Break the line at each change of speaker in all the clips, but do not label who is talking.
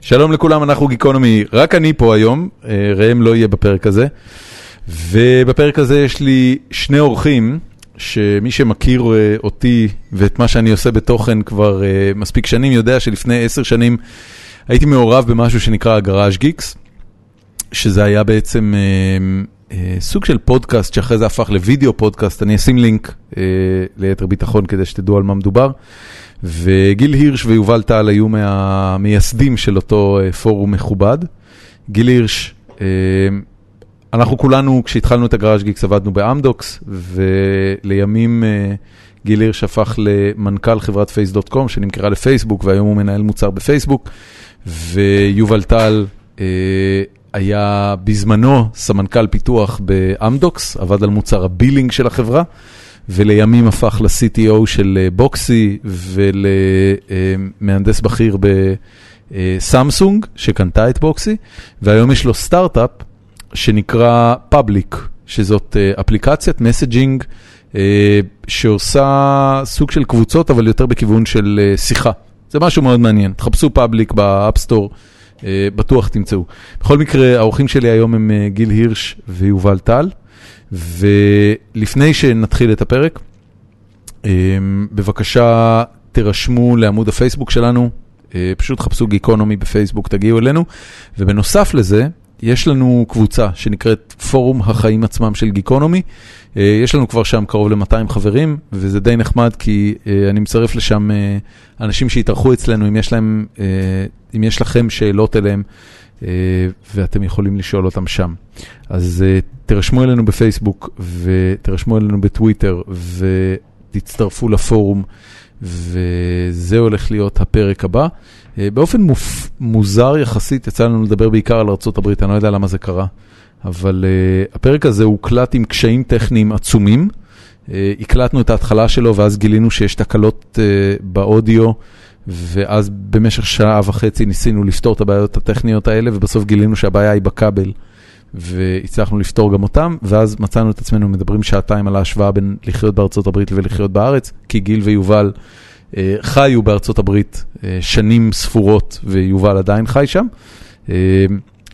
שלום לכולם, אנחנו גיקונומי, רק אני פה היום, אה, ראם לא יהיה בפרק הזה. ובפרק הזה יש לי שני אורחים, שמי שמכיר אה, אותי ואת מה שאני עושה בתוכן כבר אה, מספיק שנים, יודע שלפני עשר שנים הייתי מעורב במשהו שנקרא הגראז' גיקס, שזה היה בעצם אה, אה, סוג של פודקאסט שאחרי זה הפך לוידאו פודקאסט, אני אשים לינק אה, ליתר ביטחון כדי שתדעו על מה מדובר. וגיל הירש ויובל טל היו מהמייסדים של אותו אה, פורום מכובד. גיל הירש, אה, אנחנו כולנו, כשהתחלנו את הגראז' גיקס עבדנו באמדוקס, ולימים אה, גיל הירש הפך למנכ"ל חברת face.com שנמכרה לפייסבוק, והיום הוא מנהל מוצר בפייסבוק, ויובל טל אה, היה בזמנו סמנכ"ל פיתוח באמדוקס, עבד על מוצר הבילינג של החברה. ולימים הפך ל-CTO של אה, בוקסי ולמהנדס בכיר בסמסונג, שקנתה את בוקסי, והיום יש לו סטארט-אפ שנקרא פאבליק, שזאת אה, אפליקציית מסג'ינג אה, שעושה סוג של קבוצות, אבל יותר בכיוון של אה, שיחה. זה משהו מאוד מעניין, תחפשו פאבליק באפסטור. אה, בטוח תמצאו. בכל מקרה, האורחים שלי היום הם אה, גיל הירש ויובל טל. ולפני שנתחיל את הפרק, אמ, בבקשה תירשמו לעמוד הפייסבוק שלנו, אה, פשוט חפשו גיקונומי בפייסבוק, תגיעו אלינו, ובנוסף לזה, יש לנו קבוצה שנקראת פורום החיים עצמם של גיקונומי. אה, יש לנו כבר שם קרוב ל-200 חברים, וזה די נחמד כי אה, אני מצרף לשם אה, אנשים שהתארחו אצלנו, אם יש, להם, אה, אם יש לכם שאלות אליהם, אה, ואתם יכולים לשאול אותם שם. אז אה, תירשמו אלינו בפייסבוק ותירשמו אלינו בטוויטר ותצטרפו לפורום, וזה הולך להיות הפרק הבא. אה, באופן מופ... מוזר יחסית, יצא לנו לדבר בעיקר על ארה"ב, אני לא יודע למה זה קרה, אבל אה, הפרק הזה הוקלט עם קשיים טכניים עצומים. אה, הקלטנו את ההתחלה שלו ואז גילינו שיש תקלות אה, באודיו. ואז במשך שעה וחצי ניסינו לפתור את הבעיות הטכניות האלה, ובסוף גילינו שהבעיה היא בכבל. והצלחנו לפתור גם אותם, ואז מצאנו את עצמנו מדברים שעתיים על ההשוואה בין לחיות בארצות הברית ולחיות בארץ, כי גיל ויובל אה, חיו בארצות הברית אה, שנים ספורות, ויובל עדיין חי שם. אה,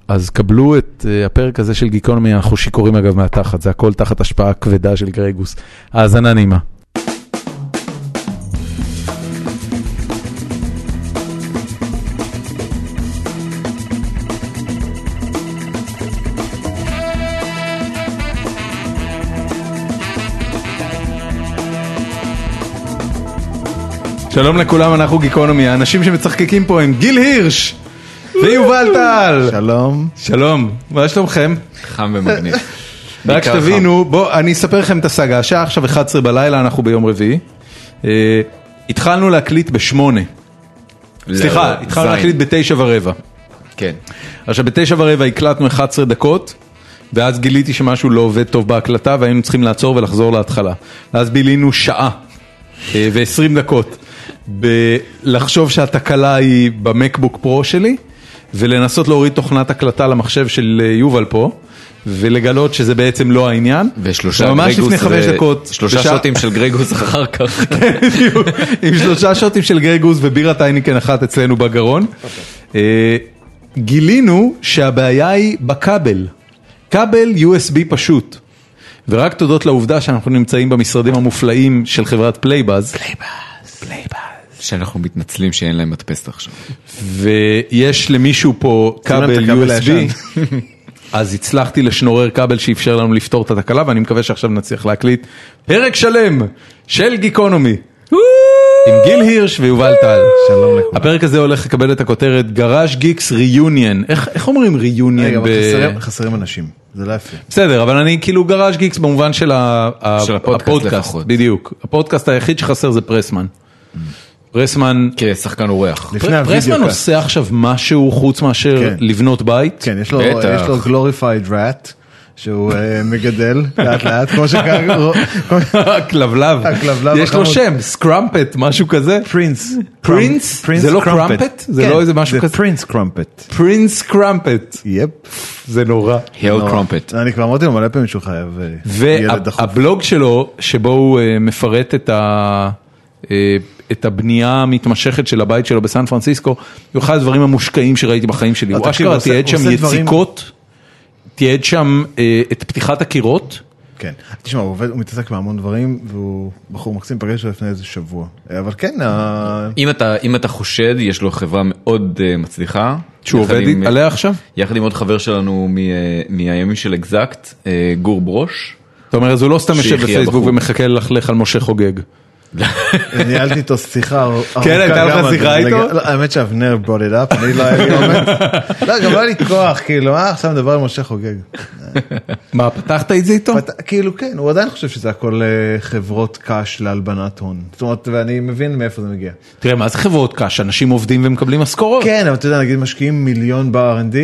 אז קבלו את אה, הפרק הזה של גיקונומי, אנחנו שיכורים אגב מהתחת, זה הכל תחת השפעה כבדה של גרגוס. האזנה נעימה. שלום לכולם, אנחנו גיקונומי, האנשים שמצחקקים פה הם גיל הירש ויובל טל.
שלום.
שלום, מה שלומכם?
חם ומגניב.
רק
בעיקר
שתבינו, בואו, אני אספר לכם את הסאגה. השעה עכשיו 11 בלילה, אנחנו ביום רביעי. אה, התחלנו להקליט בשמונה.
לא,
סליחה,
לא,
התחלנו
זין.
להקליט בתשע ורבע.
כן.
עכשיו, בתשע ורבע הקלטנו 11 דקות, ואז גיליתי שמשהו לא עובד טוב בהקלטה, והיינו צריכים לעצור ולחזור להתחלה. ואז בילינו שעה ו-20 דקות בלחשוב שהתקלה היא במקבוק פרו שלי, ולנסות להוריד תוכנת הקלטה למחשב של אה, יובל פה. ולגלות שזה בעצם לא העניין.
ושלושה
וממש
גרגוס
לפני חמש
ו-
דקות.
שלושה
בשעה-
שוטים של גרגוס אחר כך.
בדיוק, עם שלושה שוטים של גרגוס ובירת הייניקן אחת אצלנו בגרון. אה, גילינו שהבעיה היא בכבל. כבל USB פשוט. ורק תודות לעובדה שאנחנו נמצאים במשרדים המופלאים של חברת פלייבאז,
שאנחנו מתנצלים שאין להם מדפסת עכשיו.
כן. ויש למישהו פה
להם את
כבל
הכבל
USB,
הישן.
אז הצלחתי לשנורר כבל שאפשר לנו לפתור את התקלה, ואני מקווה שעכשיו נצליח להקליט פרק שלם של גיקונומי. עם גיל הירש ויובל טל.
שלום לכולם.
הפרק הזה הולך לקבל את הכותרת גראז' גיקס ריוניון. איך איך אומרים ריוניון?
רגע, אבל חסרים- חסרים אנשים, זה לא יפה.
בסדר, אבל אני כאילו גראז' גיקס במובן של ה- ה-
של הפודקאסט
הפודקאסט.
לפחות.
בדיוק. הפודקאסט היחיד שחסר זה פרסמן.
Mm.
פרסמן
כשחקן אורח.
לפני הוידאו
פרסמן
קאט.
עושה עכשיו משהו חוץ מאשר
כן.
לבנות בית?
כן, יש לו-
בטח.
יש לו גלוריפייד ראט, שהוא אה, מגדל לאט לאט, כמו שקראו,
הכלבלב.
הכלבלב
יש לו
החמוד.
שם, סקרמפט, משהו כזה.
פרינס.
פרינס? זה לא קרמפט?
כן.
זה לא איזה משהו כזה?
זה פרינס קרמפט.
פרינס קרמפט.
יפ.
זה נורא.
היל קרומפט.
אני כבר אמרתי לו מלא פעמים שהוא חייב אה, ילד דחוף.
והבלוג שלו, שבו הוא אה, מפרט את ה... אה, את הבנייה המתמשכת של הבית שלו בסן פרנסיסקו, הוא אחד הדברים המושקעים שראיתי בחיים שלי. הוא
תקשיב,
אשכרה
הוא עושה-
תיעד
הוא
שם
עושה דברים-
יציקות, תיעד שם אה, את פתיחת הקירות.
כן. תשמע, הוא עובד, הוא מתעסק בהמון דברים, והוא בחור מקסים, פגשתי אותו לפני איזה שבוע. אבל כן, ה-
אם אתה, אם אתה חושד, יש לו חברה מאוד אה, מצליחה.
שהוא
יחד
עובד
עם-
אה,
עליה עכשיו?
יחד עם עוד חבר שלנו מ- אה, מהימים של אקזקט, אה, גור ברוש.
אתה אומר, אז הוא לא סתם יושב
שיחיה
בפייסבוק
הבחור.
ומחכה ללכלך על משה חוגג.
ניהלתי איתו שיחה ארוכה.
כן, הייתה לך
גם על
שיחה
זה.
איתו?
לא, האמת שאבנר brought it up, אני לא היה לי אומץ. לא, גם לא היה לי כוח, כאילו, אה, עכשיו מדבר על משה חוגג.
מה, פתחת את זה איתו?
ואתה- כאילו, כן, הוא עדיין חושב שזה הכל אה, חברות קש להלבנת הון. זאת אומרת, ואני מבין מאיפה זה מגיע.
תראה, מה זה חברות קש? אנשים עובדים ומקבלים משכורות.
כן, אבל אתה יודע, נגיד משקיעים מיליון ב-R&D,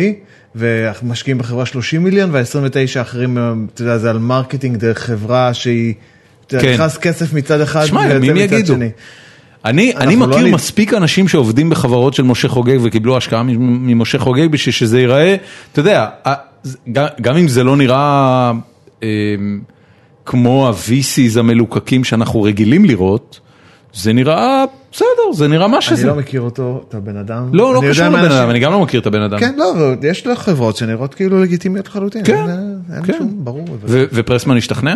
ומשקיעים בחברה 30 מיליון, וה-29 האחרים, אה, אתה יודע, זה על מרקטינג דרך חברה שהיא, אתה יודע,
כן.
נכנס כסף מצד אחד,
שמע,
ויוצא
ימים
מצד
יגידו.
שני.
אני, אני
אנחנו לא
מכיר
נ-
מספיק אנשים שעובדים בחברות של משה חוגג וקיבלו השקעה מ- ממשה חוגג בשביל שזה ייראה, אתה יודע, ה- זה- גם, גם אם זה לא נראה אה, כמו ה-VCs המלוקקים שאנחנו רגילים לראות, זה נראה בסדר, זה נראה מה
אני
שזה.
לא מכיר אותו, את הבן אדם.
לא, לא
אני
קשור
יודע
לבן
מאנשים-
אדם, אני גם לא מכיר את הבן אדם.
כן, לא, אבל יש לו חברות שנראות כאילו לגיטימיות לחלוטין.
כן,
אין- אין
כן.
שום, ברור. אבל-
ו- ופרסמן השתכנע?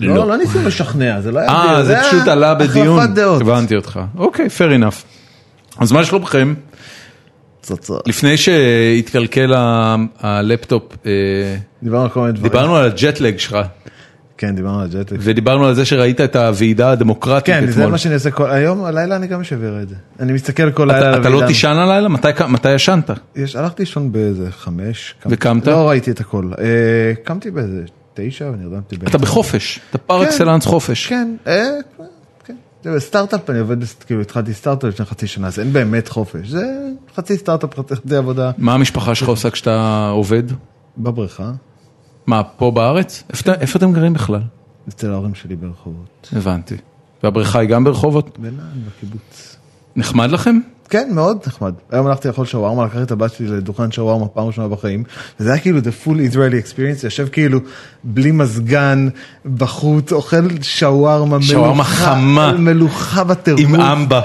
לא, לא ניסו לשכנע, זה לא היה...
אה,
דיון,
זה
היה
פשוט עלה בדיון.
החלפת דעות.
הבנתי אותך. אוקיי, fair enough. אז מה שלומכם?
צוצר.
לפני שהתקלקל ה- הלפטופ, אה,
דיברנו על כל מיני דברים.
דיברנו על הג'טלג שלך,
כן, דיברנו על ג'טליק.
ודיברנו על זה שראית את הוועידה הדמוקרטית
כן, זה
אתמול.
מה שאני עושה כל היום, הלילה אני גם משב את זה. אני מסתכל כל
אתה-
לילה על
אתה לא
הוועידה.
תישן הלילה? מתי ק- מתי ישנת?
יש, הלכתי לישון באיזה חמש. קמתי-
וקמת?
לא ראיתי את הכל. אה, קמתי באיזה תשע ונרדמתי באמצע.
אתה בחופש, אתה פר
כן.
אקסלנס חופש.
כן, אה, כן. זה סטארט-אפ, אני עובד, בס- כאילו התחלתי סטארט-אפ לפני חצי שנה, אז אין באמת חופש. זה חצי סטארט-אפ, חצי עבודה
מה המשפחה שלך עושה כשאתה עובד?
בבריכה,
מה, פה בארץ? איפה אתה- איפה אתם גרים בכלל?
אצל ההורים שלי ברחובות.
הבנתי. והבריכה היא גם ברחובות?
בינן, בקיבוץ.
נחמד לכם?
כן, מאוד נחמד. היום הלכתי לאכול שווארמה, לקחתי את הבת שלי לדוכן שווארמה פעם ראשונה בחיים, וזה היה כאילו the full Israeli experience, יושב כאילו בלי מזגן, בחוץ, אוכל שווארמה
שווארמה
מלוכה-
חמה.
מלוכה בטירוף.
עם אמבה.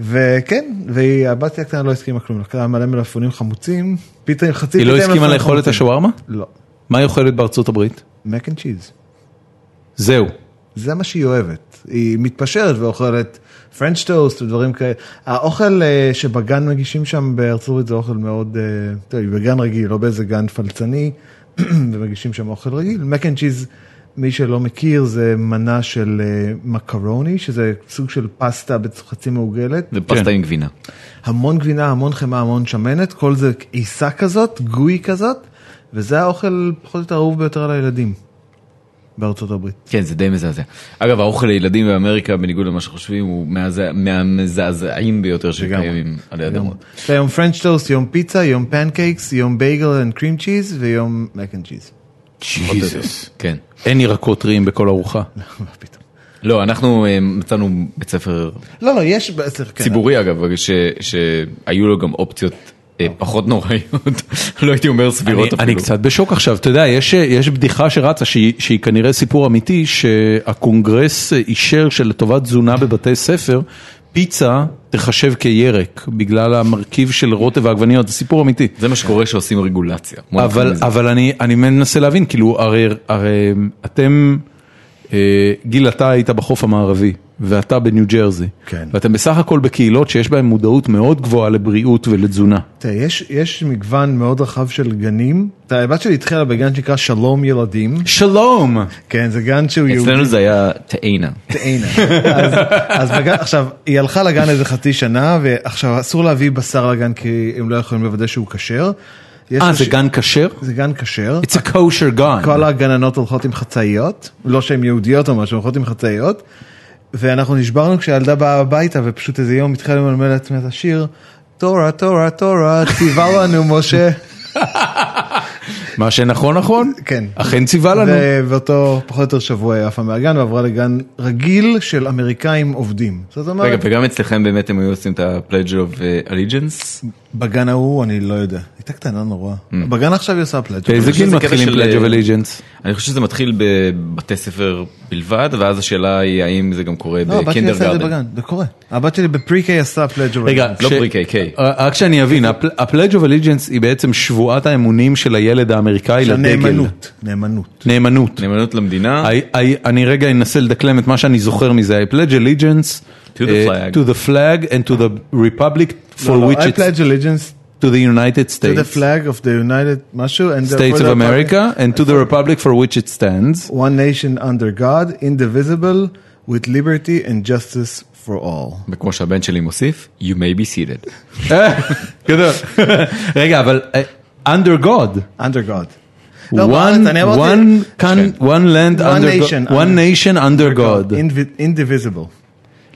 וכן, והבת שלי הקטנה לא הסכימה כלום, לקחה מלא מלפפונים חמוצים, פיתה, חצי
היא לא
פיתה עם
הסכימה
מלפפונים
לאכול את
חמוצים.
השווארמה?
לא,
מה היא אוכלת בארצות הברית?
מק אנד צ'יז.
זהו.
זה מה שהיא אוהבת. היא מתפשרת ואוכלת פרנץ' טוסט ודברים כאלה. האוכל אה, שבגן מגישים שם בארצות הברית זה אוכל מאוד, אה, טוב, היא בגן רגיל, לא באיזה גן פלצני, ומגישים שם אוכל רגיל. מק אנד צ'יז, מי שלא מכיר, זה מנה של אה, מקרוני, שזה סוג של פסטה בחצי מעוגלת.
זה
כן.
פסטה עם גבינה.
המון גבינה, המון חמאה, המון שמנת, כל זה עיסה כזאת, גוי כזאת, וזה האוכל פחות או יותר האהוב ביותר על הילדים בארצות הברית.
כן, זה די מזעזע. אגב, האוכל לילדים באמריקה, בניגוד למה שחושבים, הוא מהזע- מהמזעזעים ביותר שקיימים עלי אדמות.
יש לה יום פרנץ' טוסט, יום פיצה, יום פנקייקס, יום בייגל אנד קרים צ'יז ויום מק אנד צ'יז.
ג'יזוס.
כן.
אין ירקות טריים בכל ארוחה.
מה פתאום.
לא, אנחנו אה, מצאנו בית ספר
לא, לא, יש, סליחה, כן,
ציבורי אגב, ש- שהיו לו גם אופציות אה, פחות נוראיות, לא הייתי אומר
אוקיי. אני,
סבירות
אני
אפילו.
קצת בשוק עכשיו, אתה יודע, יש, יש בדיחה שרצה שהיא, שהיא כנראה סיפור אמיתי, שהקונגרס אישר שלטובת תזונה בבתי ספר, פיצה תחשב כירק, בגלל המרכיב של רוטב העגבניות, זה סיפור אמיתי.
זה מה שקורה שעושים רגולציה. בוא נתחיל
אבל,
מזה.
אבל אני, אני מנסה להבין, כאילו, הרי, הרי אמ, אתם, אה, גיל, אתה היית בחוף המערבי, ואתה בניו ג'רזי,
כן.
ואתם בסך הכל בקהילות שיש בהן מודעות מאוד גבוהה לבריאות ולתזונה.
תראה, יש- יש מגוון מאוד רחב של גנים. תראה, הבת שלי התחילה בגן שנקרא שלום ילדים.
שלום!
כן, זה גן שהוא יהודי.
אצלנו זה היה תאנה.
הנה. אז, אז בגן, עכשיו, היא הלכה לגן איזה חצי שנה, ועכשיו אסור להביא בשר לגן כי הם לא יכולים לוודא שהוא כשר. יש
אה,
לו
זה
ש-
גן כשר?
זה גן כשר.
It's a kosher gun.
כל הגננות הולכות עם חצאיות, לא שהן יהודיות או משהו, הולכות עם חצאיות. ואנחנו נשברנו כשהילדה באה הביתה ופשוט איזה יום התחילה למלמל לעצמי את השיר, תורה, תורה, תורה, ציווה לנו משה.
מה שנכון נכון,
כן.
אכן ציווה לנו.
ובאותו פחות או יותר שבוע היא עפה מהגן ועברה לגן רגיל של אמריקאים עובדים. זאת
רגע,
אומרת,
וגם אצלכם באמת הם היו עושים את ה-pledge of אה, allegiance?
בגן ההוא, אני לא יודע. הייתה קטנה נורא.
Mm.
בגן עכשיו היא עושה פלאג'.
באיזה
אני חושב
גיל
שזה קטע
מתחילים
של-
פלאג' אוף אליג'נס?
אני חושב שזה מתחיל בבתי ספר בלבד, ואז השאלה היא האם זה גם קורה
לא, הבת שלי
בקינדר
עושה את זה
גרדן.
בגן, זה קורה. הבת שלי בפרי-קיי עשה פלאג'
רגע,
לא
ש- אה,
פרי-קיי, קיי.
רק שאני אבין, הפלאג' אוף אליג'נס היא בעצם שבועת האמונים של הילד האמריקאי לדגל.
נאמנות. נאמנות.
נאמנות.
נאמנות למדינה.
I, I, אני רגע אנסה לדקלם את מה שאני זוכר מזה, I pledge allegiance
To the
eh,
flag.
to the flag and to the republic for
לא,
which
I
it's
pledge allegiance
to the United
to
States,
the flag of the United משהו, and
States
therefore
of
the-
America and to the republic for which it stands.
one nation under God, indivisible, with liberty and justice for all.
וכמו שהבן שלי מוסיף, you may be seated.
אה, גדול. רגע, אבל eh, under God.
under God. לא, בארץ,
One,
אני אמרתי- כן.
one, can, one land
One
under
nation
God, one
under-
nation under God.
Indiv- לא, indivisible.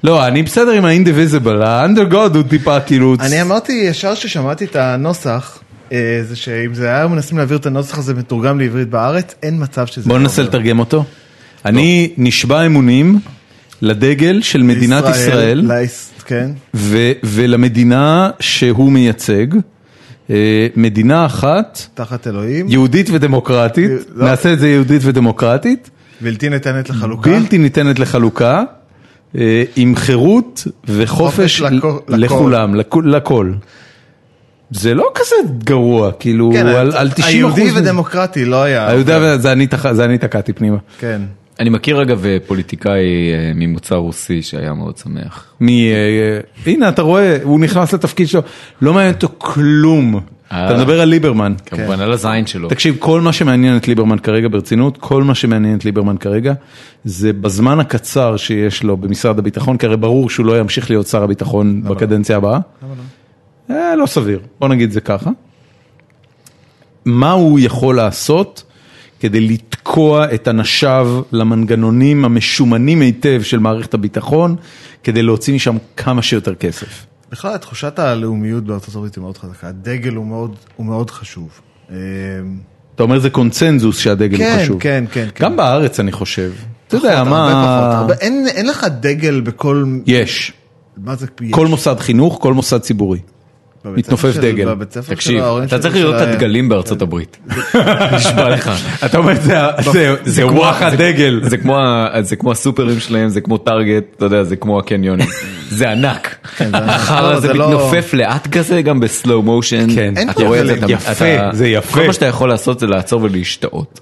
לא, אני בסדר עם ה-indivisible, ה-under God הוא טיפה כאילו...
אני אמרתי ישר כששמעתי את הנוסח, אה, זה שאם זה היה מנסים להעביר את הנוסח הזה מתורגם לעברית בארץ, אין מצב שזה...
בוא
לא
ננסה
עובר.
לתרגם אותו. אני נשבע אמונים לדגל של מדינת ישראל
לייס, כן.
ו- ולמדינה שהוא מייצג, אה, מדינה אחת,
תחת אלוהים,
יהודית ודמוקרטית,
לא.
נעשה את זה יהודית ודמוקרטית,
בלתי ניתנת לחלוקה.
בלתי ניתנת לחלוקה, אה, עם חירות וחופש
חופש לכו-
ל- לכולם, לכו- לכל. זה לא כזה גרוע, כאילו,
כן,
על על 90%.
היהודי
מזה.
ודמוקרטי לא היה.
היהודי ו- זה אני תח- זה אני תקעתי פנימה.
כן.
אני מכיר אגב אה, פוליטיקאי אה, ממוצא רוסי שהיה מאוד שמח.
מ... אה, הנה, אתה רואה, הוא נכנס לתפקיד שלו, לא מעניין אותו כלום.
אה. כן.
אתה מדבר על ליברמן.
כמובן על הזין שלו.
כן. תקשיב, כל מה שמעניין את ליברמן כרגע ברצינות, כל מה שמעניין את ליברמן כרגע, זה בזמן הקצר שיש לו במשרד הביטחון, כי הרי ברור שהוא לא ימשיך להיות שר הביטחון
לא?
בקדנציה הבאה. אה, לא סביר, בוא נגיד זה ככה. מה הוא יכול לעשות כדי לתקוע את אנשיו למנגנונים המשומנים היטב של מערכת הביטחון, כדי להוציא משם כמה שיותר כסף.
בכלל, תחושת הלאומיות בארצות הברית היא מאוד חזקה. הדגל הוא מאוד- הוא מאוד חשוב. אמ,
אתה אומר זה קונצנזוס שהדגל הוא
כן,
חשוב.
כן, כן, כן.
גם בארץ אני חושב. אתה יודע
פחות, הרבה פחות,
מה...
הרבה- אין אין לך דגל בכל...
יש.
מה זה?
כל מוסד חינוך, כל מוסד ציבורי.
בבית ספר
מתנופף
של-
דגל.
בבית ספר של
תקשיב,
ההורים
אתה
שלי
צריך לראות את
של ה-
הדגלים בארצות הברית. נשבע לך.
אתה אומר, זה- זה- זה
כמו-
וואחד
זה-
דגל.
זה כמו ה- זה כמו הסופרים שלהם, זה כמו טארגט, אתה יודע, זה כמו הקניונים. זה ענק.
זה ענק.
החרא
לא,
הזה
זה לא-
מתנופף לאט כזה, גם בסלואו מושן.
כן. אין
אתה
פה
רואה את זה,
הבדלים.
אתה-
יפה,
אתה-
זה יפה.
כל מה שאתה יכול לעשות זה לעצור ולהשתאות.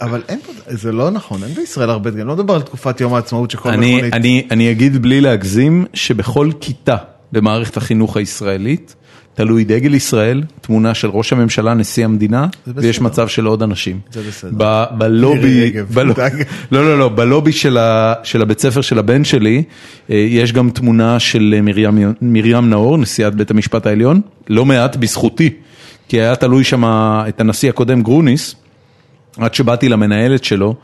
אבל אין פה, זה לא נכון, אין בישראל הרבה דגלים. לא מדבר על תקופת יום העצמאות שכל
אני,
מכונית...
אני, אני אגיד בלי להגזים שבכל כיתה במערכת החינוך הישראלית תלוי דגל ישראל, תמונה של ראש הממשלה, נשיא המדינה,
זה בסדר.
ויש מצב של עוד אנשים.
זה בסדר.
ב, בלובי,
מירי רגב,
בלובי,
דג.
לא, לא, לא, בלובי של, ה, של הבית ספר של הבן שלי, אה, יש גם תמונה של אה, מרים, יו- מרים נאור, נשיאת בית המשפט העליון, לא מעט בזכותי, כי היה תלוי שם את הנשיא הקודם גרוניס, עד שבאתי למנהלת שלו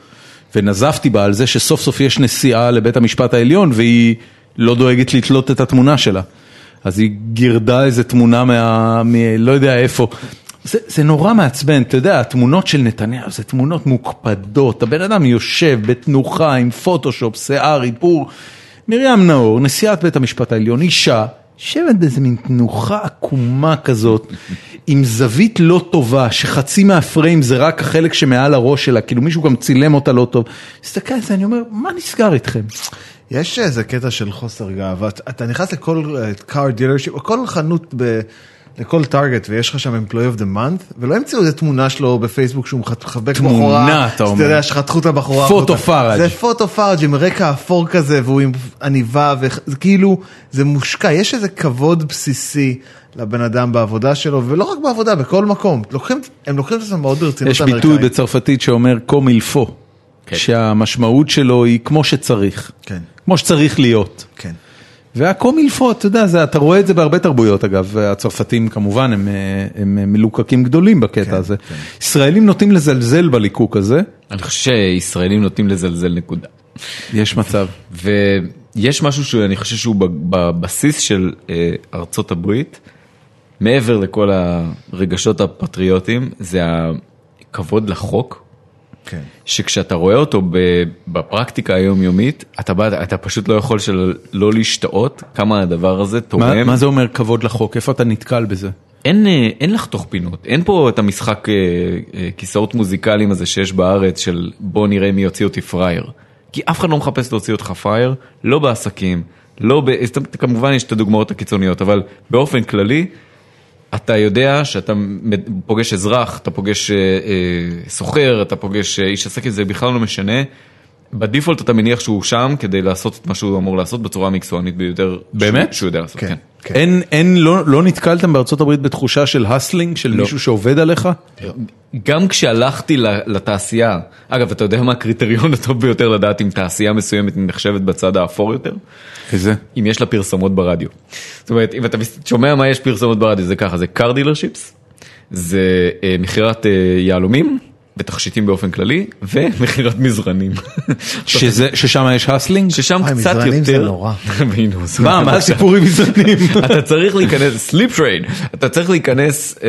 ונזפתי בה על זה שסוף סוף יש נסיעה לבית המשפט העליון והיא לא דואגת לתלות את התמונה שלה. אז היא גירדה איזה תמונה מה... מ... לא יודע איפה. זה, זה נורא מעצבן, אתה יודע, התמונות של נתניהו זה תמונות מוקפדות, הבן אדם יושב בתנוחה עם פוטושופ, שיער, איפור. מרים נאור, נשיאת בית המשפט העליון, אישה, יושבת באיזה מין תנוחה עקומה כזאת, עם זווית לא טובה, שחצי מהפריים זה רק החלק שמעל הראש שלה, כאילו מישהו גם צילם אותה לא טוב. מסתכל על זה, אני אומר, מה נסגר איתכם?
יש איזה קטע של חוסר גאווה. אתה- אתה נכנס לכל קאר דילרשיפ, או כל חנות ב... לכל טארגט ויש לך שם employee of the month ולא המציאו איזה תמונה שלו בפייסבוק שהוא מחת- מחבק
תמונה,
בחורה,
אתה אומר.
שאתה יודע שחתכו את הבחורה,
פוטו
החוצה.
פארג'.
זה פוטו פארג' עם רקע אפור כזה והוא עם עניבה וכאילו זה מושקע יש איזה כבוד בסיסי לבן אדם בעבודה שלו ולא רק בעבודה בכל מקום לוקחים הם לוקחים את עצמם מאוד ברצינות
יש ביטוי
האמריקאים.
בצרפתית שאומר קומילפו,
כן.
שהמשמעות שלו היא כמו שצריך,
כן
כמו שצריך להיות.
כן
והקומילפו, אתה יודע, זה, אתה רואה את זה בהרבה תרבויות אגב, והצרפתים כמובן הם, אה, הם אה, מלוקקים גדולים בקטע
כן,
הזה.
כן.
ישראלים נוטים לזלזל בליקוק הזה,
אני חושב שישראלים נוטים לזלזל נקודה.
יש מצב.
ויש משהו שאני חושב שהוא ב- בבסיס של אה, ארצות הברית, מעבר לכל הרגשות הפטריוטיים, זה הכבוד לחוק.
כן.
שכשאתה רואה אותו ב- בפרקטיקה היומיומית, אתה, בא, אתה פשוט לא יכול של לא להשתאות כמה הדבר הזה
מה,
תורם.
מה זה אומר כבוד לחוק? איפה אתה נתקל בזה?
אין, אה, אין לחתוך פינות, אין פה את המשחק אה, אה, כיסאות מוזיקליים הזה שיש בארץ של בוא נראה מי יוציא אותי פראייר. כי אף אחד לא מחפש להוציא אותך פראייר, לא בעסקים, לא ב... זאת אומרת, כמובן יש את הדוגמאות הקיצוניות, אבל באופן כללי, אתה יודע שאתה מד- פוגש אזרח, אתה פוגש אה, אה, סוחר, אתה פוגש אה, איש עסקים, זה בכלל לא משנה. בדיפולט אתה מניח שהוא שם כדי לעשות את מה שהוא אמור לעשות בצורה המקצוענית ביותר.
באמת?
שהוא, שהוא יודע לעשות, כן.
כן. כן.
אין, אין, לא, לא נתקלתם בארצות הברית בתחושה של הסלינג, של מישהו שעובד עליך?
גם כשהלכתי ל- לתעשייה, אגב, אתה יודע מה הקריטריון הטוב ביותר לדעת אם תעשייה מסוימת נחשבת בצד האפור יותר?
איזה?
אם יש לה פרסומות ברדיו. זאת אומרת, אם אתה מס- שומע מה יש פרסומות ברדיו, זה ככה, זה קאר דילרשיפס, זה אה, מכירת אה, יהלומים ותכשיטים באופן כללי, ומכירת מזרנים.
שזה, ששם יש הסלינג?
ששם
וואי,
קצת יותר...
מזרנים זה נורא.
והנה, זה
מה, מה
עכשיו.
הסיפור עם מזרנים?
אתה צריך להיכנס, סליפ טריין, אתה צריך להיכנס, אה,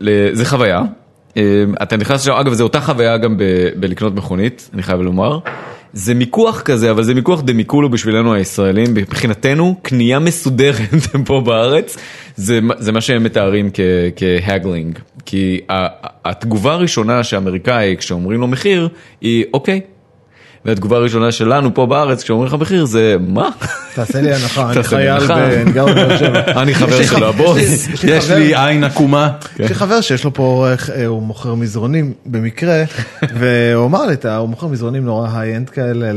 ל- זה חוויה, אה, אתה נכנס לשם, אגב זו אותה חוויה גם ב, בלקנות מכונית, אני חייב לומר, זה מיקוח כזה, אבל זה מיקוח דמיקולו בשבילנו הישראלים, מבחינתנו קנייה מסודרת פה בארץ, זה, מה- זה מה שהם מתארים כ, כהגלינג, כי ה, ה- התגובה הראשונה שאמריקאי, כשאומרים לו מחיר, היא אוקיי. והתגובה הראשונה שלנו פה בארץ כשאומרים לך מחיר זה מה?
תעשה לי הנחה, אני
תעשה לי
חייל
הנחה.
בעין גב בבאר שבע.
אני חבר
יש לי-
של הבוס.
יש לי
יש
חבר-
לי עין עקומה.
יש לי חבר שיש לו פה עורך, אה, הוא מוכר מזרונים במקרה, והוא אמר לי, "אתה- הוא מוכר מזרונים נורא היי-אנד כאלה,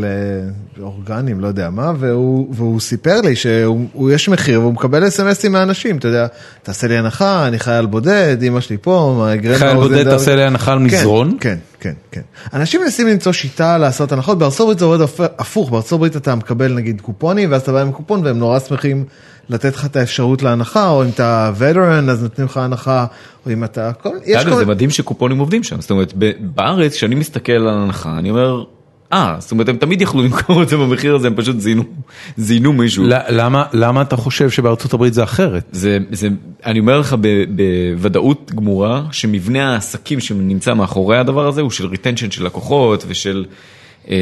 לאורגנים, לא יודע מה, והוא והוא סיפר לי שיש מחיר והוא מקבל אסמסים מאנשים, אתה יודע, תעשה לי הנחה, אני חייל בודד, אמא שלי פה, מה, גרנד
חייל
האוזן
בודד
דוד."
תעשה לי הנחה על
כן,
מזרון?
כן, כן, כן. אנשים מנסים למצוא שיטה לעשות הנחות, בארצות הברית זה עובד הפ- הפוך, בארצות הברית אתה מקבל נגיד קופונים, ואז אתה בא עם קופון והם נורא שמחים לתת לך את האפשרות להנחה, או אם אתה veteran אז נותנים לך הנחה, או אם אתה... כל... יש
אגב,
כל-
זה מדהים שקופונים עובדים שם, זאת אומרת, ב- בארץ, כשאני מסתכל על ההנחה, אני אומר, אה, זאת אומרת, הם תמיד יכלו למכור את זה במחיר הזה, הם פשוט זינו, זינו מישהו.
ל- למה- למה אתה חושב שבארצות הברית זה אחרת?
זה, זה, אני אומר לך ב, בוודאות גמורה, שמבנה העסקים שנמצא מאחורי הדבר הזה הוא של ריטנשן של לקוחות ושל אה,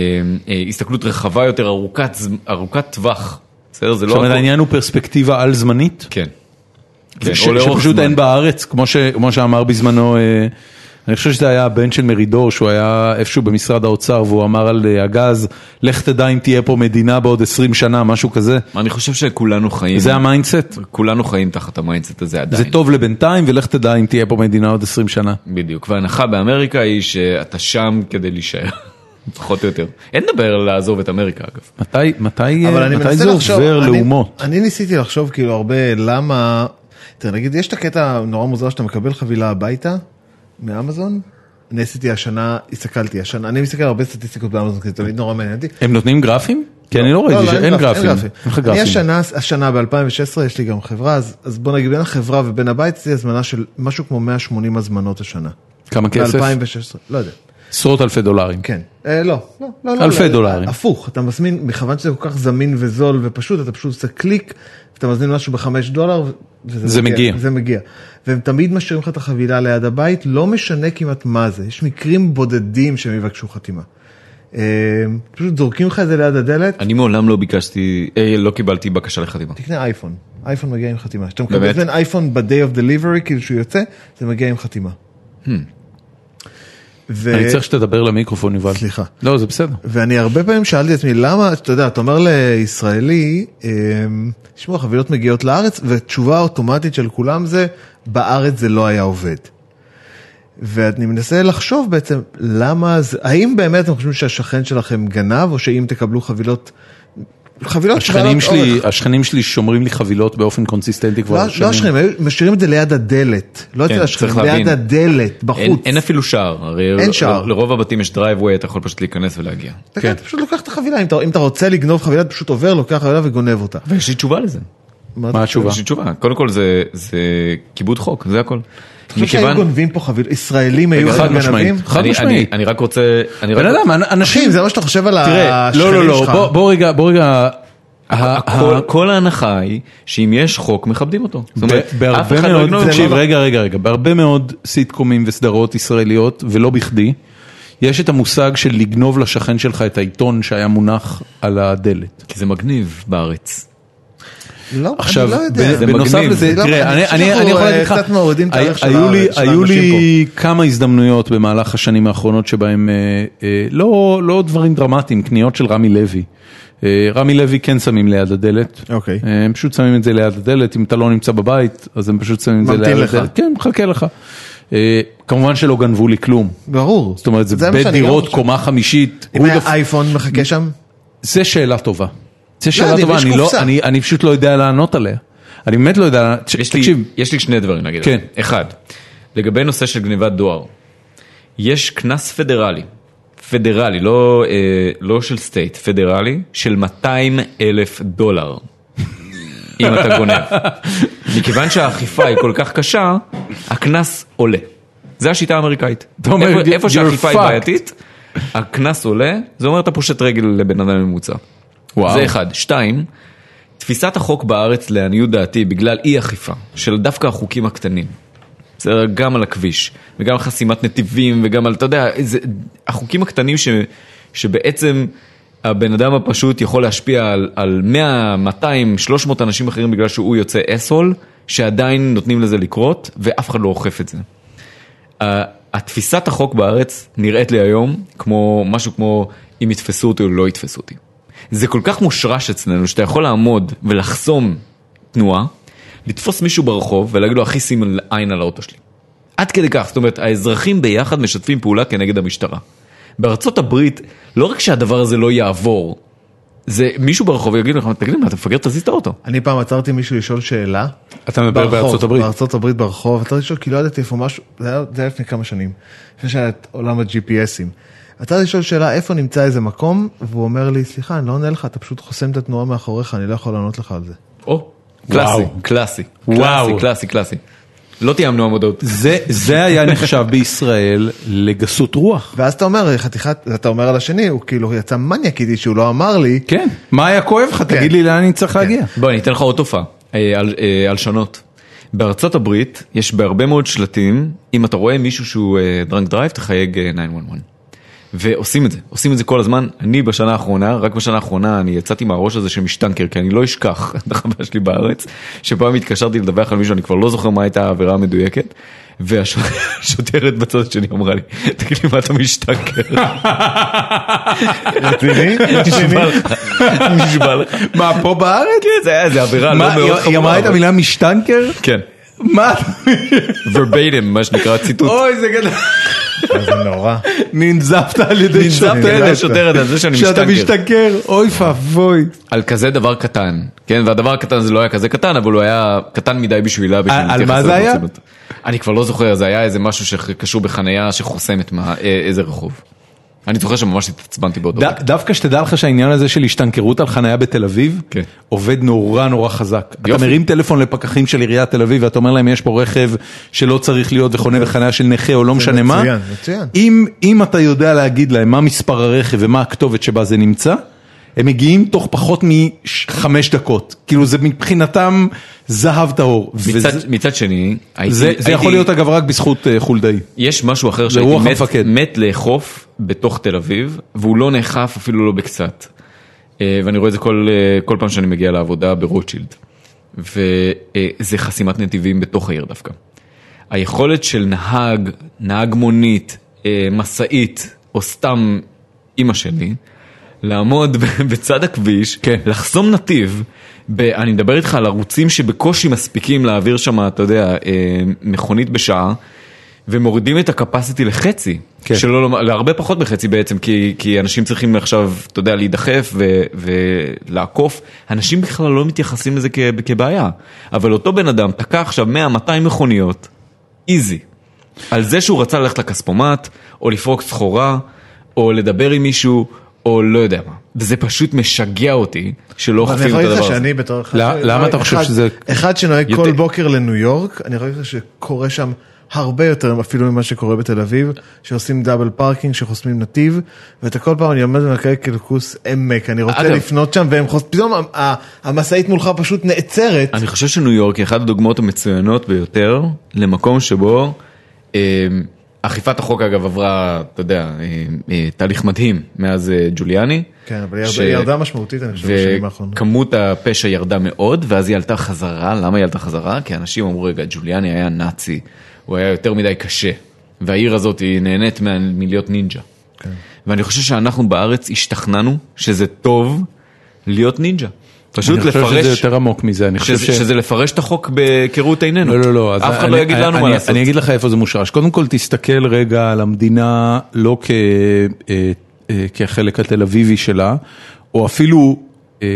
אה, הסתכלות רחבה יותר, ארוכת, ז- ארוכת טווח. בסדר? זה לא...
זאת אומרת,
הכל-
העניין הוא פרספקטיבה על זמנית?
כן. כן,
ש-
או לאורך
שפשוט
זמן.
אין בארץ, כמו ש- כמו שאמר בזמנו, אה, אני חושב שזה היה הבן של מרידור, שהוא היה איפשהו במשרד האוצר, והוא אמר על אה, הגז, לך תדע אם תהיה פה מדינה בעוד 20 שנה, משהו כזה.
אני חושב שכולנו חיים,
זה המיינדסט,
כולנו חיים תחת המיינדסט הזה עדיין.
זה טוב לבינתיים, ולך תדע אם תהיה פה מדינה עוד 20 שנה.
בדיוק, וההנחה באמריקה היא שאתה שם כדי להישאר, פחות או יותר. אין לדבר על לעזוב את אמריקה אגב.
מתי, מתי,
אבל
אה,
אני
מתי
מנסה
זה
לחשוב,
עובר
אני-
לאומות?
אני ניסיתי לחשוב כאילו הרבה למה, תראה נגיד יש את הקטע הנורא מוזר שאתה מקבל חבילה הביתה מאמזון, אני עשיתי השנה, הסתכלתי השנה, אני מסתכל על הרבה סטטיסטיקות באמזון, כי זה תמיד נורא מעניין אותי,
הם נותנים גרפים? כי אני לא ראיתי שאין גרפים. אין לך
אני
גרפים.
השנה, השנה ב-2016 יש לי גם חברה, אז, אז בוא נגיד בין החברה ובין הבית יש לי הזמנה של משהו כמו 180 הזמנות השנה.
כמה כסף?
ב-2016, לא יודע.
עשרות אלפי דולרים.
כן. אה, לא, לא, לא. לא,
אלפי
לא,
דולרים.
הפוך, אתה מזמין, מכיוון שזה כל כך זמין וזול ופשוט, אתה פשוט עושה קליק, אתה מזמין משהו בחמש דולר, וזה
זה מגיע.
זה מגיע. והם תמיד משאירים לך את החבילה ליד הבית, לא משנה כמעט מה זה. יש מקרים בודדים שהם יבקשו חתימה. אה, פשוט זורקים לך את זה ליד הדלת.
אני מעולם לא ביקשתי, אה, לא קיבלתי בקשה לחתימה.
תקנה אייפון, אייפון מגיע עם חתימה. כשאתה מקבל
באמת?
את אייפון ב-day of delivery, כאילו שהוא יוצא, זה מגיע עם חתימה. ו...
Hmm. אני צריך שתדבר למיקרופון, יובל.
סליחה.
לא, זה בסדר.
ואני הרבה פעמים שאלתי את עצמי, למה, אתה יודע, אתה אומר לישראלי, אמ, תשמעו, החבילות מגיעות לארץ, ותשובה אוטומטית של כולם זה, בארץ זה לא היה עובד. ואני מנסה לחשוב בעצם, למה זה, האם באמת אתם חושבים שהשכן שלכם גנב, או שאם תקבלו חבילות, חבילות
השכנים
בעלות
שלי,
אורך.
השכנים שלי שומרים לי חבילות באופן קונסיסטנטי כבר
לא לא השכנים, היו משאירים את זה ליד הדלת, לא
כן,
אצל השכנים,
צריך להבין.
ליד הדלת,
אין,
בחוץ.
אין אפילו שער, הרי
אין
ל-
שער.
ל- לרוב הבתים יש דרייבווי, אתה יכול פשוט להיכנס ולהגיע.
אתה כן, אתה פשוט לוקח את החבילה, אם אתה- אם אתה רוצה לגנוב חבילה, אתה פשוט עובר, לוקח חבילה וגונב אותה.
ויש לי תשובה לזה.
מה
מה
אתה-
התשובה?
יש לי תשובה, קודם כל זה, זה כיבוד חוק, זה הכל.
אתה חושב שהיו גונבים פה חבילות, ישראלים היו
חד
גנבים?
משמעית. חד
אני-
משמעית.
אני- אני רק רוצה, אני רק
בן אדם, אנ- אנשים,
אחי, לא- זה מה שאתה חושב על
תראה,
השכנים שלך.
לא, לא, לא, בוא- בוא רגע, בוא רגע, ה-
הכל,
ה-
כל ההנחה היא שאם יש חוק מכבדים אותו. זאת אומרת,
ב- בהרבה
אף אחד לא
מאוד,
יגנוב.
תקשיב, רגע, רגע, רגע, בהרבה מאוד סיטקומים וסדרות ישראליות, ולא בכדי, יש את המושג של לגנוב לשכן שלך את העיתון שהיה מונח על הדלת.
כי זה מגניב בארץ.
לא,
עכשיו,
אני לא יודע.
ב-
זה
בנוסף
מגניב.
לזה,
לא,
תראה, אני-
אני חושב
אני
שאנחנו,
אני יכול
אה,
להגיד לך,
קצת מורידים את הערך של
היו לי-
הארץ, של
היו
האנשים
לי כמה הזדמנויות במהלך השנים האחרונות שבהם, אה, אה, לא לא דברים דרמטיים, קניות של רמי לוי. אה, רמי לוי כן שמים ליד הדלת.
אוקיי.
אה, הם פשוט שמים את זה ליד הדלת, אם אתה לא נמצא בבית, אז הם פשוט שמים את זה ליד
ממתין
הדלת.
לך.
כן, מחכה לך. אה, כמובן שלא גנבו לי כלום.
ברור.
זאת אומרת, זה
מה שאני
בית
גם
דירות,
חושב.
קומה חמישית.
אם
who the
היה
f-
אייפון מחכה שם?
זה שאלה טובה. זה שאלה
אני-
טובה,
יש
אני לא-
קופסה.
אני- אני פשוט לא יודע לענות עליה. אני באמת לא יודע, ת-
יש לי,
תקשיב,
יש לי שני דברים להגיד.
כן.
עליהם. אחד, לגבי נושא של גניבת דואר, יש קנס פדרלי, פדרלי, לא, אה, לא של סטייט, פדרלי, של 200 אלף דולר, אם אתה גונב. מכיוון שהאכיפה היא כל כך קשה, הקנס עולה. זה השיטה האמריקאית.
אתה אומר,
איפה,
"You're
איפה שהאכיפה היא
fucked."
בעייתית, הקנס עולה, זה אומר אתה פושט רגל לבן אדם ממוצע.
וואו.
זה אחד. שתיים, תפיסת החוק בארץ, לעניות דעתי, בגלל אי אכיפה, של דווקא החוקים הקטנים. בסדר, גם על הכביש, וגם על חסימת נתיבים, וגם על, אתה יודע, זה, החוקים הקטנים ש, שבעצם הבן אדם הפשוט יכול להשפיע על, על 100, 200, 300 אנשים אחרים בגלל שהוא יוצא אסהול, שעדיין נותנים לזה לקרות, ואף אחד לא אוכף את זה. ה- התפיסת החוק בארץ נראית לי היום כמו משהו כמו אם יתפסו אותי או לא יתפסו אותי. זה כל כך מושרש אצלנו שאתה יכול לעמוד ולחסום תנועה, לתפוס מישהו ברחוב ולהגיד לו אחי שים עין על האוטו שלי. עד כדי כך, זאת אומרת האזרחים ביחד משתפים פעולה כנגד המשטרה. בארצות הברית לא רק שהדבר הזה לא יעבור, זה מישהו ברחוב יגיד לך תגיד לי מה אתה מפגר תזיז את האוטו.
אני פעם עצרתי מישהו לשאול שאלה.
אתה מדבר
ברחוב,
בארצות הברית.
בארצות הברית ברחוב, עצרתי לשאול כי לא ידעתי איפה משהו, זה היה זה היה לפני כמה שנים, לפני שהיה את עולם ה-GPSים. עצרתי לשאול שאלה איפה נמצא איזה מקום, והוא אומר לי, סליחה, אני לא עונה לך, אתה פשוט חוסם את התנועה מאחוריך, אני לא יכול לענות לך על זה.
או, קלאסי,
וואו.
קלאסי,
וואו.
קלאסי, קלאסי, קלאסי. לא תיאמנו עמודות.
זה- זה היה נחשב בישראל לגסות רוח.
ואז אתה אומר, חתיכת, אתה אומר על השני, הוא כאילו יצא מניאק איתי שהוא לא אמר לי,
כן, מה היה כואב לך? תגיד לי לאן אני צריך להגיע.
בוא, אני אתן לך עוד תופעה, אה, על- אה, הלשנות. בארצות הברית יש בהרבה מאוד שלטים, אם אתה רואה מישהו שהוא דרנק דרייב, תחייג אה, 911. ועושים את זה, עושים את זה כל הזמן. אני בשנה האחרונה, רק בשנה האחרונה, אני יצאתי מהראש הזה של משטנקר, כי אני לא אשכח את החוויה שלי בארץ, שפעם התקשרתי לדווח על מישהו, אני כבר לא זוכר מה הייתה העבירה המדויקת, והשוטרת בצד השני אמרה לי, תגיד לי מה אתה משטנקר?
רציני?
נשבע לך, נשבע לך.
מה, פה בארץ?
כן, זה היה איזה עבירה לא
מה,
מאוד
היא-
חמורה.
היא אמרה את
אבל-
המילה משטנקר?
כן.
מה?
verbatim, מה שנקרא ציטוט.
אוי, זה גדול.
זה נורא.
ננזפת על ידי
נזפת על
שוטרת.
השוטרת על זה שאני
שאתה
משתנגר.
משתכר, אוי ואבוי.
על כזה דבר קטן, כן? והדבר הקטן הזה לא היה כזה קטן, אבל הוא היה קטן מדי בשבילה. בשביל
אה, על
להתייחס
מה
אליו
זה היה?
ברצינות. אני כבר לא זוכר, זה היה איזה משהו שקשור בחנייה שחוסמת מה- אה, איזה רחוב. אני זוכר שממש התעצבנתי באותו רגע.
ד- דווקא שתדע לך שהעניין הזה של השתנכרות על חניה בתל אביב,
כן.
עובד נורא נורא חזק. אתה
יופי.
מרים טלפון לפקחים של עיריית תל אביב ואתה אומר להם יש פה רכב שלא צריך להיות וחונה בחניה של נכה או לא משנה מה.
מצוין, מצוין.
אם- אם אתה יודע להגיד להם מה מספר הרכב ומה הכתובת שבה זה נמצא, הם מגיעים תוך פחות מחמש דקות. כאילו זה מבחינתם זהב טהור. וזה-
מצד- מצד שני, הייתי-
זה זה
הייתי-
יכול להיות אגב רק בזכות אה, חולדאי.
יש משהו אחר
רוח
שהייתי
המפקד.
מת, מת לאכוף בתוך תל אביב, והוא לא נאכף אפילו לא בקצת. אה, ואני רואה את זה כל, אה, כל פעם שאני מגיע לעבודה ברוטשילד. וזה חסימת נתיבים בתוך העיר דווקא. היכולת של נהג, נהג מונית, אה, משאית, או סתם אימא שלי, לעמוד ב- בצד הכביש,
כן.
לחסום נתיב, ב- אני מדבר איתך על ערוצים שבקושי מספיקים להעביר שם, אתה יודע, אה, מכונית בשעה, ומורידים את הקפסיטי לחצי,
כן.
כן. שלא לומר, להרבה פחות מחצי בעצם, כי, כי אנשים צריכים עכשיו, אתה יודע, להידחף ו, ולעקוף, אנשים בכלל לא מתייחסים לזה כ, כבעיה, אבל אותו בן אדם תקע עכשיו 100-200 מכוניות, איזי, על זה שהוא רצה ללכת לכספומט, או לפרוק סחורה, או לדבר עם מישהו, או לא יודע מה. וזה פשוט משגע אותי שלא
אבל אני
אוכפים
יכול
את
להגיד לך
הדבר הזה. לא,
שאני בתור אחד...
למה-
ש-
למה אתה חושב
אחד-
שזה-
אחד שנוהג
יותר-
כל בוקר לניו יורק, אני יכול להגיד לך שקורה שם הרבה יותר אפילו ממה שקורה בתל אביב, שעושים דאבל פארקינג, שחוסמים נתיב, ואתה כל פעם אני עומד ומקרה קלקוס עמק, אני רוצה
אגב-
לפנות שם והם חוס... פתאום ה- ה- המשאית מולך פשוט נעצרת.
אני חושב שניו יורק היא אחת הדוגמאות המצוינות ביותר למקום שבו אה, אכיפת החוק אגב עברה, אתה יודע, אה, אה, תהליך מדהים מאז אה, ג'וליאני.
כן, אבל היא
ש-
ירדה- היא ירדה משמעותית, אני חושב, בשנים האחרונות.
וכמות הפשע ירדה מאוד, ואז היא עלתה חזרה. למה היא עלתה חזרה? כי אנשים אמרו, רגע, ג'וליאני היה נאצי, הוא היה יותר מדי קשה, והעיר הזאת היא נהנית מה- מלהיות נינג'ה.
כן.
ואני חושב שאנחנו בארץ השתכנענו שזה טוב להיות נינג'ה. פשוט
אני
לפרש...
חושב שזה יותר עמוק מזה, אני חושב
שזה,
ש...
שזה לפרש את החוק בהיכרות עינינו.
לא, לא, לא. אז
אף אחד
אני-
לא יגיד לנו
אני-
מה לעשות.
אני אגיד לך איפה זה מושרש. קודם כל, תסתכל רגע על המדינה לא כ- אה, אה, כחלק התל אביבי שלה, או אפילו אה,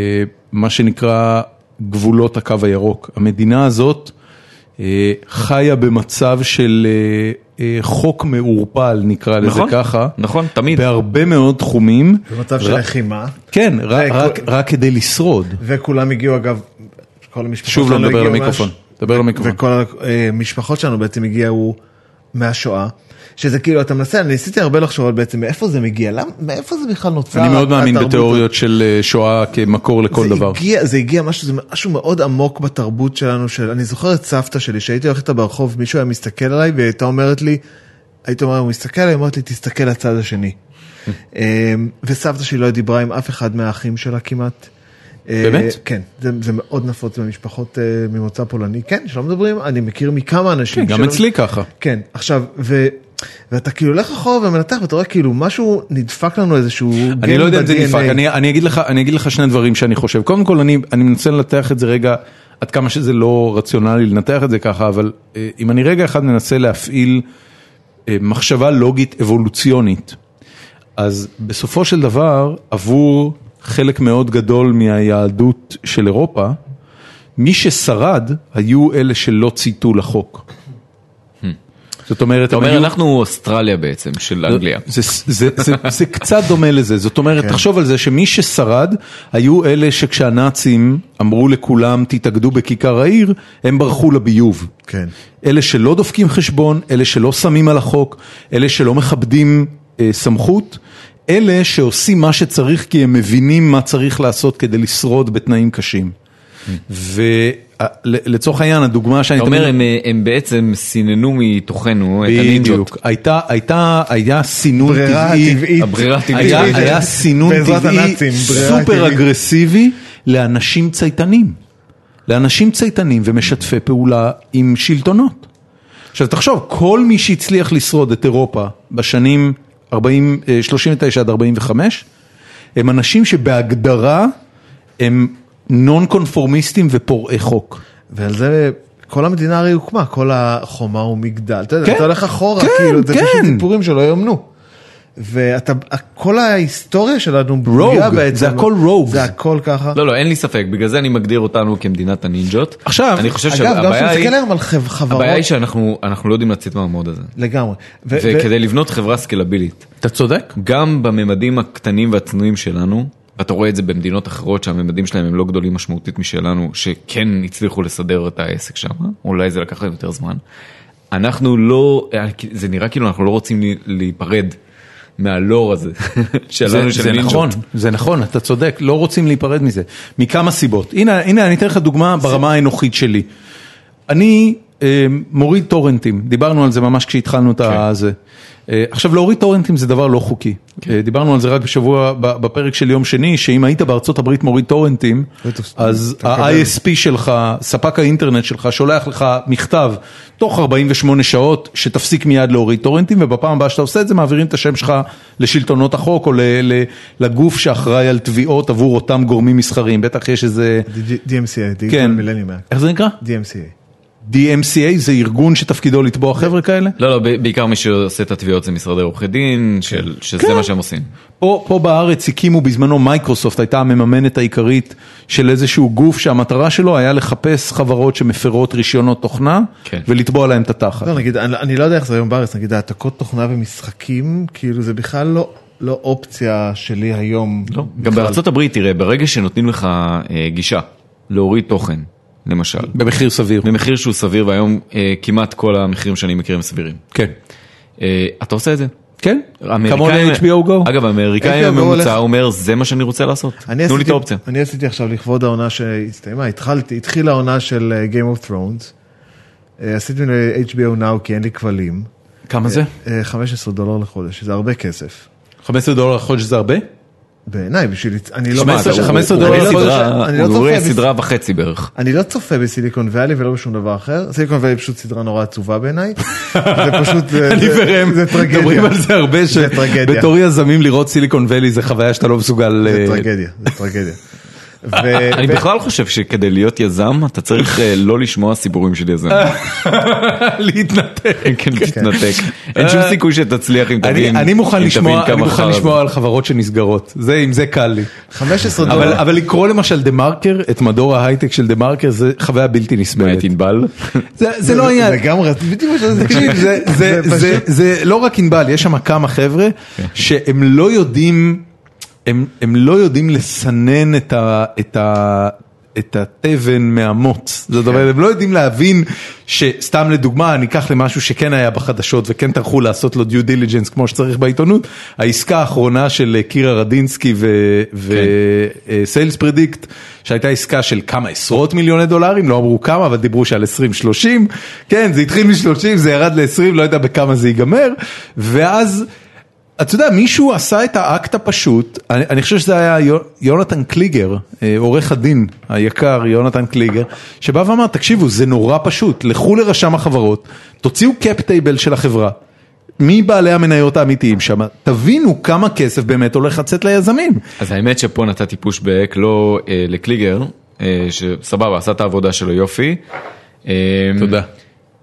מה שנקרא גבולות הקו הירוק. המדינה הזאת אה, חיה במצב של אה, אה, חוק מעורפל, נקרא לזה
נכון,
ככה.
נכון, תמיד.
בהרבה מאוד תחומים.
במצב
רק-
לא-
של לחימה,
כן, ר-
זה-
רק- רק כדי לשרוד.
וכולם הגיעו אגב, כל המשפחות
שוב לא
שלנו
מדבר
הגיעו
למיקרופון.
מהש-
דבר למיקרופון.
וכל אה, המשפחות שלנו בעצם הגיעו מהשואה, שזה כאילו אתה מנסה, אני ניסיתי הרבה לחשוב על בעצם מאיפה זה מגיע, למ- מאיפה זה בכלל נוצר?
אני מאוד מאמין
התרבות
בתיאוריות של אה, שואה כמקור לכל
זה
דבר.
הגיע, זה הגיע משהו, זה משהו מאוד עמוק בתרבות שלנו, של, אני זוכר את סבתא שלי, שהייתי הולך איתה ברחוב, מישהו היה מסתכל עליי והיא הייתה אומרת לי, הייתי אומר, הוא מסתכל עליי, היא אומרת לי, תסתכל לצד השני. אמ, וסבתא שלי לא דיברה עם אף אחד מהאחים שלה כמעט. אה,
באמת?
כן, זה, זה מאוד נפוץ במשפחות אה, ממוצא פולני, כן, שלא מדברים, אני מכיר מכמה אנשים.
כן, גם
שלא-
אצלי ככה.
כן, עכשיו, ו... ואתה כאילו הולך אחורה ומנתח ואתה רואה כאילו משהו נדפק לנו איזשהו
אני
גן
לא יודע אם זה
ב-DNA.
נדפק, אני, אני, אגיד לך, אני אגיד לך שני דברים שאני חושב. קודם כל, אני, אני מנסה לנתח את זה רגע, עד כמה שזה לא רציונלי לנתח את זה ככה, אבל אה, אם אני רגע אחד מנסה להפעיל אה, מחשבה לוגית אבולוציונית, אז בסופו של דבר, עבור חלק מאוד גדול מהיהדות של אירופה, מי ששרד היו אלה שלא צייתו לחוק. זאת אומרת,
Hmm. אתה
הם
אומר,
היו- לא.
אנחנו אוסטרליה בעצם של אנגליה.
זה, זה, זה, זה, זה קצת דומה לזה, זאת אומרת, כן. תחשוב על זה שמי ששרד, היו אלה שכשהנאצים אמרו לכולם תתאגדו בכיכר העיר, הם ברחו לביוב.
כן.
אלה שלא דופקים חשבון, אלה שלא שמים על החוק, אלה שלא מכבדים אה, סמכות, אלה שעושים מה שצריך כי הם מבינים מה צריך לעשות כדי לשרוד בתנאים קשים. ולצורך העניין, הדוגמה שאני
אתה אומר, הם, אה, הם בעצם סיננו מתוכנו את הנינג'ות.
בדיוק, הייתה, הייתה, היה סינון טבעי.
ברירה טבעית.
הברירה הטבעית.
היה,
טבעית.
היה סינון
בעזרת
טבעי
הנאצים, ברירה
סופר
טבעית.
אגרסיבי לאנשים צייתנים. לאנשים צייתנים ומשתפי פעולה עם שלטונות. עכשיו תחשוב, כל מי שהצליח לשרוד את אירופה בשנים 40, אה, 39 עד 45, הם אנשים שבהגדרה הם נון קונפורמיסטים ופורעי חוק.
ועל זה כל המדינה הרי הוקמה, כל החומה ומגדל, אתה יודע,
כן,
אתה הולך אחורה,
כן,
כאילו, זה
כן.
פשוט סיפורים שלא יאמנו. ואתה, כל ההיסטוריה שלנו בנויה
Rogue,
בעצם-
זה הכל rogues.
זה הכל ככה.
לא, לא, אין לי ספק, בגלל זה אני מגדיר אותנו כמדינת הנינג'ות.
עכשיו,
אני חושב
אגב, גם
שהבעיה היא,
כשמסתכל היום על חב- חברות,
הבעיה היא שאנחנו אנחנו לא יודעים לצאת מהמוד הזה.
לגמרי. ו- ו-
וכדי לבנות חברה סקלבילית,
אתה צודק.
גם בממדים הקטנים והצנועים שלנו, אתה רואה את זה במדינות אחרות שהממדים שלהם הם לא גדולים משמעותית משלנו, שכן הצליחו לסדר את העסק שם, אולי זה לקח להם יותר זמן. אנחנו לא, זה נראה כאילו אנחנו לא רוצים לי- להיפרד מהלור הזה שלנו
זה,
של
זה
נינג'ות.
נכון, זה נכון, אתה צודק, לא רוצים להיפרד מזה, מכמה סיבות. הנה, הנה אני אתן לך דוגמה ברמה האנוכית שלי. אני אה, מוריד טורנטים, דיברנו על זה ממש כשהתחלנו את
כן.
הזה. אה, עכשיו, להוריד טורנטים זה דבר לא חוקי. אה, דיברנו על זה רק בשבוע, ב- בפרק של יום שני, שאם היית בארצות הברית מוריד טורנטים,
אתה-
אז
אתה מקבל.
ה-ISP שלך, ספק האינטרנט שלך, שולח לך מכתב תוך 48 שעות, שתפסיק מיד להוריד טורנטים, ובפעם הבאה שאתה עושה את זה, מעבירים את השם שלך לשלטונות החוק, או ל- ל- לגוף שאחראי על תביעות עבור אותם גורמים מסחריים. בטח יש איזה...
DG- DMCA, דיגיטל
כן.
מילניום, אה. אמ- אקט.
איך זה נקרא?
DMCA.
DMCA זה ארגון שתפקידו לתבוע חבר'ה כאלה?
לא, לא, ב- בעיקר מי שעושה את התביעות זה משרדי עורכי דין,
כן.
של- שזה מה שהם עושים.
פה, פה בארץ הקימו בזמנו מייקרוסופט, הייתה המממנת העיקרית של איזשהו גוף שהמטרה שלו היה לחפש חברות שמפרות רישיונות תוכנה
כן.
ולתבוע להם את התחת.
לא, נגיד, אני אני לא יודע איך זה היום בארץ, נגיד העתקות תוכנה ומשחקים, כאילו זה בכלל לא- לא אופציה שלי היום.
לא, גם בארצות הברית, תראה, ברגע שנותנים לך אה, גישה להוריד תוכן, למשל,
במחיר סביר.
במחיר שהוא סביר, והיום אה, כמעט כל המחירים שאני מכיר הם סבירים,
כן.
אה, אתה עושה את זה.
כן? כמו
האמריקאים-
ל-HBO Go.
אגב, האמריקאי
HBO Go
הממוצע
הולך-
אומר, זה מה שאני רוצה לעשות,
אני
תנו לי את
עשיתי-
האופציה.
אני עשיתי עכשיו לכבוד העונה שהסתיימה, התחלתי, התחילה העונה של אה, Game of Thrones. אה, עשיתי ל- HBO Now כי אין לי כבלים.
כמה זה?
אה, 15 דולר לחודש, שזה הרבה כסף.
15 דולר לחודש זה הרבה?
בעיניי, בשביל... אני לא...
15
אני לא-
15
אני
דולר
לא-
לחודש,
אני לא
הוא רואה
צופה בס-
סדרה וחצי בערך.
אני לא צופה בסיליקון וואלי ולא בשום דבר אחר, סיליקון וואלי היא פשוט סדרה נורא עצובה בעיניי, זה פשוט, זה-
אני
אה, זה-
וראם
זה טרגדיה,
מדברים על זה הרבה,
זה טרגדיה.
שבתור יזמים לראות סיליקון ואלי זה חוויה שאתה לא מסוגל...
זה
אה,
טרגדיה, זה טרגדיה. ו-
אני
אה, ו-
בכלל חושב שכדי להיות יזם אתה צריך אה, לא לשמוע סיפורים של
אה,
יזם.
להתנתק.
כן, תתנתק. אה, אין שום סיכוי שתצליח אם
אני
תבין
אני מוכן
אם תבין
לשמוע, אני
כמה
מוכן
חרא זה.
לשמוע על חברות שנסגרות, זה עם זה קל לי.
15
אבל
דולר,
אבל לקרוא למשל דה מרקר, את מדור ההייטק של דה מרקר, זה חוויה בלתי
מה,
נסבלת.
את ענבל?
זה- זה לא העניין,
לגמרי, בדיוק מה שזה,
תקשיב, זה- זה-
פשוט-
זה- זה לא רק ענבל, יש שם כמה חבר'ה שהם לא יודעים, הם הם לא יודעים לסנן את ה- את ה... את התבן מהמוץ, זאת אומרת, הם לא יודעים להבין שסתם לדוגמה, אני אקח למשהו שכן היה בחדשות וכן טרחו לעשות לו דיו דיליג'נס כמו שצריך בעיתונות, העסקה האחרונה של קירה רדינסקי וסיילס פרדיקט, שהייתה עסקה של כמה עשרות מיליוני דולרים, לא אמרו כמה, אבל דיברו שעל 20-30, כן, זה התחיל מ-30, זה ירד ל-20, לא יודע בכמה זה ייגמר, ואז... אתה יודע, מישהו עשה את האקט הפשוט, אני, אני חושב שזה היה יו- יונתן קליגר, אה, עורך הדין היקר יונתן קליגר, שבא ואמר, תקשיבו, זה נורא פשוט, לכו לרשם החברות, תוציאו קאפ טייבל של החברה, מי בעלי המניות האמיתיים שם, תבינו כמה כסף באמת הולך לצאת ליזמים.
אז האמת שפה נתתי פושבק לא אה, לקליגר, אה, שסבבה, עשה את העבודה שלו יופי. אה,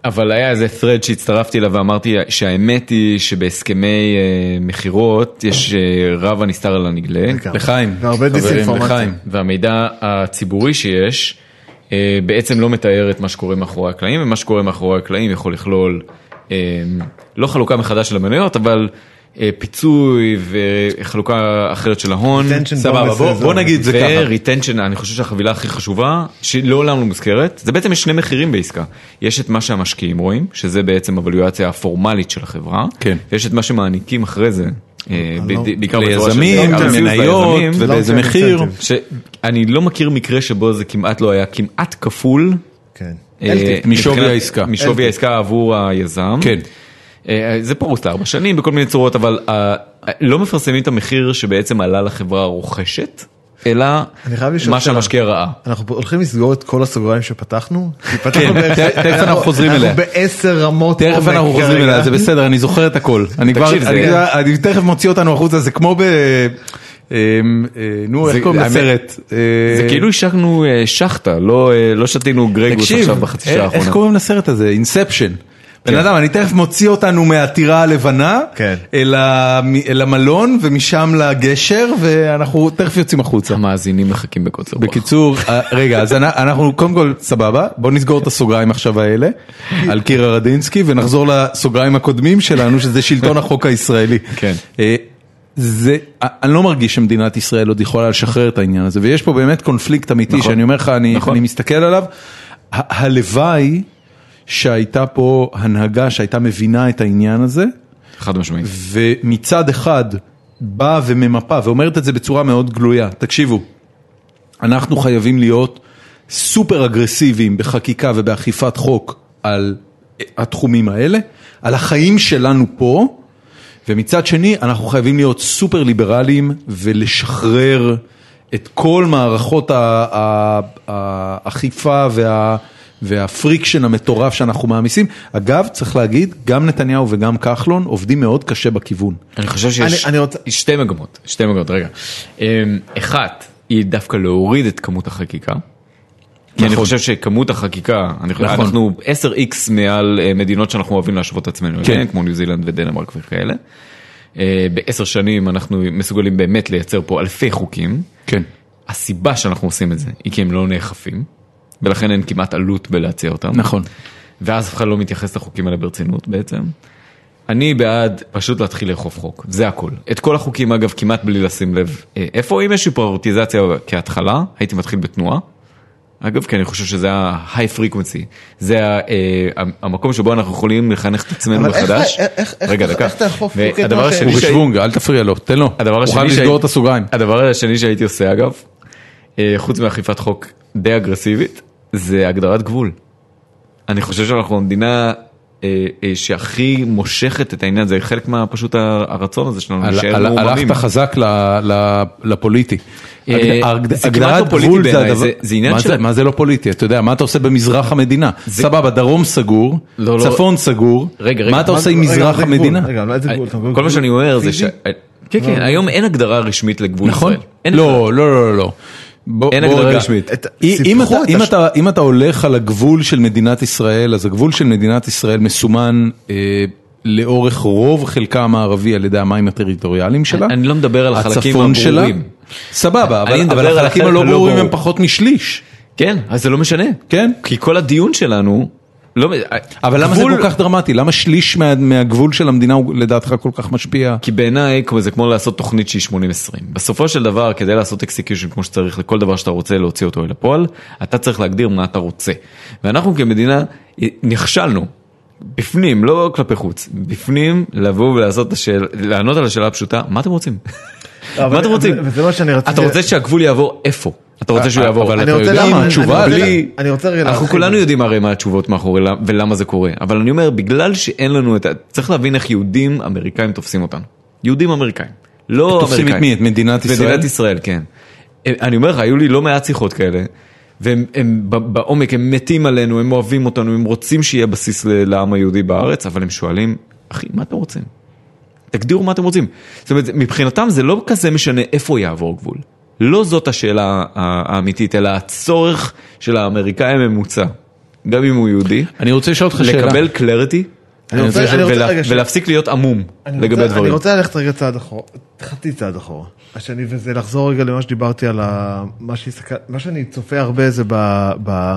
אבל היה איזה thread שהצטרפתי אליו ואמרתי שהאמת היא שבהסכמי אה, מכירות יש אה, רב הנסתר על הנגלה.
לגמרי.
לחיים,
והרבה
חברים,
דיסאינפורמציה.
לחיים.
והמידע הציבורי שיש אה, בעצם לא מתאר את מה שקורה מאחורי הקלעים, ומה שקורה מאחורי הקלעים יכול לכלול אה, לא חלוקה מחדש של המניות, אבל אה, פיצוי וחלוקה אחרת של ההון.
Retention
סבבה,
bonus
בוא-
זה-
בוא נגיד זה ככה.
וריטנשן, אני חושב שהחבילה הכי חשובה, שלעולם לא מוזכרת, זה בעצם יש שני מחירים בעסקה. יש את מה שהמשקיעים רואים, שזה בעצם הוולואציה הפורמלית של החברה,
כן.
ויש את מה שמעניקים אחרי זה, אה, בד- בעיקר בצורה של-
ליזמים,
גם ציוד
מניות,
ליזמים.
ובאיזה
long-term
מחיר.
incentive.
שאני לא מכיר מקרה שבו זה כמעט לא היה כמעט כפול.
כן.
אה,
LTIP, משווי
מבחינת-
העסקה.
משווי העסקה עבור היזם.
כן.
אה, זה פרוס לארבע שנים בכל מיני צורות, אבל אה, לא מפרסמים את המחיר שבעצם עלה לחברה הרוכשת, אלא
אני חייב לשאול
מה
שאלה.
שהמשקיע ראה.
אה,
אנחנו פה הולכים לסגור את כל הסוגריים שפתחנו, כי פתחנו
כן,
בערך-
ת- תכף אנחנו חוזרים אליה.
אנחנו בעשר רמות,
תכף
עומק
אנחנו חוזרים
כרגע.
אליה, זה בסדר, אני זוכר את הכל. אני כבר,
תקשיב, זה-
אני- אני תכף מוציא אותנו החוצה, זה כמו ב... אמ, אה, נו,
זה-
איך קוראים
האמת-
לסרט?
זה
אה,
כאילו השקנו אה, שחטה, לא אה, לא שתינו גרגוס
תקשיב, אה,
עכשיו בחצי שעה
איך
האחרונה. כן.
קוראים לסרט הזה? אינספשן. בן אדם, אני תכף מוציא אותנו מהטירה הלבנה,
כן.
אל ה- מ- אל המלון ומשם לגשר, ואנחנו תכף יוצאים החוצה.
המאזינים מחכים בקוצר רוח.
בקיצור, אה, רגע, אז אנ- אנחנו קודם כל, סבבה, בוא נסגור את הסוגריים עכשיו האלה, על קירה רדינסקי, ונחזור לסוגריים הקודמים שלנו, שזה שלטון החוק הישראלי.
כן.
אה, זה, אה, אני לא מרגיש שמדינת ישראל עוד יכולה לשחרר את העניין הזה, ויש פה באמת קונפליקט אמיתי,
נכון.
שאני אומר לך, אני
נכון.
אני מסתכל עליו, ה- הלוואי שהייתה פה הנהגה שהייתה מבינה את העניין הזה,
חד משמעית.
ומצד אחד באה וממפה ואומרת את זה בצורה מאוד גלויה, תקשיבו, אנחנו חייבים להיות סופר אגרסיביים בחקיקה ובאכיפת חוק על התחומים האלה, על החיים שלנו פה, ומצד שני אנחנו חייבים להיות סופר ליברליים ולשחרר את כל מערכות ה- ה- האכיפה וה... והפריקשן המטורף שאנחנו מעמיסים. אגב, צריך להגיד, גם נתניהו וגם כחלון עובדים מאוד קשה בכיוון.
אני חושב שיש
אני- אני רוצה-
שתי מגמות, שתי מגמות, רגע. אמ, אחת, היא דווקא להוריד את כמות החקיקה. כי אני
נכון.
חושב שכמות החקיקה, אני חושב,
נכון.
אנחנו 10x מעל אה, מדינות שאנחנו אוהבים להשוות את עצמנו
כן.
אליהן, כמו ניו זילנד ודנמרק וכאלה. אה, בעשר שנים אנחנו מסוגלים באמת לייצר פה אלפי חוקים.
כן.
הסיבה שאנחנו עושים את זה היא כי הם לא נאכפים, ולכן אין כמעט עלות בלהציע אותם.
נכון.
ואז אף אחד לא מתייחס לחוקים האלה ברצינות בעצם. אני בעד פשוט להתחיל לאכוף חוק, זה הכל. את כל החוקים אגב כמעט בלי לשים לב אה, איפה, אם יש פריורטיזציה כהתחלה, הייתי מתחיל בתנועה. אגב, כי אני חושב שזה ה-high frequency, זה ה- אה, המקום שבו אנחנו יכולים לחנך את עצמנו
אבל איך-
מחדש.
איך- איך- איך-
רגע,
איך-
דקה.
איך תאכוף חוק את
והדבר
מה ש-
השני
הוא
שהי-
בשוונג, אל תפריע לו, תן לו.
הדבר
הוא
השני
חייב לסגור
שהי-
את הסוגריים.
הדבר השני שהייתי עושה אגב, אה, חוץ מאכיפת חוק די אגרסיבית, זה הגדרת גבול. אני חושב שאנחנו המדינה אה, אה, שהכי מושכת את העניין, זה חלק מה- פשוט הרצון הזה שלנו
על-
להישאר
על-
מאומנים.
הלכת חזק ל- ל- לפוליטי.
אה,
הגד-
זה כמעט
הגדרת
לא פוליטי
גבול זה
בעיניי,
הדבר,
זה- זה עניין
מה
של-
מה זה לא פוליטי? אתה יודע, מה אתה עושה במזרח המדינה? סבבה, דרום סגור,
לא, לא.
צפון סגור,
רגע, רגע,
מה אתה
מה
עושה
זה-
עם
רגע,
מזרח אה,
זה גבול,
המדינה?
רגע, לא, איזה גבול? אתה מבין?
כל מה שאני אומר זה ש...
פיזי? לא.
כן, כן, היום אין הגדרה רשמית לגבול
נכון?
ישראל. אין
לא, לא, לא, לא, לא. בוא-
אין
בוא
הגדרה
רגע.
רשמית.
את-
אם- אם
סיפחו
אתה-
את
אם
הש-
אתה- אם אתה הולך על הגבול של מדינת ישראל, אז הגבול של מדינת ישראל מסומן אה, לאורך רוב חלקה המערבי על ידי המים הטריטוריאליים שלה.
אני לא מדבר על החלקים
הצפון
הברורים.
שלה. סבבה, אבל
אני מדבר
אבל
על
החלקים
החלק
הלא
הלא
ברורים הם
ברור.
פחות משליש.
כן, אז זה לא משנה.
כן.
כי כל הדיון שלנו... לא,
אבל למה זה
גבול-
כל כך דרמטי? למה שליש מה- מהגבול של המדינה הוא לדעתך כל כך משפיע?
כי בעיניי כמו- זה כמו לעשות תוכנית שהיא 80-20. בסופו של דבר, כדי לעשות אקסקיושן כמו שצריך לכל דבר שאתה רוצה להוציא אותו אל הפועל, אתה צריך להגדיר מה אתה רוצה. ואנחנו כמדינה אה, נכשלנו. בפנים, לא כלפי חוץ, בפנים לבוא ולעשות את השאלה, לענות על השאלה הפשוטה, מה אתם רוצים?
אבל-
מה אתם רוצים?
אבל- וזה מה שאני רציתי-
אתה רוצה שהגבול יעבור איפה? אתה רוצה שהוא
אה,
יעבור?
אבל
אני
אתה
רוצה
יודע
להגיד-
מה
אני-
התשובה?
אני רוצה-
לי-
אני רוצה רגע
אנחנו
להרחיב.
כולנו יודעים הרי מה התשובות מאחורי למ- ולמה זה קורה, אבל אני אומר, בגלל שאין לנו את ה... צריך להבין איך יהודים אמריקאים תופסים אותנו. יהודים אמריקאים. לא אמריקאים.
תופסים את מי? את מדינת ישראל?
מדינת ישראל, כן. אה, אני אומר לך, היו לי לא מעט שיחות כאלה, והם הם, ב- בעומק, הם מתים עלינו, הם אוהבים אותנו, הם רוצים שיהיה בסיס ל- לעם היהודי בארץ, אבל הם שואלים, אחי, מה אתם רוצים? תגדירו מה אתם רוצים. זאת אומרת, מבחינתם זה לא כזה משנה איפה יעבור גבול. לא זאת השאלה ה- האמיתית, אלא הצורך של האמריקאי הממוצע, גם אם הוא יהודי,
אני רוצה לשאול אותך שאלה.
לקבל קלריטי
אני רוצה- אני רוצה- רגע, שנייה.
ולהפסיק להיות עמום
אני
לגבי
רוצה- אני
דברים.
רוצה ללכת רגע צעד אחורה, חצי צעד אחורה. השני, וזה לחזור רגע למה שדיברתי על ה... מה, שהסתכל... מה שאני צופה הרבה זה ב... ב...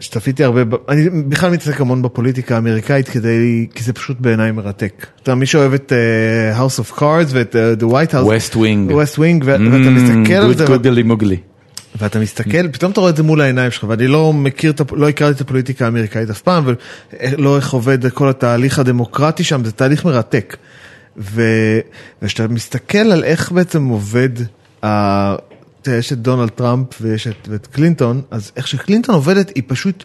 שצפיתי הרבה, ב- אני בכלל מתעסק המון בפוליטיקה האמריקאית כדי, כי זה פשוט בעיניי מרתק. אתה יודע, מי שאוהב את אה, House of Cards ואת אה, The White House,
West Wing. Mm,
West Wing, ו- ואתה מסתכל על זה,
גוד גודלי מוגלי.
ואתה מסתכל, פתאום אתה רואה את זה מול העיניים שלך, ואני לא מכיר, את הפ- לא הכרתי את הפוליטיקה האמריקאית אף פעם, ולא איך עובד כל התהליך הדמוקרטי שם, זה תהליך מרתק. ו... וכשאתה מסתכל על איך בעצם עובד, ה... תראה, יש את דונלד טראמפ ויש את, ואת קלינטון, אז איך שקלינטון עובדת היא פשוט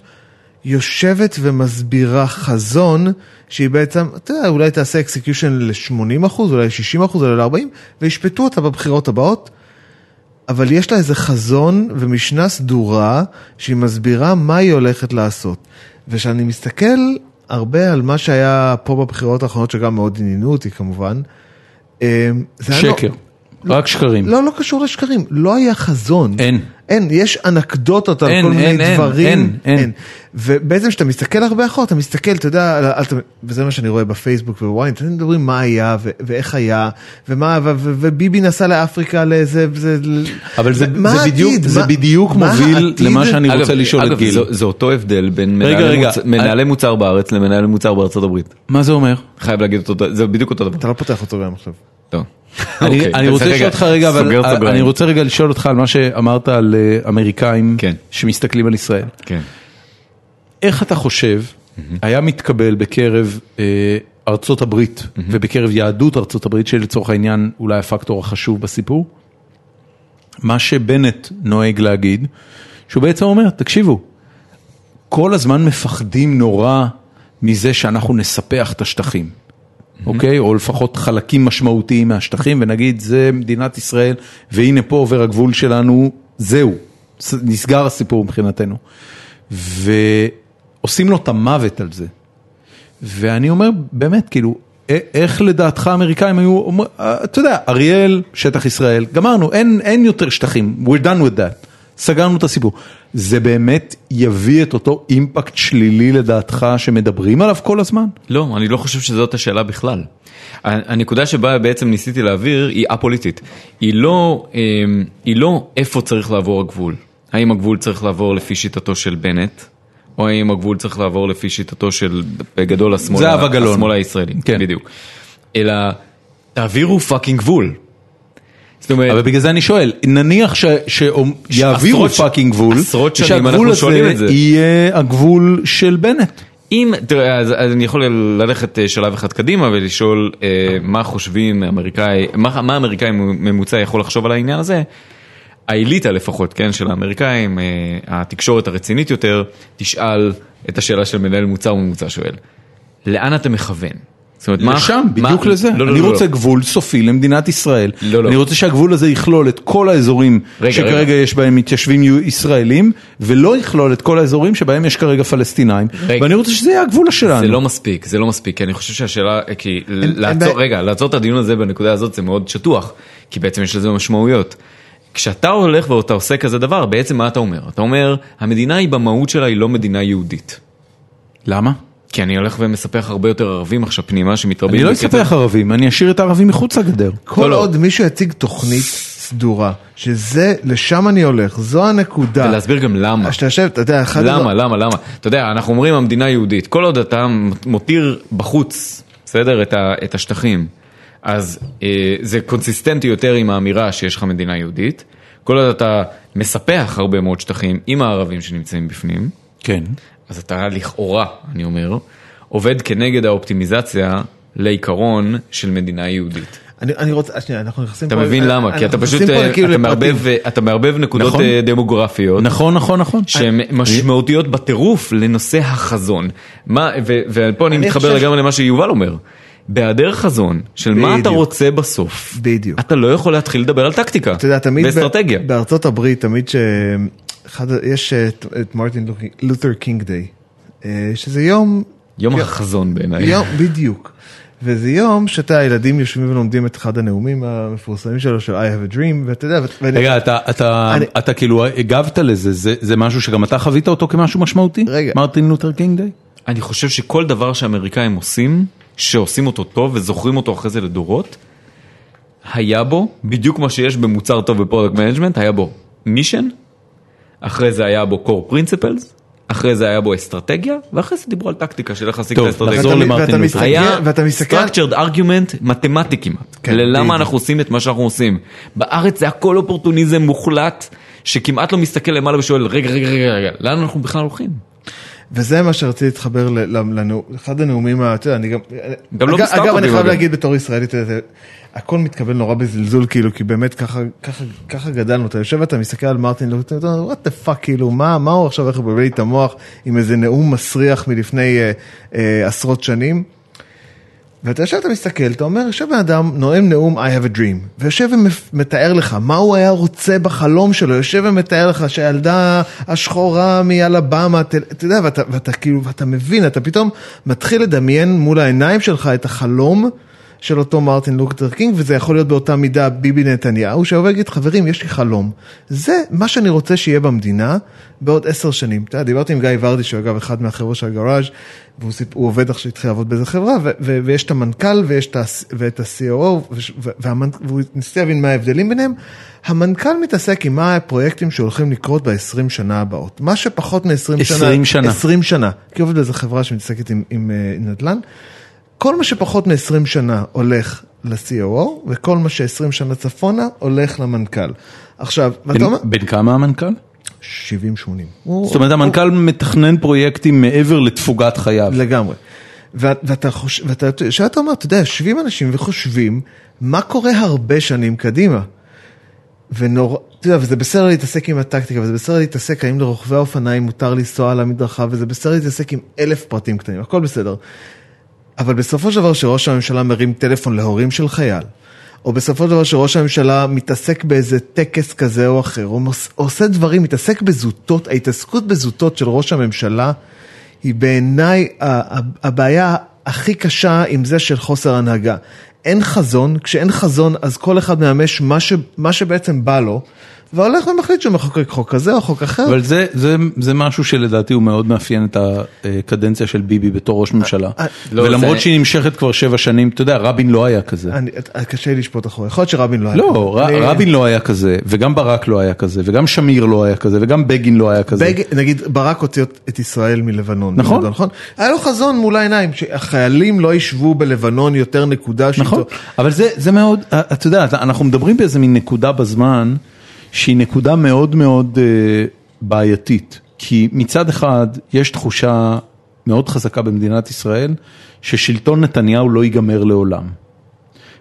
יושבת ומסבירה חזון שהיא בעצם, אתה יודע, אולי תעשה אקסקיושן ל-80%, אולי ל-60%, אולי ל-40%, וישפטו אותה בבחירות הבאות. אבל יש לה איזה חזון ומשנה סדורה שהיא מסבירה מה היא הולכת לעשות. וכשאני מסתכל הרבה על מה שהיה פה בבחירות האחרונות, שגם מאוד עניינו אותי כמובן, אמ, זה היה
שקר. רק שקרים.
לא, לא, לא קשור לשקרים, לא היה חזון.
אין.
אין, יש אנקדוטות על
אין,
כל מיני
אין,
דברים.
אין, אין, אין.
ובעצם כשאתה מסתכל הרבה אחורה, אתה מסתכל, אתה יודע, על, על, וזה מה שאני רואה בפייסבוק ובוואי, אתם מדברים מה היה ו, ואיך היה, ומה, ו, ו, וביבי נסע לאפריקה לאיזה, זה,
אבל זה-
מה
זה בדיוק-
העתיד?
זה
מה-
בדיוק
מה
מוביל
העתיד?
למה שאני- רוצה לשאול את
אגב,
גיל.
זה, זה אותו הבדל בין
רגע,
מנהלי,
רגע,
מוצ...
אני-
מנהלי מוצר בארץ למנהלי מוצר בארצות הברית.
מה זה אומר?
חייב להגיד אותו, דבר- זה בדיוק אותו דבר.
אתה לא פותח אותו גם עכשיו.
טוב.
אני-
אוקיי,
אני
אז
רוצה
רגע,
לשאול אותך רגע,
סוגר
אבל
סוגריים.
אני רוצה רגע לשאול אותך על מה שאמרת על אה, אמריקאים
כן.
שמסתכלים על ישראל.
כן.
איך אתה חושב היה מתקבל בקרב אה, ארצות הברית ובקרב יהדות ארצות הברית, שלצורך העניין אולי הפקטור החשוב בסיפור? מה שבנט נוהג להגיד, שהוא בעצם אומר, תקשיבו, כל הזמן מפחדים נורא מזה שאנחנו נספח את השטחים. אוקיי? או לפחות חלקים משמעותיים מהשטחים, ונגיד זה מדינת ישראל, והנה פה עובר הגבול שלנו, זהו, ס- נסגר הסיפור מבחינתנו. ועושים לו את המוות על זה. ואני אומר, באמת, כאילו, א- איך לדעתך האמריקאים היו, אומר- אה, אתה יודע, אריאל, שטח ישראל, גמרנו, אין, אין יותר שטחים, we're done with that, סגרנו את הסיפור. זה באמת יביא את אותו אימפקט שלילי לדעתך שמדברים עליו כל הזמן?
לא, אני לא חושב שזאת השאלה בכלל. ה- הנקודה שבה בעצם ניסיתי להעביר היא א-פוליטית. היא לא, אמ, היא לא איפה צריך לעבור הגבול. האם הגבול צריך לעבור לפי שיטתו של בנט, או האם הגבול צריך לעבור לפי שיטתו של בגדול השמאל,
זהבה גלאון.
השמאל הישראלי.
כן.
בדיוק. אלא תעבירו פאקינג גבול. זאת אומרת,
אבל בגלל זה אני שואל, נניח ש- שיעבירו
עשרות ש-
פאקינג גבול,
עשרות שנים
שהגבול
אנחנו
הזה
שואלים את זה.
יהיה הגבול של בנט.
אם, תראה, אז, אז אני יכול ללכת אה, שלב אחד קדימה ולשאול אה, מה חושבים האמריקאי, מה, מה האמריקאי ממוצע יכול לחשוב על העניין הזה. האליטה לפחות, כן, של האמריקאים, אה, התקשורת הרצינית יותר, תשאל את השאלה של מנהל מוצר ממוצע שואל, לאן אתה מכוון? זאת אומרת, מה...
שם,
מה-
בדיוק לזה.
לא, לא,
אני
לא, לא.
רוצה גבול סופי למדינת ישראל.
לא, לא.
אני רוצה שהגבול הזה יכלול את כל האזורים
רגע,
שכרגע
רגע.
יש בהם מתיישבים יו- ישראלים, ולא יכלול את כל האזורים שבהם יש כרגע פלסטינאים.
רגע.
ואני רוצה שזה יהיה הגבול שלנו.
זה לא מספיק, זה לא מספיק, כי אני חושב שהשאלה, כי
בעיה.
לעצור, רגע, לעצור את הדיון הזה בנקודה הזאת זה מאוד שטוח, כי בעצם יש לזה משמעויות. כשאתה הולך ואתה עושה כזה דבר, בעצם מה אתה אומר? אתה אומר, המדינה היא במהות שלה היא לא מדינה יהודית.
למה?
כי אני הולך ומספח הרבה יותר ערבים עכשיו פנימה שמתרבים.
אני לא
בקצב-
אספח ערבים, אני אשאיר את הערבים מחוץ לגדר.
כל
לא.
עוד מישהו יציג תוכנית סדורה, שזה, לשם אני הולך, זו הנקודה.
ולהסביר גם למה.
שאתה יושב, אתה יודע, אחד...
למה, למה, למה? אתה יודע, אנחנו אומרים המדינה היהודית, כל עוד אתה מותיר בחוץ, בסדר, את, ה, את השטחים, אז אה, זה קונסיסטנטי יותר עם האמירה שיש לך מדינה יהודית, כל עוד אתה מספח הרבה מאוד שטחים עם הערבים שנמצאים בפנים,
כן.
אז אתה לכאורה, אני אומר, עובד כנגד האופטימיזציה לעיקרון של מדינה יהודית.
אני, אני רוצה, שנייה, אנחנו נכנסים
אתה
פה-
מבין
אה, אנחנו
למה? כי אתה
נכנסים
פשוט,
פה
אה,
כאילו
אתה
לפרטים.
מערבב, אה, אתה מערבב נקודות
נכון.
אה, דמוגרפיות.
נכון, נכון, נכון.
שהן משמעותיות בטירוף לנושא החזון. מה, ו, ופה אני
אני
מתחבר
חושב-
לגמרי למה שיובל אומר. בהיעדר חזון של מה אתה
בדיוק.
רוצה בסוף,
בדיוק.
אתה לא יכול להתחיל לדבר על טקטיקה
אתה יודע, תמיד... ב-
ואסטרטגיה.
בארצות הברית, תמיד ש... אחד, יש אה, את, את מרטין לותר קינג דיי, אה, שזה יום...
יום
יום-
החזון בעיניי.
יום, בדיוק. וזה יום שאתה, הילדים יושבים ולומדים את אחד הנאומים המפורסמים שלו, של I have a dream, ואתה יודע, ו- ואני...
רגע, אתה, אתה,
אני-
אתה כאילו הגבת לזה, זה, זה משהו שגם אתה חווית אותו כמשהו משמעותי?
רגע.
מרטין לותר קינג דיי?
אני חושב שכל דבר שהאמריקאים עושים, שעושים אותו טוב וזוכרים אותו אחרי זה לדורות, היה בו בדיוק מה שיש במוצר טוב בפרודקט מנג'מנט, היה בו מישן, אחרי זה היה בו core principles, אחרי זה היה בו אסטרטגיה, ואחרי זה דיברו על טקטיקה של איך להשיג את
טוב,
האסטרטגיה.
נחזור
ואתה-
למרטין
ואתה
לותר.
מסתכל-
היה
ואתה מסתכל...
structured argument מתמטי כמעט,
כן,
כן, ללמה
בדיוק.
אנחנו עושים את מה שאנחנו עושים. בארץ זה הכל אופורטוניזם מוחלט, שכמעט לא מסתכל למעלה ושואל, רגע, רגע, רגע, רגע, לאן אנחנו בכלל הולכים?
וזה מה שרציתי להתחבר ל- ל- לנאום, אחד הנאומים, ה- אתה יודע, אני גם,
גם לא
אגב,
בסטארט-אפים,
אגב, אני חייב
אגב.
להגיד בתור ישראלי, אתה יודע, זה- הכל מתקבל נורא בזלזול, כאילו, כי באמת ככה, ככה, ככה גדלנו, אתה יושב ואתה מסתכל על מרטין לותר, אתה אומר, what the fuck, כאילו, מה, מה הוא עכשיו, איך הוא מבלבל לי את המוח עם איזה נאום מסריח מלפני אה, אה, עשרות שנים? ואתה יושב, אתה מסתכל, אתה אומר, יושב בן אדם, נואם נאום I have a dream, ויושב ומתאר לך מה הוא היה רוצה בחלום שלו, יושב ומתאר לך שהילדה השחורה מאלבמה, אתה אתה יודע, ואתה, ואתה כאילו, ואתה מבין, אתה פתאום מתחיל לדמיין מול העיניים שלך את החלום של אותו מרטין לוקטר קינג, וזה יכול להיות באותה מידה ביבי נתניהו, שיבוא ויגיד, חברים, יש לי חלום. זה מה שאני רוצה שיהיה במדינה בעוד עשר שנים. אתה יודע, דיברתי עם גיא ורדי, שהוא אגב אחד מהחבר'ה של הגראז', והוא סיפ... הוא עובד עכשיו, התחיל לעבוד באיזה חברה, ו- ו- ויש את המנכ"ל ויש את ה- ואת ה-COO, וש- ו- והמנ- והוא ניסה להבין מה ההבדלים ביניהם. המנכ"ל מתעסק עם מה הפרויקטים שהולכים לקרות ב-20 שנה הבאות. מה שפחות מ-20 שנה.
20 שנה.
20 שנה, כי עובד באיזה חברה שמתעסקת עם, עם אה, נדל"ן. כל מה שפחות מ-20 שנה הולך ל-COO, וכל מה ש-20 שנה צפונה הולך למנכ"ל. עכשיו, ואתה אומר,
בן כמה המנכ"ל?
70-80. זאת
זאת אומרת, המנכ"ל מתכנן פרויקטים מעבר לתפוגת חייו.
לגמרי. ואת- ואתה חושב, ואתה, שאתה אומר, אתה יודע, יושבים אנשים וחושבים מה קורה הרבה שנים קדימה. ונורא, אתה יודע, וזה בסדר להתעסק עם הטקטיקה, וזה בסדר להתעסק האם לרוכבי האופניים מותר לנסוע על המדרכה, וזה בסדר להתעסק עם אלף פרטים קטנים, הכל בסדר. אבל בסופו של דבר שראש הממשלה מרים טלפון להורים של חייל, או בסופו של דבר שראש הממשלה מתעסק באיזה טקס כזה או אחר, או מוס- עושה דברים, מתעסק בזוטות, ההתעסקות בזוטות של ראש הממשלה היא בעיניי ה- ה- הבעיה הכי קשה עם זה של חוסר הנהגה. אין חזון, כשאין חזון אז כל אחד מממש מה, ש, מה שבעצם בא לו, והולך ומחליט שהוא מחוקק חוק כזה או חוק אחר.
אבל זה, זה, זה משהו שלדעתי הוא מאוד מאפיין את הקדנציה של ביבי בתור ראש ממשלה.
אה,
לא,
ולמרות
זה-
שהיא נמשכת כבר שבע שנים, אתה יודע, רבין לא היה כזה.
אני, קשה לי לשפוט אחורה, יכול להיות שרבין לא היה.
לא, ר-
אני-
רבין לא היה כזה, וגם ברק לא היה כזה, וגם שמיר לא היה כזה, וגם בגין לא היה כזה.
בג... נגיד ברק הוציא את ישראל מלבנון.
נכון.
בגדול, נכון. היה לו חזון מול העיניים, שהחיילים לא ישבו בלבנון יותר נקודה. שאיתו-
נכון, אבל זה, זה מאוד, אה, אתה יודע, אתה- אנחנו מדברים באיזה מין נקודה בזמן שהיא נקודה מאוד מאוד אה, בעייתית. כי מצד אחד יש תחושה מאוד חזקה במדינת ישראל ששלטון נתניהו לא ייגמר לעולם.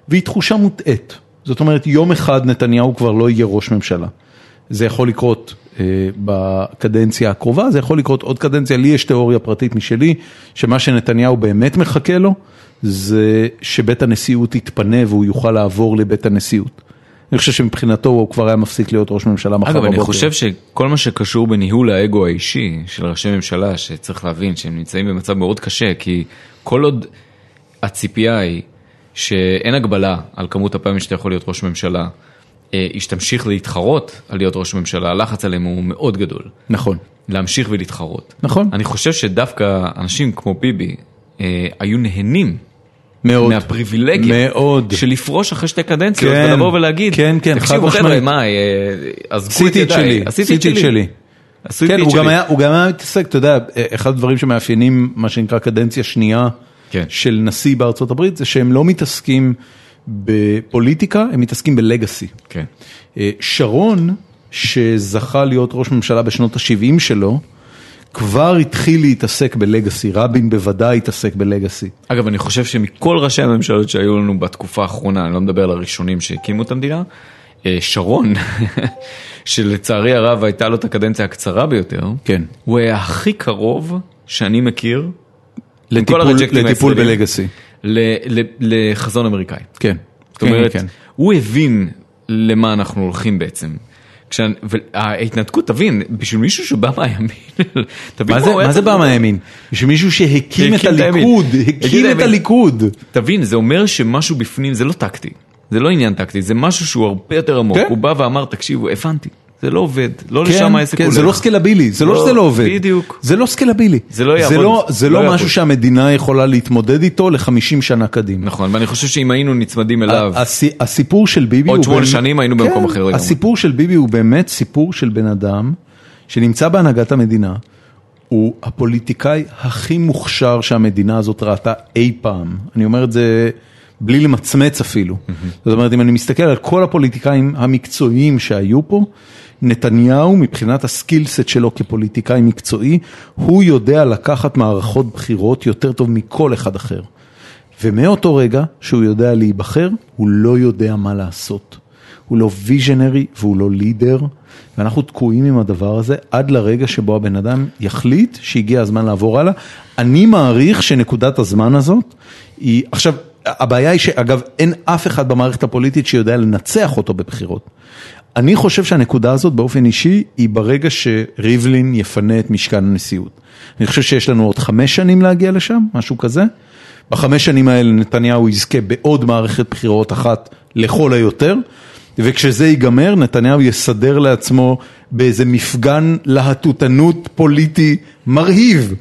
והיא תחושה מוטעית. זאת אומרת, יום אחד נתניהו כבר לא יהיה ראש ממשלה. זה יכול לקרות אה, בקדנציה הקרובה, זה יכול לקרות עוד קדנציה, לי יש תיאוריה פרטית משלי, שמה שנתניהו באמת מחכה לו, זה שבית הנשיאות יתפנה והוא יוכל לעבור לבית הנשיאות. אני חושב שמבחינתו הוא כבר היה מפסיק להיות ראש ממשלה מחר
אגב,
בבוקר.
אני חושב שכל מה שקשור בניהול האגו האישי של ראשי ממשלה, שצריך להבין שהם נמצאים במצב מאוד קשה, כי כל עוד הציפייה היא שאין הגבלה על כמות הפעמים שאתה יכול להיות ראש ממשלה, אה, היא שתמשיך להתחרות על להיות ראש ממשלה, הלחץ עליהם הוא מאוד גדול.
נכון,
להמשיך ולהתחרות.
נכון.
אני חושב שדווקא אנשים כמו ביבי אה, היו נהנים
מאוד.
מהפריבילגיה
מאוד.
של לפרוש אחרי שתי קדנציות
כן,
ולבוא ולהגיד,
כן, כן,
תקשיבו
חד
חבר'ה,
משמעית.
מה, אה, עזבו את
עשיתי את
ידיי,
שלי, עשיתי את שלי.
עשיתי
כן,
את
הוא
שלי.
גם, היה, הוא גם היה מתעסק, אתה יודע, אה, אחד הדברים שמאפיינים מה שנקרא קדנציה שנייה
כן.
של נשיא בארצות הברית, זה שהם לא מתעסקים בפוליטיקה, הם מתעסקים בלגאסי.
כן.
אה, שרון, שזכה להיות ראש ממשלה בשנות ה-70 שלו, כבר התחיל להתעסק בלגאסי, רבין בוודאי התעסק בלגאסי.
אגב, אני חושב שמכל ראשי הממשלות שהיו לנו בתקופה האחרונה, אני לא מדבר על הראשונים שהקימו את המדינה, אה, שרון, שלצערי הרב הייתה לו את הקדנציה הקצרה ביותר,
כן.
הוא היה הכי קרוב שאני מכיר
לטיפול,
הרג'קטים
לטיפול
הישראלים.
בלגאסי.
ל- ל- לחזון אמריקאי.
כן.
זאת אומרת,
כן, כן.
הוא הבין למה אנחנו הולכים בעצם. כשאני- וההתנתקות, תבין, בשביל מישהו שבא מהימין, תבין
מה זה,
הוא היה
מה זה
צריך
בא מהימין? שמישהו שהקים את
שהקים את הימין.
הליכוד,
הקים את
הקים את
הימין.
הליכוד.
תבין, זה אומר שמשהו בפנים, זה לא טקטי, זה לא עניין טקטי, זה משהו שהוא הרבה יותר עמוק.
כן.
הוא בא ואמר, תקשיבו, הבנתי, זה לא עובד, לא
כן,
לשם העסק
כן,
הולך.
זה לא סקלבילי, זה לא
לא,
שזה לא עובד.
בדיוק.
זה לא סקלבילי.
זה לא יעבוד.
זה
לא
לא
יעבוד.
משהו שהמדינה יכולה להתמודד איתו ל-50 שנה קדימה.
נכון, ואני חושב שאם היינו נצמדים
אה,
אליו,
הסי- הסיפור של ביבי
עוד
הוא...
שמונה
באמת-
שנים היינו
כן,
במקום אחר לגמרי.
הסיפור של ביבי הוא באמת סיפור של בן אדם שנמצא בהנהגת המדינה, הוא הפוליטיקאי הכי מוכשר שהמדינה הזאת ראתה אי פעם. אני אומר את זה בלי למצמץ אפילו. זאת אומרת, אם אני מסתכל על כל הפוליטיקאים המקצועיים שהיו פה, נתניהו מבחינת הסקילסט שלו כפוליטיקאי מקצועי, הוא יודע לקחת מערכות בחירות יותר טוב מכל אחד אחר. ומאותו רגע שהוא יודע להיבחר, הוא לא יודע מה לעשות. הוא לא ויז'נרי והוא לא לידר, ואנחנו תקועים עם הדבר הזה עד לרגע שבו הבן אדם יחליט שהגיע הזמן לעבור הלאה. אני מעריך שנקודת הזמן הזאת היא, עכשיו, הבעיה היא שאגב, אין אף אחד במערכת הפוליטית שיודע לנצח אותו בבחירות. אני חושב שהנקודה הזאת באופן אישי היא ברגע שריבלין יפנה את משכן הנשיאות. אני חושב שיש לנו עוד חמש שנים להגיע לשם, משהו כזה. בחמש שנים האלה נתניהו יזכה בעוד מערכת בחירות אחת לכל היותר, וכשזה ייגמר נתניהו יסדר לעצמו באיזה מפגן להטוטנות פוליטי מרהיב,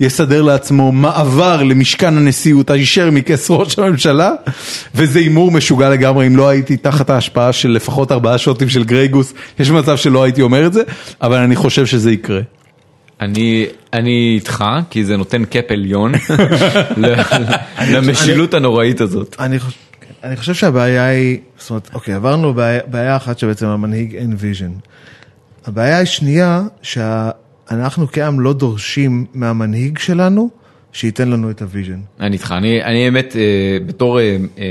יסדר לעצמו מעבר למשכן הנשיאות הישר מכס ראש הממשלה, וזה הימור משוגע לגמרי, אם לא הייתי תחת ההשפעה של לפחות ארבעה שוטים של גרייגוס, יש מצב שלא הייתי אומר את זה, אבל אני חושב שזה יקרה.
אני אני איתך, כי זה נותן קאפ עליון ל- למשילות הנוראית הזאת.
אני חוש- כן. אני חושב שהבעיה היא, זאת אומרת, אוקיי, עברנו בעיה- בעיה אחת שבעצם המנהיג אין ויז'ן. הבעיה השנייה, שאנחנו כעם לא דורשים מהמנהיג שלנו שייתן לנו את הוויז'ן.
אני איתך, אני אני האמת, אה, בתור אה, אה,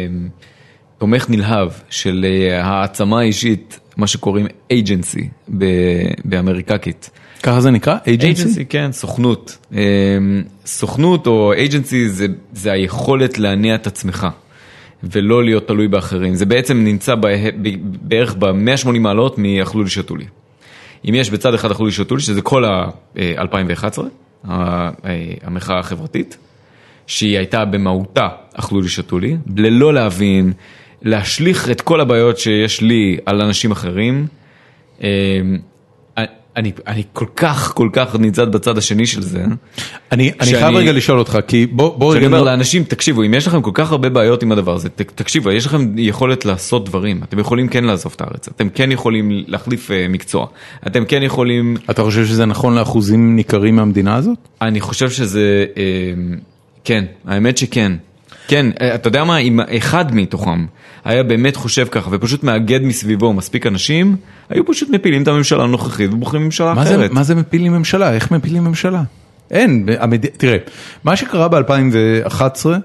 תומך נלהב של אה, העצמה האישית, מה שקוראים agency ב- באמריקקית.
ככה זה נקרא? agency?
agency, כן, סוכנות. אמ, סוכנות או agency זה, זה היכולת להניע את עצמך ולא להיות תלוי באחרים. זה בעצם נמצא בה, ב, בערך ב-180 מעלות מאכלו לי שתו לי. אם יש בצד אחד אכלו לי שתו לי, שזה כל אה, ה-2011, אה, המחאה החברתית, שהיא הייתה במהותה אכלו לי שתו לי, ללא להבין, להשליך את כל הבעיות שיש לי על אנשים אחרים. אמ, אני, אני כל כך כל כך נצעד בצד השני של זה.
אני, אני
שאני-
חייב רגע לשאול אותך, כי בוא, בוא
שאני
רגע,
אומר
לא-
לאנשים, תקשיבו, אם יש לכם כל כך הרבה בעיות עם הדבר הזה, ת, תקשיבו, יש לכם יכולת לעשות דברים, אתם יכולים כן לעזוב את הארץ, אתם כן יכולים להחליף אה, מקצוע, אתם כן יכולים,
אתה חושב שזה נכון לאחוזים ניכרים מהמדינה הזאת?
אני חושב שזה, אה, כן, האמת שכן. כן, אה, אתה יודע מה, אם אחד מתוכם היה באמת חושב ככה ופשוט מאגד מסביבו מספיק אנשים, היו פשוט מפילים את הממשלה הנוכחית ובוחרים ממשלה
מה זה,
אחרת.
מה זה מפילים ממשלה? איך מפילים ממשלה? אין, המד... תראה, מה שקרה ב-2011 אה,
אני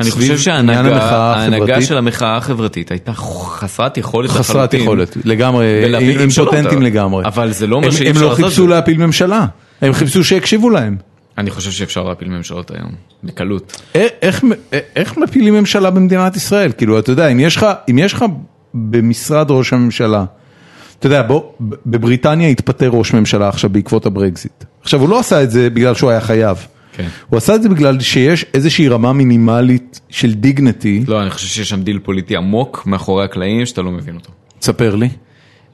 סביב
חושב
עניין
שההנהגה
המחאה
ההנהגה
החברתית,
של המחאה החברתית הייתה חסרת יכולת
חסרת
לחלוטין.
יכולת, לגמרי,
ולהביא-
הם
שלא,
פוטנטים
אתה-
לגמרי.
אבל זה לא
הם-
אומר שאי
הם
אפשר
לא
לעשות את
חיפשו
זה.
להפיל ממשלה, הם חיפשו שיקשיבו להם.
אני חושב שאפשר להפיל ממשלות היום, בקלות.
א- איך, מ- א- איך מפילים ממשלה במדינת ישראל? כאילו, אתה יודע, אם יש לך, אם יש לך במשרד ראש הממשלה, אתה יודע, בוא, ב- בבריטניה התפטר ראש ממשלה עכשיו בעקבות הברקזיט. עכשיו, הוא לא עשה את זה בגלל שהוא היה חייב.
כן.
הוא עשה את זה בגלל שיש איזושהי רמה מינימלית של דיגנטי,
לא, אני חושב שיש שם דיל פוליטי עמוק מאחורי הקלעים שאתה לא מבין אותו.
תספר לי.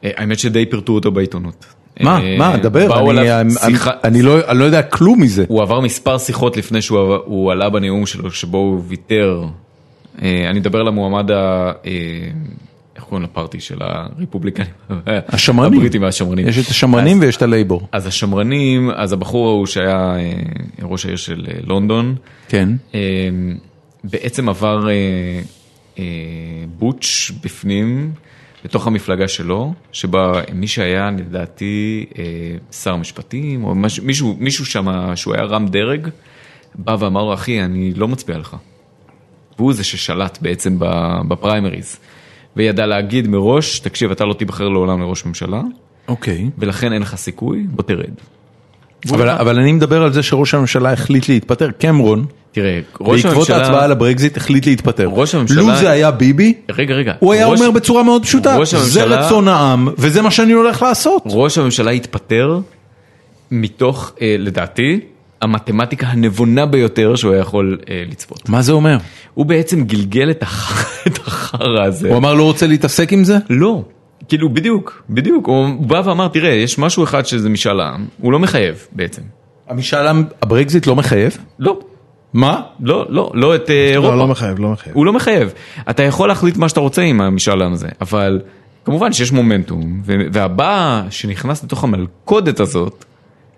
אה, האמת שדי פירטו אותו בעיתונות.
מה,
אה,
מה, דבר,
באו
אני,
עליו
אני,
שיחה-
אני, לא, אני לא יודע כלום מזה.
הוא עבר מספר שיחות לפני שהוא עבר- הוא עלה בנאום שלו, שבו הוא ויתר. אה, אני מדבר למועמד ה... אה, איך קוראים לפארטי של הרפובליקנים?
השמרנים.
הבריטים והשמרנים.
יש את השמרנים ויש את הלייבור.
אז השמרנים, אז הבחור ההוא שהיה אה, ראש העיר של אה, לונדון,
כן.
אה, בעצם עבר אה, אה, בוטש בפנים, לתוך המפלגה שלו, שבה מי שהיה לדעתי אה, שר משפטים, או מש, מישהו, מישהו שם, שהוא היה רם דרג, בא ואמר לו, אחי, אני לא מצביע לך. והוא זה ששלט בעצם ב- בפריימריז. וידע להגיד מראש, תקשיב, אתה לא תיבחר לעולם לראש ממשלה,
אוקיי.
ולכן אין לך סיכוי, בוא תרד.
אבל, אבל אני מדבר על זה שראש הממשלה החליט להתפטר, קמרון,
תראה, ראש
בעקבות
הממשלה...
ההצבעה על הברקזיט החליט להתפטר.
ראש הממשלה-
לו זה היה ביבי,
רגע, רגע.
הוא היה
ראש-
אומר בצורה מאוד פשוטה,
ראש
זה
הממשלה-
רצון העם וזה מה שאני הולך לעשות.
ראש הממשלה התפטר מתוך, אה, לדעתי, המתמטיקה הנבונה ביותר שהוא היה יכול אה, לצפות.
מה זה אומר?
הוא בעצם גלגל את הח- את החרא הזה.
הוא אמר לא רוצה להתעסק עם זה?
לא. כאילו, בדיוק, בדיוק. הוא בא ואמר, תראה, יש משהו אחד שזה משאל העם, הוא לא מחייב בעצם.
המשאל עם, הברקזיט לא מחייב?
לא,
מה?
לא, לא, לא את אה,
לא, לא
אירופה.
מחייב, לא מחייב.
הוא לא מחייב. אתה יכול להחליט מה שאתה רוצה עם המשאל העם הזה, אבל כמובן שיש מומנטום, ו- והבא שנכנס לתוך המלכודת הזאת,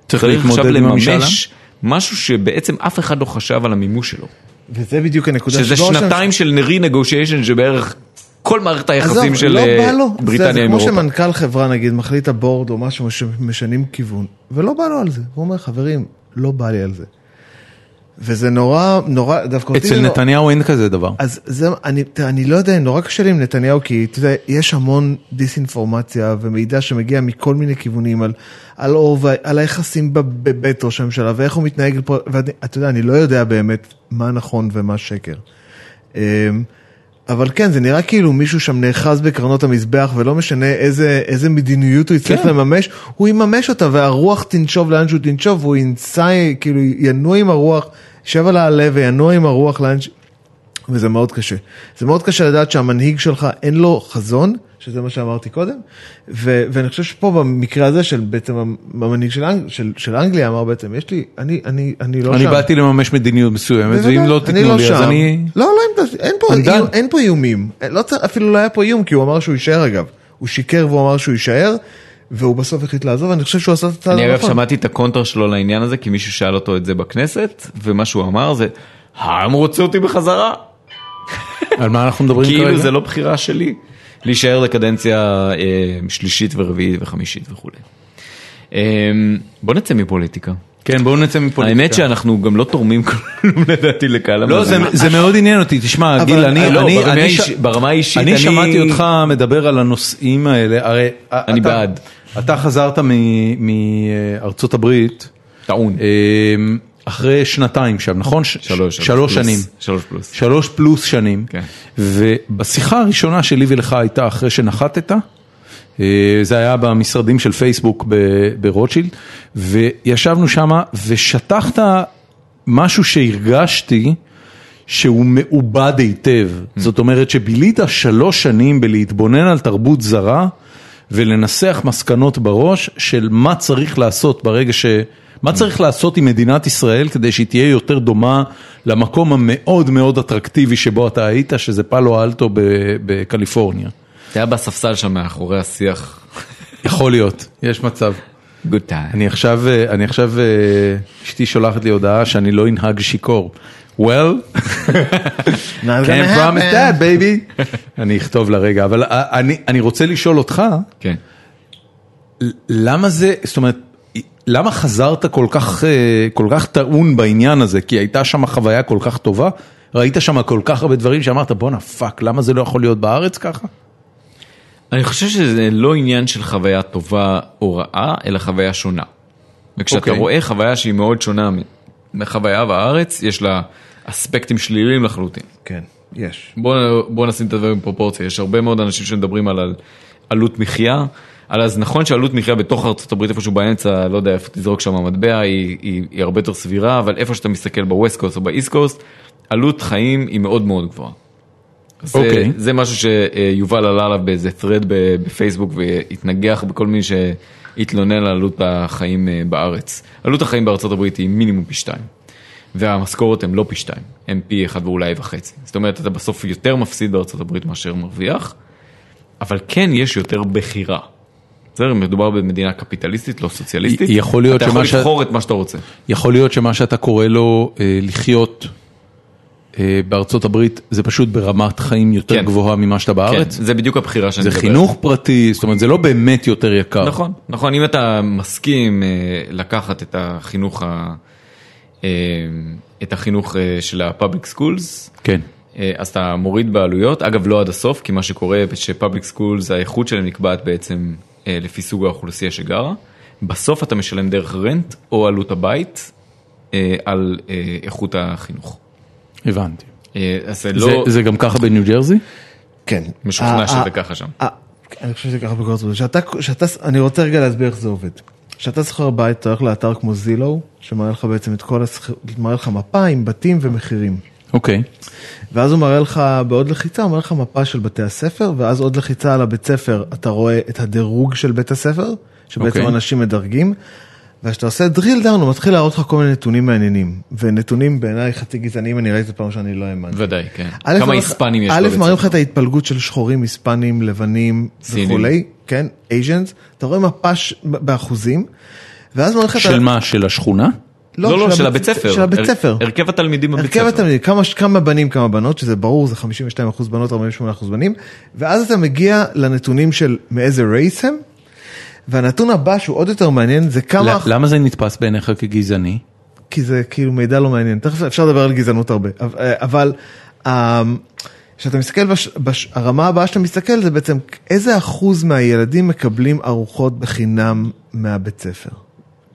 צריך
צריך עכשיו
להתמודד עם המשאל עם?
לממש משהו שבעצם אף אחד לא חשב על המימוש שלו.
וזה בדיוק הנקודה
שזה
של ראש
שנתיים של re-negotiation שבערך כל מערכת היחסים
עזוב,
של
לא
אה,
בא לו. זה-
בריטניה עם
זה
אירופה.
כמו שמנכ"ל חברה נגיד מחליט הבורד או משהו שמשנים כיוון, ולא בא לו על זה. הוא אומר, חברים, לא בא לי על זה. וזה נורא, נורא, דווקא אותי זה
אצל
לא-
נורא-
נתניהו אין כזה דבר.
אז זה, אני, תראה, אני לא יודע, נורא קשה לי עם נתניהו, כי אתה יודע, יש המון דיסאינפורמציה ומידע שמגיע מכל מיני כיוונים על, על אור ועל היחסים בב- בבית ראש הממשלה ואיך הוא מתנהג, פה, ואני- אתה יודע, אני לא יודע באמת מה נכון ומה שקר. אמ, אבל כן, זה נראה כאילו מישהו שם נאחז בקרנות המזבח ולא משנה איזה, איזה מדיניות הוא יצטרך
כן.
כן. לממש, הוא יממש אותה והרוח תנשוב לאן שהוא תנשוב, והוא יינסע, כאילו ינוע עם הרוח, יושב על העלה וינוע עם הרוח לאן ש... וזה מאוד קשה. זה מאוד קשה לדעת שהמנהיג שלך אין לו חזון, שזה מה שאמרתי קודם, ו- ואני חושב שפה במקרה הזה של בעצם המנהיג של, אנג- של, של אנגליה אמר בעצם, יש לי, אני, אני, אני לא
אני
שם.
באתי לממש מדיניות מסוימת, ואם
בוודאי,
לא
אני
תיתנו לי אז
שם.
אני...
לא, לא, אין פה- אין פה
אני דן.
איום- אין פה איומים. לא צריך- אפילו לא היה פה איום, כי הוא אמר שהוא יישאר אגב. הוא שיקר והוא אמר שהוא יישאר, והוא בסוף החליט לעזוב, אני חושב שהוא עשה את הצעד
אני אגב
הנכון.
שמעתי את הקונטר שלו לעניין הזה, כי מישהו שאל אותו את זה בכנסת, ומה שהוא אמר זה, העם רוצה אותי בחזרה.
על מה אנחנו מדברים כרגע?
כאילו זה לא בחירה שלי, להישאר לקדנציה אה, שלישית ורביעית וחמישית וכולי. אה, בוא נצא מפוליטיקה.
כן, בואו נצא מפוליטיקה.
האמת שאנחנו גם לא תורמים כלום לדעתי לקהל
לא, זה-
המאזין.
זה מאוד עניין אותי, תשמע, גיל, אני-
לא,
אני-
ברמה
אני
האיש-
ש-
ברמה האישית,
אני
אני-
שמעתי אותך מדבר על הנושאים האלה, הרי...
אני
אתה-
בעד.
אתה חזרת מארצות הברית
טעון.
אמ, אחרי שנתיים שם, נכון? ש-
שלוש.
שלוש
פלוס.
שנים.
שלוש פלוס.
שלוש פלוס שנים,
כן.
ובשיחה הראשונה שלי ולך הייתה אחרי שנחתת, אה, זה היה במשרדים של פייסבוק ב- ברוטשילד, וישבנו שם ושטחת משהו שהרגשתי שהוא מעובד היטב, זאת אומרת שבילית שלוש שנים בלהתבונן על תרבות זרה ולנסח מסקנות בראש של מה צריך לעשות ברגע ש... מה צריך לעשות עם מדינת ישראל כדי שהיא תהיה יותר דומה למקום המאוד מאוד אטרקטיבי שבו אתה היית, שזה פאלו אלטו ב- בקליפורניה.
זה היה בספסל שם מאחורי השיח.
יכול להיות, יש מצב.
Good time.
אני עכשיו, אה, אני עכשיו, אה, אשתי שולחת לי הודעה שאני לא אנהג שיכור. Well,
Not gonna
Can't promise
happen.
that, baby. אני אכתוב לרגע, אבל אה, אני, אני רוצה לשאול אותך,
כן.
למה זה, זאת אומרת, למה חזרת כל כך, אה, כל כך טעון בעניין הזה? כי הייתה שם חוויה כל כך טובה? ראית שם כל כך הרבה דברים שאמרת, בואנה פאק, למה זה לא יכול להיות בארץ ככה?
אני חושב שזה לא עניין של חוויה טובה או רעה, אלא חוויה שונה. וכשאתה
אוקיי.
רואה חוויה שהיא מאוד שונה מ- מחוויה בארץ, יש לה אספקטים שליליים לחלוטין.
כן, יש.
בוא, בוא נשים את הדברים בפרופורציה, יש הרבה מאוד אנשים שמדברים על, על עלות מחיה, על אז נכון שעלות מחיה בתוך ארצות הברית איפשהו באמצע, לא יודע איפה תזרוק שם המטבע, היא, היא, היא הרבה יותר סבירה, אבל איפה שאתה מסתכל בווסט קוסט או באיסט קוסט, עלות חיים היא מאוד מאוד גבוהה. זה,
אוקיי.
זה משהו שיובל עלה עליו באיזה thread ב- בפייסבוק והתנגח בכל מי שהתלונן על עלות החיים אה, בארץ. עלות החיים בארצות הברית היא מינימום פי שתיים. והמשכורת הם לא פי שתיים, הם פי אחד ואולי וחצי. זאת אומרת, אתה בסוף יותר מפסיד בארצות הברית מאשר מרוויח, אבל כן יש יותר בחירה. בסדר, מדובר במדינה קפיטליסטית, לא סוציאליסטית.
י- יכול להיות
אתה יכול
שמה ש-
לבחור את מה שאתה רוצה.
יכול להיות שמה שאתה קורא לו אה, לחיות אה, בארצות הברית זה פשוט ברמת חיים יותר
כן.
גבוהה ממה שאתה
כן,
בארץ?
זה בדיוק הבחירה שאני
זה
מדבר.
חינוך פרטי, זאת אומרת זה לא באמת יותר יקר.
נכון, נכון, אם אתה מסכים אה, לקחת את החינוך, ה- אה, את החינוך אה, של ה-public schools,
כן.
אה, אז אתה מוריד בעלויות, אגב לא עד הסוף, כי מה שקורה שפאבליק סקולס, האיכות שלהם נקבעת בעצם אה, לפי סוג האוכלוסייה שגרה, בסוף אתה משלם דרך רנט או עלות הבית אה, על אה, איכות החינוך.
הבנתי.
אה, אז זה
זה,
לא
זה גם ככה בניו ג'רזי?
כן.
משוכנע
אה,
שזה
אה,
ככה שם.
אה, אני חושב שזה ככה בכל זאת. שאתה, שאתה, אני רוצה רגע להסביר איך זה עובד. כשאתה שוכר בית, אתה הולך לאתר כמו זילו, שמראה לך בעצם את כל השכ... מראה לך מפה עם בתים ומחירים.
אוקיי.
ואז הוא מראה לך בעוד לחיצה, הוא מראה לך מפה של בתי הספר, ואז עוד לחיצה על הבית ספר, אתה רואה את הדירוג של בית הספר, שבעצם
אוקיי.
okay. אנשים מדרגים, וכשאתה עושה drill down הוא מתחיל להראות לך כל מיני נתונים מעניינים, ונתונים בעיניי חצי גזעניים, אני ראיתי פעם שאני לא האמנתי.
ודאי, כן.
א',
כמה
מראה-
היספנים יש
א',
בבית
מראים
ספר?
לך את ההתפלגות של שחורים, היספנים, לבנים
סינים.
וכולי, כן, אייג'נס, אתה רואה מפה ש- באחוזים, ואז מראה לך... את ה-
של מה? של השכונה?
לא, לא, של הבית
הבית-
ספר.
של הבית
הר-
ספר.
הרכב התלמידים בבית
הרכב
ספר.
התלמידים, כמה, כמה בנים כמה בנות, שזה ברור, זה 52% בנות, 48% בנים, ואז אתה מגיע לנתונים של מאיזה רייס הם, והנתון הבא שהוא עוד יותר מעניין זה כמה,
ל- למה זה נתפס בעיניך כגזעני?
כי זה כאילו מידע לא מעניין, תכף אפשר לדבר על גזענות הרבה, אבל- אבל אה, כשאתה מסתכל, בש, בש, הרמה הבאה שאתה מסתכל זה בעצם איזה אחוז מהילדים מקבלים ארוחות בחינם מהבית ספר.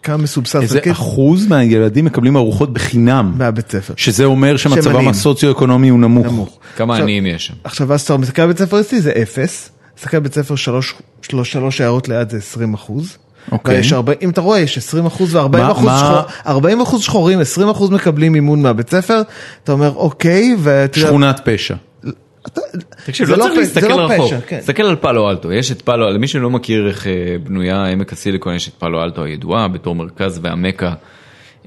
כמה מסובסד,
איזה
חלקית
אחוז מהילדים מקבלים ארוחות בחינם?
מהבית ספר.
שזה אומר שמצבם
עניים.
הסוציו-אקונומי הוא נמוך.
נמוך.
כמה
עכשיו-
עניים יש שם?
עכשיו אז אתה מסתכל על בית ספר אצלי זה אפס, מסתכל על בית ספר שלוש, שלוש, שלוש הערות ליד זה 20 אחוז.
אוקיי.
ויש הרבה, אם אתה רואה יש 20 אחוז ו-40
מה-
אחוז,
מה-
שחור, 40 אחוז שחורים, 20 אחוז מקבלים מימון מהבית ספר, אתה אומר אוקיי, ואתה יודע,
שכונת פשע.
תקשיב,
זה
לא
לא
צריך
פשע,
להסתכל
זה לא
רחוק.
פשע, כן.
תסתכל על פאלו אלטו, יש את פאלו, למי שלא מכיר איך אה, בנויה עמק הסיליקון, יש את פאלו אלטו הידועה בתור מרכז והמקה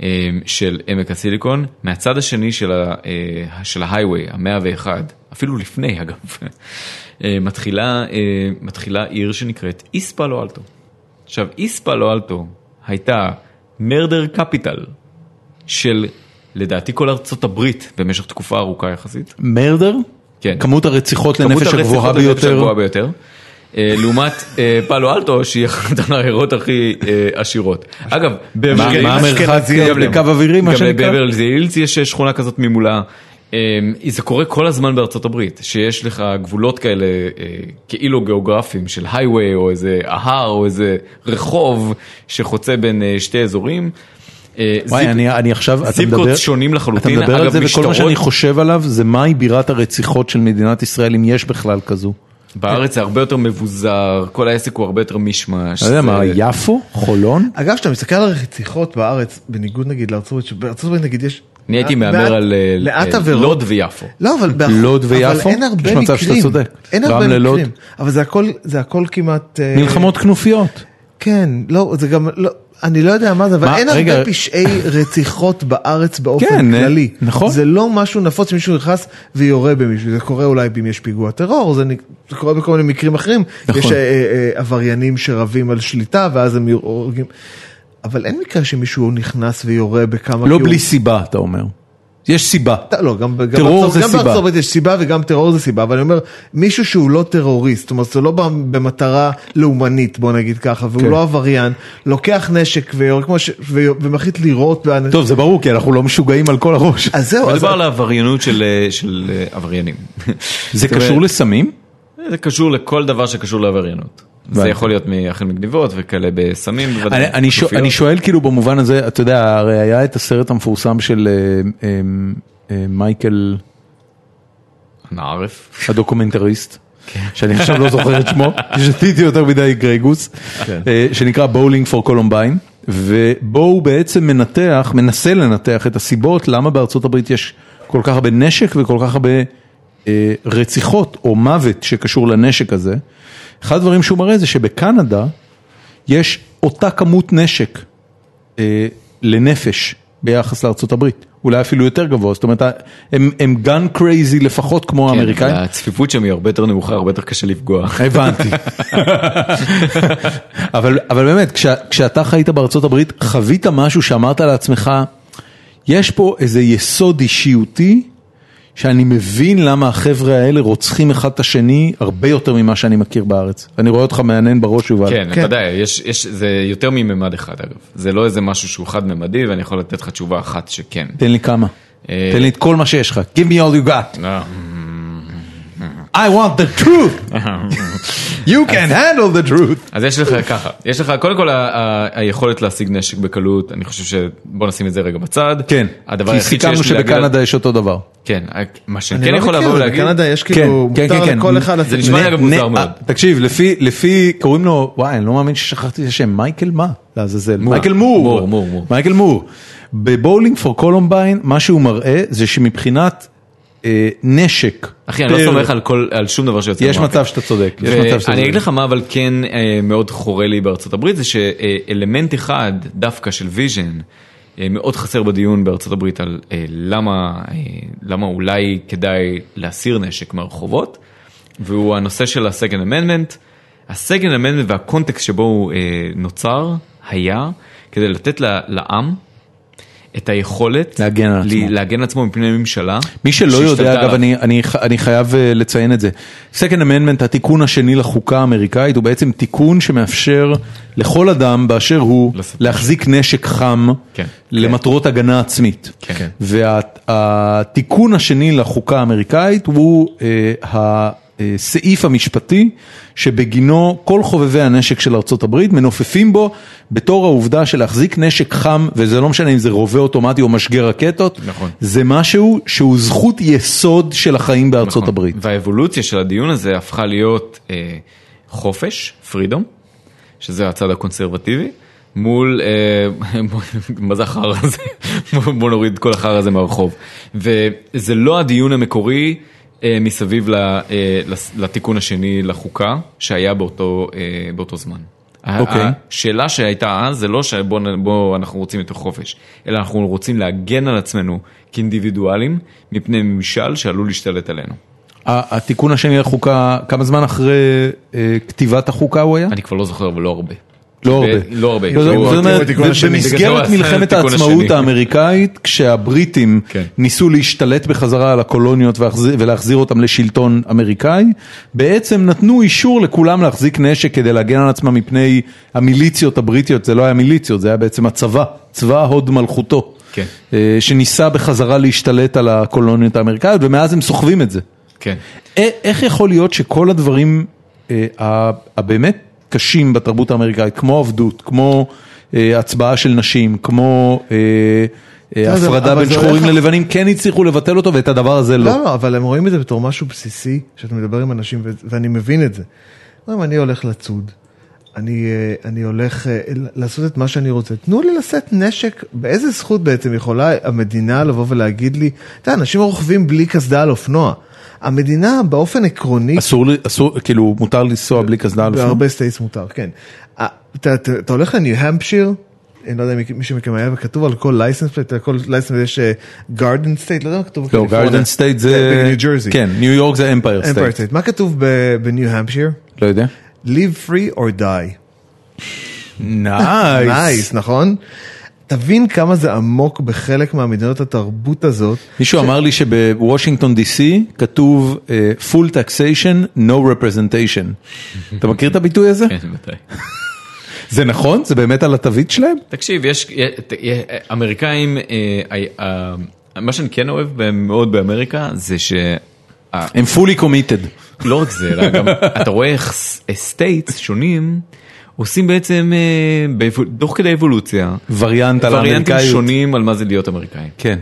אה, של עמק הסיליקון. מהצד השני של ה- אה, של ההייווי, המאה ואחד, אפילו לפני אגב, אה, מתחילה אה, מתחילה עיר שנקראת איס פאלו אלטו. עכשיו, איס פאלו אלטו הייתה מרדר קפיטל של לדעתי כל ארצות הברית במשך תקופה ארוכה יחסית.
מרדר?
כן.
כמות הרציחות
כמות
לנפש
הרציחות
הגבוהה
לנפש
ביותר?
הגבוהה ביותר. אה, לעומת אה, פאלו אלטו שהיא אחת העיירות הכי אה, עשירות. אגב, כן,
מה- מה המרחק
אשכנזים
גם לקו אווירי מה
גם
שנקרא?
בברל זילץ יש שכונה כזאת ממולה. אה, זה קורה כל הזמן בארצות הברית, שיש לך גבולות כאלה אה, כאילו גיאוגרפיים של הייווי או איזה ההר או איזה רחוב שחוצה בין אה, שתי אזורים. אה,
וואי,
זיפ-
אני, אני עכשיו, אתה
זיפקוט
מדבר,
שונים לחלוטין,
אתה מדבר על
אגב,
זה וכל מה
משטרות-
שאני חושב עליו זה מהי בירת הרציחות של מדינת ישראל אם יש בכלל כזו.
בארץ זה הרבה יותר מבוזר, כל העסק הוא הרבה יותר מישמש.
אתה יודע
זה-
מה, יפו? חולון?
אגב כשאתה מסתכל על הרציחות בארץ, בניגוד נגיד לארצות הברית, שבארצות הברית נגיד יש,
אני הייתי
מעט-
מהמר על אה,
מעט
אה,
עבירות,
לוד ויפו.
לא, אבל, באח...
לוד
אבל
ויפו?
אין הרבה
יש מצב
מקרים,
שאתה צודק.
אין הרבה
רמלה,
מקרים,
לוד.
אבל זה הכל, זה הכל כמעט, אה,
מלחמות כנופיות.
כן, לא, זה גם, לא, אני לא יודע מה זה, אבל
מה,
אין
רגע.
הרבה פשעי רציחות בארץ באופן
כן,
כללי.
אה, נכון.
זה לא משהו נפוץ שמישהו נכנס ויורה במישהו, זה קורה אולי אם יש פיגוע טרור, זה, נ- זה קורה בכל מיני מקרים אחרים.
נכון.
יש אה, אה, אה, עבריינים שרבים על שליטה ואז הם הורגים. אבל אין מקרה שמישהו נכנס ויורה בכמה...
לא
כי הוא-
בלי סיבה, אתה אומר. יש סיבה.
אתה- לא, גם, גם,
טרור
בארצות-
זה
גם
סיבה.
בארצות הברית יש סיבה וגם טרור זה סיבה, אבל אני אומר, מישהו שהוא לא טרוריסט, זאת אומרת, הוא לא בא במטרה לאומנית, בוא נגיד ככה, והוא
כן.
לא עבריין, לוקח נשק ויורק כמו ש... ו... ומחליט לירות באנשים.
טוב, זה ברור, כי אנחנו לא משוגעים על כל הראש.
אז זהו, אז...
מדובר על העבריינות של, אה, של אה, עבריינים.
זה
זאת אומרת,
קשור לסמים?
זה קשור לכל דבר שקשור לעבריינות. זה
הבנתי.
יכול להיות מאכל מגניבות וכאלה בסמים.
אני,
בוודאי,
אני, שואל,
כנופיות.
אני שואל כאילו במובן הזה, אתה יודע, הרי היה את הסרט המפורסם של אה, אה, אה, מייקל
נערף.
הדוקומנטריסט, שאני עכשיו לא זוכר את שמו, שתיתי יותר מדי גרייגוס,
כן.
אה, שנקרא בולינג פור קולומביין, ובו הוא בעצם מנתח, מנסה לנתח את הסיבות למה בארצות הברית יש כל כך הרבה נשק וכל כך הרבה אה, רציחות או מוות שקשור לנשק הזה. אחד הדברים שהוא מראה זה שבקנדה יש אותה כמות נשק אה, לנפש ביחס לארצות הברית, אולי אפילו יותר גבוה, זאת אומרת הם, הם גן קרייזי לפחות כמו
כן,
האמריקאים.
הצפיפות שם היא הרבה יותר נמוכה, הרבה יותר קשה לפגוע.
הבנתי. אבל, אבל באמת, כש, כשאתה חיית בארצות הברית, חווית משהו שאמרת לעצמך, יש פה איזה יסוד אישיותי, שאני מבין למה החבר'ה האלה רוצחים אחד את השני הרבה יותר ממה שאני מכיר בארץ. אני רואה אותך מהנהן בראש, יובל.
כן, אתה
כן.
יודע, יש, יש, זה יותר מממד אחד אגב. זה לא איזה משהו שהוא חד-ממדי ואני יכול לתת לך תשובה אחת שכן.
תן לי כמה.
אה.
תן לי את כל מה שיש לך. Give me all you got.
לא.
I want the truth.
אה,
You can handle the truth.
אז יש לך ככה, יש לך קודם כל ה- ה- היכולת להשיג נשק בקלות, אני חושב ש... בוא נשים את זה רגע בצד.
כן,
הדבר
כי
היחיד
סיכמנו
שיש לי להגיד... על-
שבקנדה יש אותו דבר.
כן, מה
אני
שכן יכול
לא מכיר,
לבוא
זה
ולהגיד...
בקנדה יש
כן,
כאילו,
כן,
מותר
כן, כן.
לכל אחד
זה
לצאת
נשמע
נגד.
אגב, מוזר
נ-
מאוד.
אה, תקשיב, לפי, לפי, קוראים לו, וואי, אני לא מאמין ששכחתי את השם, מייקל מה? לעזאזל. מייקל מור.
מור, מור, מור.
מייקל מור. בבולינג פור קולומביין, מה שהוא מראה זה שמבחינת אה, נשק,
אחי, אני לא
פר-
סומך על כל- על שום דבר שיוצא.
יש
מהפה.
מצב שאתה צודק. יש מצב לא- שאתה
ואני אגיד
צודק.
לך מה אבל כן אה, מאוד חורה לי בארצות הברית זה שאלמנט אחד דווקא של ויז'ן אה, מאוד חסר בדיון בארצות הברית על אה, למה אה, למה אולי כדאי להסיר נשק מהרחובות והוא הנושא של הסקנד אמנדמנט. הסקנד אמנדמנט והקונטקסט שבו הוא אה, נוצר היה כדי לתת ל- לעם את היכולת
להגן על
ל-
עצמו.
להגן על עצמו מפני ממשלה.
מי שלא
שהשתלטה
יודע, אגב,
עליו.
אני, אני, ח- אני חייב אה, לציין את זה. Second Amendment, התיקון השני לחוקה האמריקאית, הוא בעצם תיקון שמאפשר לכל אדם באשר הוא
לשאת
להחזיק נשק חם
כן.
למטרות הגנה עצמית.
כן.
והתיקון השני לחוקה האמריקאית הוא אה, הסעיף המשפטי שבגינו כל חובבי הנשק של ארצות הברית מנופפים בו בתור העובדה שלהחזיק נשק חם, וזה לא משנה אם זה רובה אוטומטי או משגר רקטות,
נכון.
זה משהו שהוא זכות יסוד של החיים בארצות
נכון.
הברית.
והאבולוציה של הדיון הזה הפכה להיות אה, חופש, פרידום, שזה הצד הקונסרבטיבי, מול, אה, מה זה החרא הזה? בוא- בוא נוריד את כל החרא הזה מהרחוב. וזה לא הדיון המקורי אה, מסביב ל, אה, לס- לתיקון השני לחוקה, שהיה באותו, אה, באותו זמן.
אוקיי.
השאלה שהייתה אז זה לא שבוא נ- בוא, אנחנו רוצים יותר חופש, אלא אנחנו רוצים להגן על עצמנו כאינדיבידואלים מפני ממשל שעלול להשתלט עלינו.
ה- התיקון השני לחוקה, כמה זמן אחרי אה, כתיבת החוקה הוא היה?
אני כבר לא זוכר, אבל לא הרבה.
לא
ב-
הרבה.
לא הרבה.
זאת
הוא-
זאת אומרת,
התיקון השני.
בגלל
במסגרת
זה הוא עשה
מלחמת
התיקון
העצמאות
השני.
האמריקאית, כשהבריטים
כן.
ניסו להשתלט בחזרה על הקולוניות והחז- ולהחזיר אותם לשלטון אמריקאי, בעצם נתנו אישור לכולם להחזיק נשק כדי להגן על עצמם מפני המיליציות הבריטיות, זה לא היה מיליציות, זה היה בעצם הצבא, צבא הוד מלכותו,
כן.
אה, שניסה בחזרה להשתלט על הקולוניות האמריקאיות, ומאז הם סוחבים את זה.
כן.
א- אה, איך יכול להיות שכל הדברים אה, ה- הבאמת קשים בתרבות האמריקאית, כמו עבדות, כמו אה, הצבעה של נשים, כמו אה, אה,
לא, זה-
הפרדה
אבל
בין
זה
שחורים
הולך-
ללבנים, כן הצליחו לבטל אותו ואת הדבר הזה לא.
לא, לא, אבל הם רואים את זה בתור משהו בסיסי, שאתה מדבר עם אנשים, ו- ואני מבין את זה. אומרים, אני הולך לצוד, אני, אה, אני הולך אה, לעשות את מה שאני רוצה. תנו לי לשאת נשק, באיזה זכות בעצם יכולה המדינה לבוא ולהגיד לי, אתה יודע, אנשים רוכבים בלי קסדה על אופנוע. המדינה באופן עקרוני,
אסור, ל- אסור, כאילו מותר לנסוע בלי קסדה על אופנוע?
בהרבה סטייטס מותר, כן. אה, אתה- אתה אתה הולך לניו-המפשיר, אני לא יודע אם מישהו מכם היה, וכתוב על כל לייסנס פלייט, על כל לייסנס יש גארדן סטייט, לא יודע מה כתוב
לא,
בקליפורניה.
גארדן סטייט זה...
בניו ג'רזי.
כן, ניו יורק זה אמפייר
אמפייר
סטייט.
סטייט. מה כתוב ב- בניו-המפשיר?
לא יודע.
Live free or die.
נייס.
נייס, נכון? תבין כמה זה עמוק בחלק מהמדינות התרבות הזאת.
מישהו אמר לי שבוושינגטון די סי כתוב אה, full taxation, no representation. אתה מכיר את הביטוי הזה?
כן, בוודאי.
זה נכון? זה באמת על התווית שלהם?
תקשיב, יש, אה, יש אמריקאים, אה, אה, מה שאני כן אוהב בהם מאוד באמריקה זה ש... אה,
הם fully committed.
לא רק זה, אלא גם אתה רואה איך סטייטס שונים עושים בעצם אה, באבו- תוך כדי אבולוציה.
וריאנט על
וריאנטים
האמריקאיות.
שונים על מה זה להיות אמריקאי.
כן.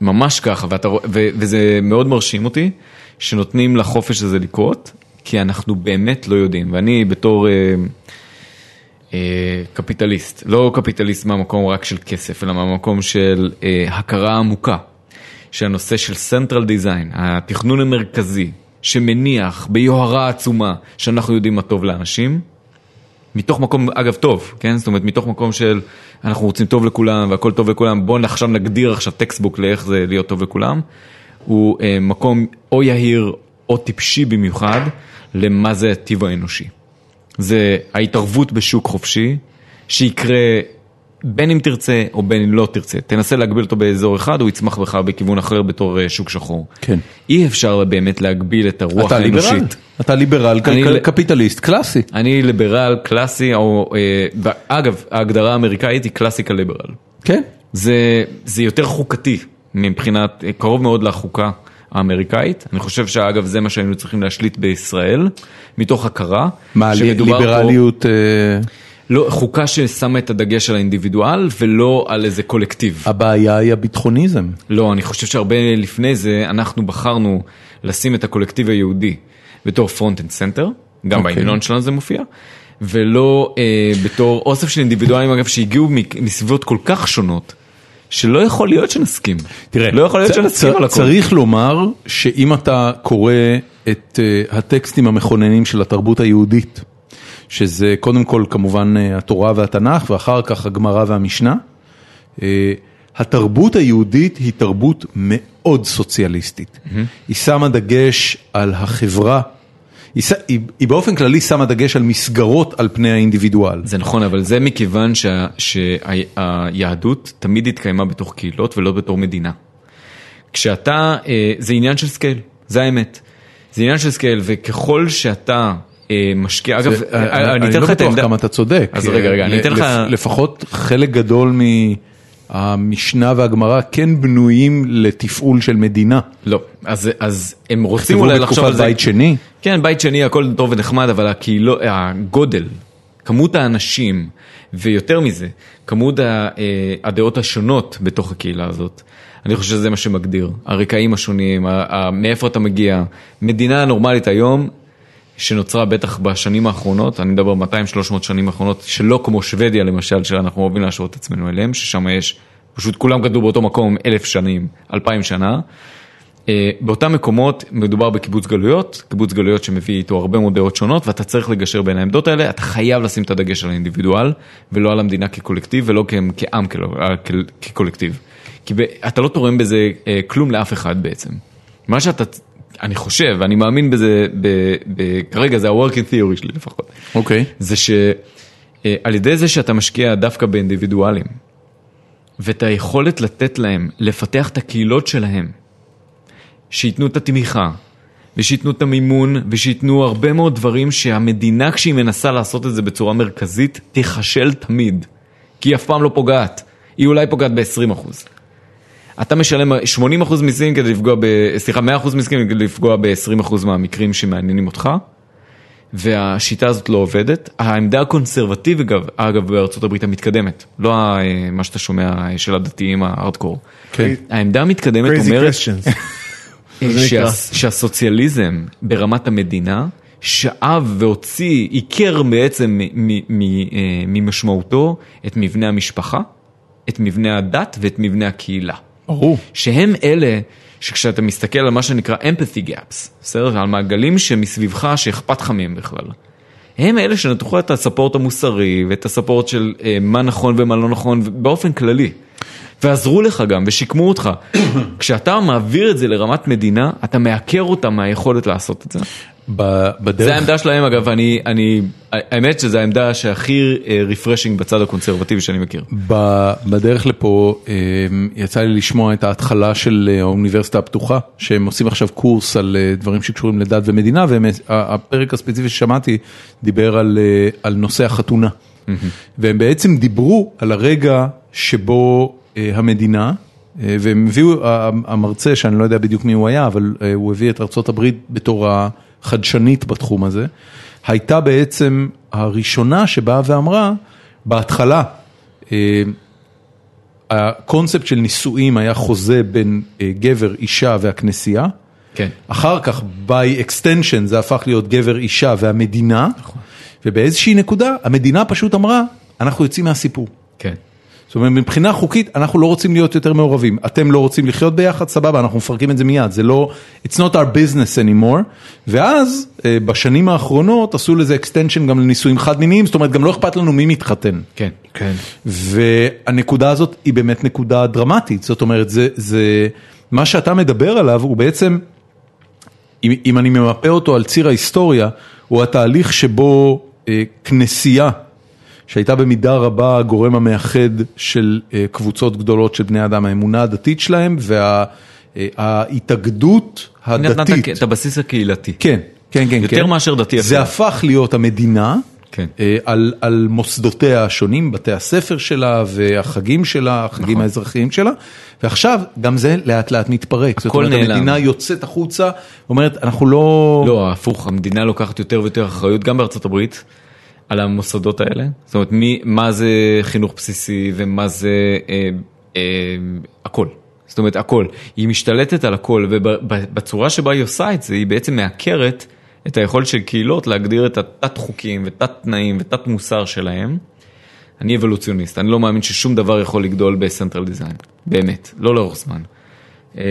ממש ככה, ואתה, רוא- ו, וזה מאוד מרשים אותי שנותנים לחופש הזה לקרות, כי אנחנו באמת לא יודעים, ואני בתור אה, אה, קפיטליסט, לא קפיטליסט מהמקום רק של כסף, אלא מהמקום של אה, הכרה עמוקה, שהנושא של Central Design, התכנון המרכזי, שמניח ביוהרה עצומה שאנחנו יודעים מה טוב לאנשים, מתוך מקום, אגב, טוב, כן? זאת אומרת, מתוך מקום של אנחנו רוצים טוב לכולם והכל טוב לכולם, בואו עכשיו נגדיר עכשיו טקסטבוק לאיך זה להיות טוב לכולם, הוא אה, מקום או יהיר או טיפשי במיוחד למה זה הטיב האנושי. זה ההתערבות בשוק חופשי, שיקרה בין אם תרצה או בין אם לא תרצה. תנסה להגביל אותו באזור אחד, הוא יצמח בך בכיוון אחר בתור אה, שוק שחור.
כן.
אי אפשר באמת להגביל את הרוח
אתה
האנושית.
ליברל, אתה ליברל,
אני-
כל- קפיטליסט, קלאסי.
אני ליברל קלאסי, או, אה, ואגב, ההגדרה האמריקאית היא קלאסיקה ליברל.
כן.
זה, זה יותר חוקתי מבחינת, אה, קרוב מאוד לחוקה האמריקאית. אני חושב שאגב זה מה שהיינו צריכים להשליט בישראל, מתוך הכרה.
מה, לי-
שמדובר
ליברליות... אה,
פה, לא, חוקה ששמה את הדגש על האינדיבידואל ולא על איזה קולקטיב.
הבעיה היא הביטחוניזם.
לא, אני חושב שהרבה לפני זה אנחנו בחרנו לשים את הקולקטיב היהודי בתור front and center, גם okay.
אוקיי.
בהמנון שלנו זה מופיע, ולא אה, בתור אוסף של אינדיבידואלים אגב שהגיעו מ- מסביבות כל כך שונות, שלא יכול להיות שנסכים. לא יכול להיות
צ-
שנסכים
צ-
על הכל.
צריך לומר שאם אתה קורא את אה, הטקסטים המכוננים של התרבות היהודית, שזה קודם כל כמובן אה, התורה והתנ"ך ואחר כך הגמרא והמשנה, אה, התרבות היהודית היא תרבות מאוד סוציאליסטית.
Mm-hmm.
היא שמה דגש על החברה, היא ש- היא היא באופן כללי שמה דגש על מסגרות על פני האינדיבידואל.
זה נכון, אבל זה מכיוון שה- שהיהדות תמיד התקיימה בתוך קהילות ולא בתור מדינה. כשאתה, אה, זה עניין של סקייל, זה האמת. זה עניין של סקייל, וככל שאתה אה, משקיע, אגב,
זה-
אה, אני אתן
לא
לך את
בטוח
העמדה,
כמה אתה צודק. אה,
אז רגע, רגע, אני
ל-
אתן לך-
לפ- לפחות חלק גדול מהמשנה והגמרא כן בנויים לתפעול של מדינה.
לא, אז, אז הם רוצים
תכתבו
אולי לחשוב על
בתקופת
זה,
בית שני.
כן, בית שני הכל טוב ונחמד, אבל הקהילו, הגודל, כמות האנשים, ויותר מזה, כמות ה- אה, הדעות השונות בתוך הקהילה הזאת, אני חושב שזה מה שמגדיר. הרקעים השונים, ה- ה- מאיפה אתה מגיע. מדינה נורמלית היום, שנוצרה בטח בשנים האחרונות, אני מדבר 200-300 שנים האחרונות, שלא כמו שוודיה למשל, שאנחנו אוהבים להשוות את עצמנו אליהם, ששם יש, פשוט כולם גדלו באותו מקום אלף שנים, אלפיים שנה. אה, באותם מקומות מדובר בקיבוץ גלויות, קיבוץ גלויות שמביא איתו הרבה מאוד דעות שונות ואתה צריך לגשר בין העמדות האלה, אתה חייב לשים את הדגש על האינדיבידואל ולא על המדינה כקולקטיב ולא כ- כעם כל- אה, כל- כקולקטיב. כי ב- אתה לא תורם בזה אה, כלום לאף אחד בעצם. מה שאתה, אני חושב, אני מאמין בזה, ב, ב, כרגע זה ה-working theory שלי לפחות,
אוקיי.
זה שעל ידי זה שאתה משקיע דווקא באינדיבידואלים ואת היכולת לתת להם, לפתח את הקהילות שלהם, שייתנו את התמיכה, ושייתנו את המימון, ושייתנו הרבה מאוד דברים שהמדינה, כשהיא מנסה לעשות את זה בצורה מרכזית, תיכשל תמיד. כי היא אף פעם לא פוגעת. היא אולי פוגעת ב-20%. אתה משלם 80% מיסים כדי לפגוע ב... סליחה, 100% מיסים כדי לפגוע ב-20% מהמקרים שמעניינים אותך, והשיטה הזאת לא עובדת. העמדה הקונסרבטיבית, אגב- אגב, בארצות הברית המתקדמת, לא ה- מה שאתה שומע אה, של הדתיים הארדקור.
כן.
העמדה המתקדמת
Crazy
אומרת
questions.
שה- שהסוציאליזם ברמת המדינה שאב והוציא, עיקר בעצם מ- מ- מ- אה, ממשמעותו את מבנה המשפחה, את מבנה הדת ואת מבנה הקהילה.
ברור.
שהם אלה שכשאתה מסתכל על מה שנקרא empathy gaps, בסדר? על מעגלים שמסביבך שאכפת לך מהם בכלל. הם אלה שנתנו לך את הספורט המוסרי ואת הספורט של אה, מה נכון ומה לא נכון באופן כללי. ועזרו לך גם ושיקמו אותך. כשאתה מעביר את זה לרמת מדינה, אתה מעקר אותה מהיכולת לעשות את זה.
ב- בדרך...
זה העמדה שלהם אגב, אני, אני, האמת שזו העמדה שהכי רפרשינג בצד הקונסרבטיבי שאני מכיר.
ב- בדרך לפה אה, יצא לי לשמוע את ההתחלה של אה, האוניברסיטה הפתוחה, שהם עושים עכשיו קורס על אה, דברים שקשורים לדת ומדינה, והפרק הספציפי ששמעתי דיבר על, אה, על נושא החתונה. והם בעצם דיברו על הרגע שבו אה, המדינה, אה, והם הביאו, ה- המרצה, שאני לא יודע בדיוק מי הוא היה, אבל אה, הוא הביא את ארה"ב בתור החדשנית בתחום הזה, הייתה בעצם הראשונה שבאה ואמרה, בהתחלה, אה, הקונספט של נישואים היה חוזה בין אה, גבר, אישה והכנסייה.
כן.
אחר כך, by extension, זה הפך להיות גבר, אישה והמדינה. ובאיזושהי נקודה, המדינה פשוט אמרה, אנחנו יוצאים מהסיפור.
כן.
זאת אומרת, מבחינה חוקית, אנחנו לא רוצים להיות יותר מעורבים. אתם לא רוצים לחיות ביחד, סבבה, אנחנו מפרקים את זה מיד. זה לא, it's not our business anymore. ואז, אה, בשנים האחרונות, עשו לזה extension גם לנישואים חד-מיניים, זאת אומרת, גם לא אכפת לנו מי מתחתן.
כן.
כן.
והנקודה הזאת היא באמת נקודה דרמטית, זאת אומרת, זה, זה מה שאתה מדבר עליו הוא בעצם, אם, אם אני ממפה אותו על ציר ההיסטוריה, הוא התהליך שבו אה, כנסייה, שהייתה במידה רבה הגורם המאחד של אה, קבוצות גדולות של בני אדם, האמונה הדתית שלהם וההתאגדות
היא נתנה את
הדתית.
הכ- את הבסיס הקהילתי.
כן, כן, כן.
יותר
כן.
מאשר דתי
זה
אפילו.
הפך להיות המדינה,
כן.
אה, על, על מוסדותיה השונים, בתי הספר שלה והחגים שלה, החגים נכון. האזרחיים שלה, ועכשיו גם זה לאט לאט מתפרק. זאת
הכל
אומרת,
נעלם.
המדינה יוצאת החוצה, אומרת, אנחנו לא...
לא, הפוך, המדינה לוקחת יותר ויותר אחריות גם בארצות הברית על המוסדות האלה. זאת אומרת, מי, מה זה חינוך בסיסי ומה זה אה, אה, הכל. זאת אומרת, הכל. היא משתלטת על הכל, ובצורה שבה היא עושה את זה, היא בעצם מעקרת את היכולת של קהילות להגדיר את התת חוקים ותת תנאים ותת מוסר שלהם. אני אבולוציוניסט, אני לא מאמין ששום דבר יכול לגדול בסנטרל דיזיין, באמת, לא לאורך זמן. אה,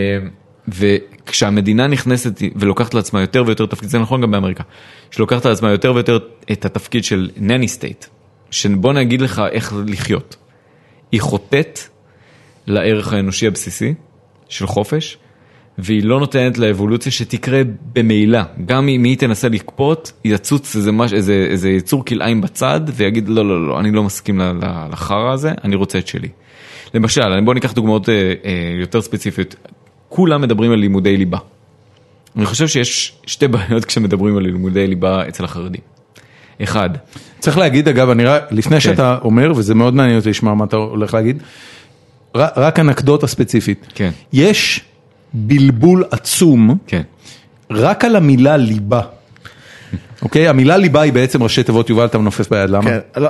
וכשהמדינה נכנסת ולוקחת לעצמה יותר ויותר תפקיד, זה נכון גם באמריקה, שלוקחת על עצמה יותר ויותר את התפקיד של נני סטייט, שבוא נגיד לך איך לחיות. היא חוטאת לערך האנושי הבסיסי של חופש, והיא לא נותנת לאבולוציה שתקרה במילא. גם אם היא תנסה לקפוט, יצוץ איזה, מש, איזה, איזה יצור כלאיים בצד ויגיד לא, לא, לא, אני לא מסכים ל- ל- לחרא הזה, אני רוצה את שלי. למשל, בואו ניקח דוגמאות אה, אה, יותר ספציפיות. כולם מדברים על לימודי ליבה. אני חושב שיש שתי בעיות כשמדברים על לימודי ליבה אצל החרדים. אחד,
צריך להגיד, אגב, אני רק,
כן.
לפני שאתה אומר, וזה מאוד מעניין אותי לשמוע מה אתה הולך להגיד, ר- רק אנקדוטה ספציפית.
כן.
יש בלבול עצום.
כן,
רק על המילה ליבה. אוקיי? המילה ליבה היא בעצם ראשי תיבות יובל, אתה מנופף ביד, למה?
כן, לא.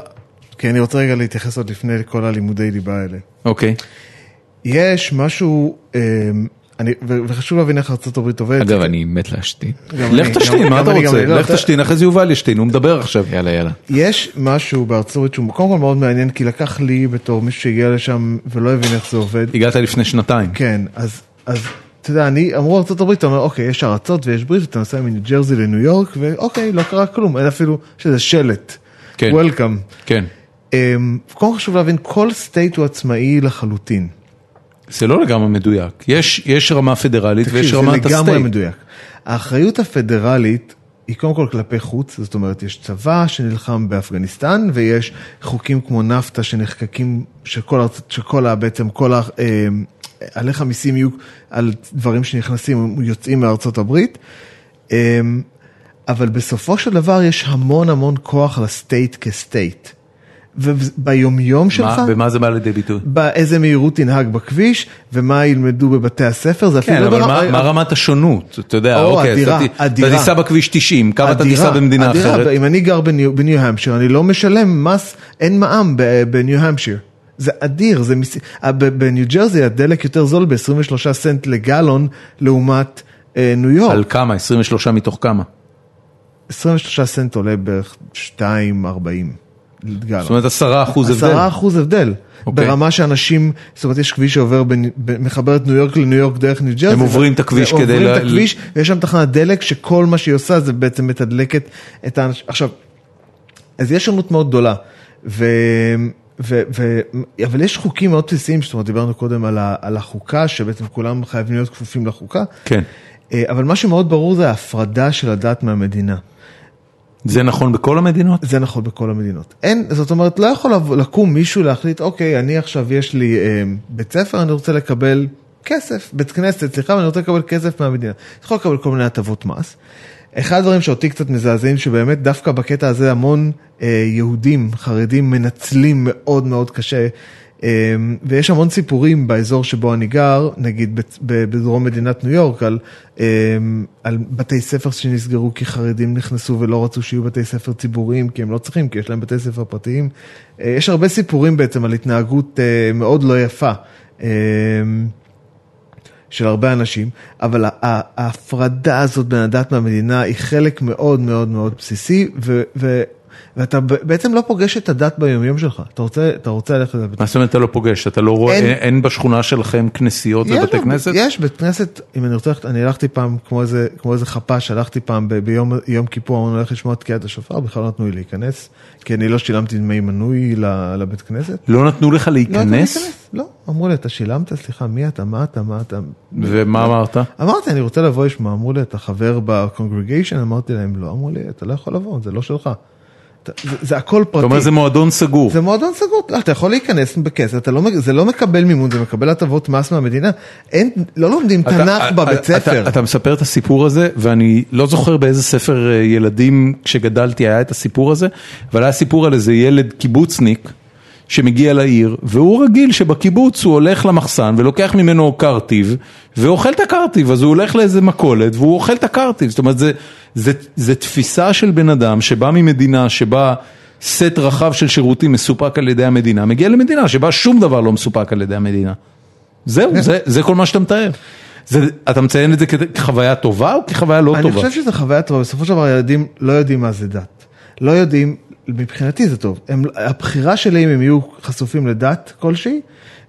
כי אני רוצה רגע להתייחס עוד לפני כל הלימודי ליבה האלה.
אוקיי.
יש משהו, אה, אני, ו- וחשוב להבין איך ארה"ב עובדת.
אגב אני מת להשתין.
גם אני,
לך
גם-
תשתין, מה
גם
אתה
אני, גם
רוצה?
אני, לא,
לך
אתה-
תשתין, אחרי זה יובל ישתין, הוא מדבר עכשיו.
יאללה יאללה.
יש משהו בארצות הברית שהוא קודם כל מאוד מעניין, כי לקח לי בתור מישהו שהגיע לשם ולא הבין איך זה עובד.
הגעת לפני שנתיים.
כן, אז, אז אתה יודע, אני, אמרו ארצות הברית, אתה אומר, אוקיי, יש ארצות ויש ברית, אתה נוסע מניו ג'רזי לניו יורק, ואוקיי, לא קרה כלום, אין אפילו, יש איזה שלט.
כן.
Welcome.
כן.
אמ, קודם כל חשוב להבין, כל סטייט הוא עצמאי לחלוטין.
זה לא לגמרי מדויק. יש- יש רמה פדרלית ויש
תקשיב,
רמת
זה לגמרי
הסטייט.
מדויק. האחריות הפדרלית היא קודם כל כלפי חוץ, זאת אומרת, יש צבא שנלחם באפגניסטן, ויש חוקים כמו נפטה שנחקקים, שכל, ארצ- שכל ה... בעצם כל ה... אמ, עליך מיסים יהיו על דברים שנכנסים, יוצאים מארצות הברית. אמ, אבל בסופו של דבר יש המון המון כוח לסטייט כסטייט. וביומיום שלך... כן,
מה- במה זה בא לידי ביטוי?
באיזה מהירות תנהג בכביש ומה ילמדו בבתי הספר זה
כן,
אפילו
אבל
לא
מה-
ברמה-
מה רמת השונות? אתה יודע,
או,
אוקיי, אז
אדירה,
אתה ת-
אדירה.
אתה תיסע בכביש 90, כמה אתה
אדירה,
תיסע במדינה
אדירה.
אחרת?
אם אני גר בניו, בניו המפשיר אני לא משלם מס אין מע"מ ב- בניו המפשיר. זה אדיר, זה מס... אה, ב- בניו ג'רזי הדלק יותר זול ב-23 סנט לגלון לעומת אה, ניו יורק.
על כמה? 23 מתוך כמה?
23 סנט עולה בערך 2.40 לגלון.
זאת אומרת 10 אחוז הבדל.
עשרה אחוז הבדל.
אוקיי.
ברמה שאנשים, זאת אומרת יש כביש שעובר, בין- ב- מחבר את ניו יורק לניו יורק דרך ניו ג'רזי.
הם עוברים את הכביש
ועוברים
כדי
את
ל-
הכביש, ויש שם תחנת דלק שכל מה שהיא עושה זה בעצם מתדלקת את האנשים. עכשיו, אז יש שונות מאוד גדולה. ו... ו... ו... אבל יש חוקים מאוד בסיסיים, זאת אומרת דיברנו קודם על, ה... על החוקה, שבעצם כולם חייבים להיות כפופים לחוקה.
כן.
אה, אבל מה שמאוד ברור זה ההפרדה של הדת מהמדינה.
זה נכון בכל המדינות?
זה נכון בכל המדינות. אין, זאת אומרת, לא יכול לב- לקום מישהו להחליט, אוקיי, אני עכשיו יש לי אה, בית ספר, אני רוצה לקבל כסף, בית כנסת, סליחה, ואני רוצה לקבל כסף מהמדינה. אתה יכול לקבל כל מיני הטבות מס. אחד הדברים שאותי קצת מזעזעים, שבאמת דווקא בקטע הזה המון אה, יהודים חרדים מנצלים מאוד מאוד קשה. אה, ויש המון סיפורים באזור שבו אני גר, נגיד בצ- ב- בדרום מדינת ניו יורק, על, אה, על בתי ספר שנסגרו כי חרדים נכנסו ולא רצו שיהיו בתי ספר ציבוריים, כי הם לא צריכים, כי יש להם בתי ספר פרטיים. אה, יש הרבה סיפורים בעצם על התנהגות אה, מאוד לא יפה. אה, של הרבה אנשים, אבל ה- ה- ההפרדה הזאת בין הדת מהמדינה היא חלק מאוד מאוד מאוד בסיסי, ו, ו, ואתה ב- בעצם לא פוגש את הדת ביומיום שלך. אתה רוצה, אתה רוצה ללכת לבית
מה זאת אומרת אתה לא פוגש? אתה לא רואה,
אין-
אין, אין בשכונה שלכם כנסיות
יש
ובתי
בית-
כנסת?
יש בית כנסת, אם אני רוצה ללכת, אני הלכתי פעם כמו איזה, כמו איזה חפ"ש, הלכתי פעם ב, ביום יום כיפור, אמרנו ללכת לשמוע את תקיעת השופר, בכלל לא נתנו לי להיכנס, כי אני לא שילמתי דמי מנוי ל- לבית כנסת.
לא נתנו לך
לא נתנו לי
להיכנס?
להיכנס, לא, אמרו לי, אתה שילמת, סליחה, מי אתה, מה אתה, מה אתה,
ומה אמרת?
אמרתי, אני רוצה לבוא, יש מה, אמרו לי, אתה חבר בקונגרגיישן? אמרתי להם, לא, אמרו לי, אתה לא יכול לבוא, זה לא שלך. אתה- זה, זה הכל
אתה
פרטי.
אומר זה מועדון סגור.
זה מועדון סגור, לא, אתה יכול להיכנס בכסף, אתה לא, מק- זה לא מקבל מימון, זה מקבל הטבות מס מהמדינה. אין, לא לומדים
אתה-
תנ"ך
אתה-
בבית
אתה-
ספר.
אתה מספר את הסיפור הזה, ואני לא זוכר באיזה ספר אה, ילדים כשגדלתי היה את הסיפור הזה, אבל היה סיפור על איזה ילד קיבוצניק שמגיע לעיר, והוא רגיל שבקיבוץ הוא הולך למחסן ולוקח ממנו קרטיב, ואוכל את הקרטיב, אז הוא הולך לאיזה מכולת והוא אוכל את הקרטיב. זאת אומרת, זה, זה, זה תפיסה של בן אדם שבא ממדינה שבה... סט רחב של שירותים מסופק על ידי המדינה, מגיע למדינה שבה שום דבר לא מסופק על ידי המדינה.
כן.
זהו, זה, זה כל מה שאתה מתאר. זה, אתה מציין את זה כ- כחוויה טובה או כחוויה לא
אני
טובה?
חושב שזו חוויה טובה, בסופו של דבר ילדים לא יודעים מה זה דת. לא יודעים, מבחינתי זה טוב. הם, הבחירה שלי אם הם יהיו חשופים לדת כלשהי,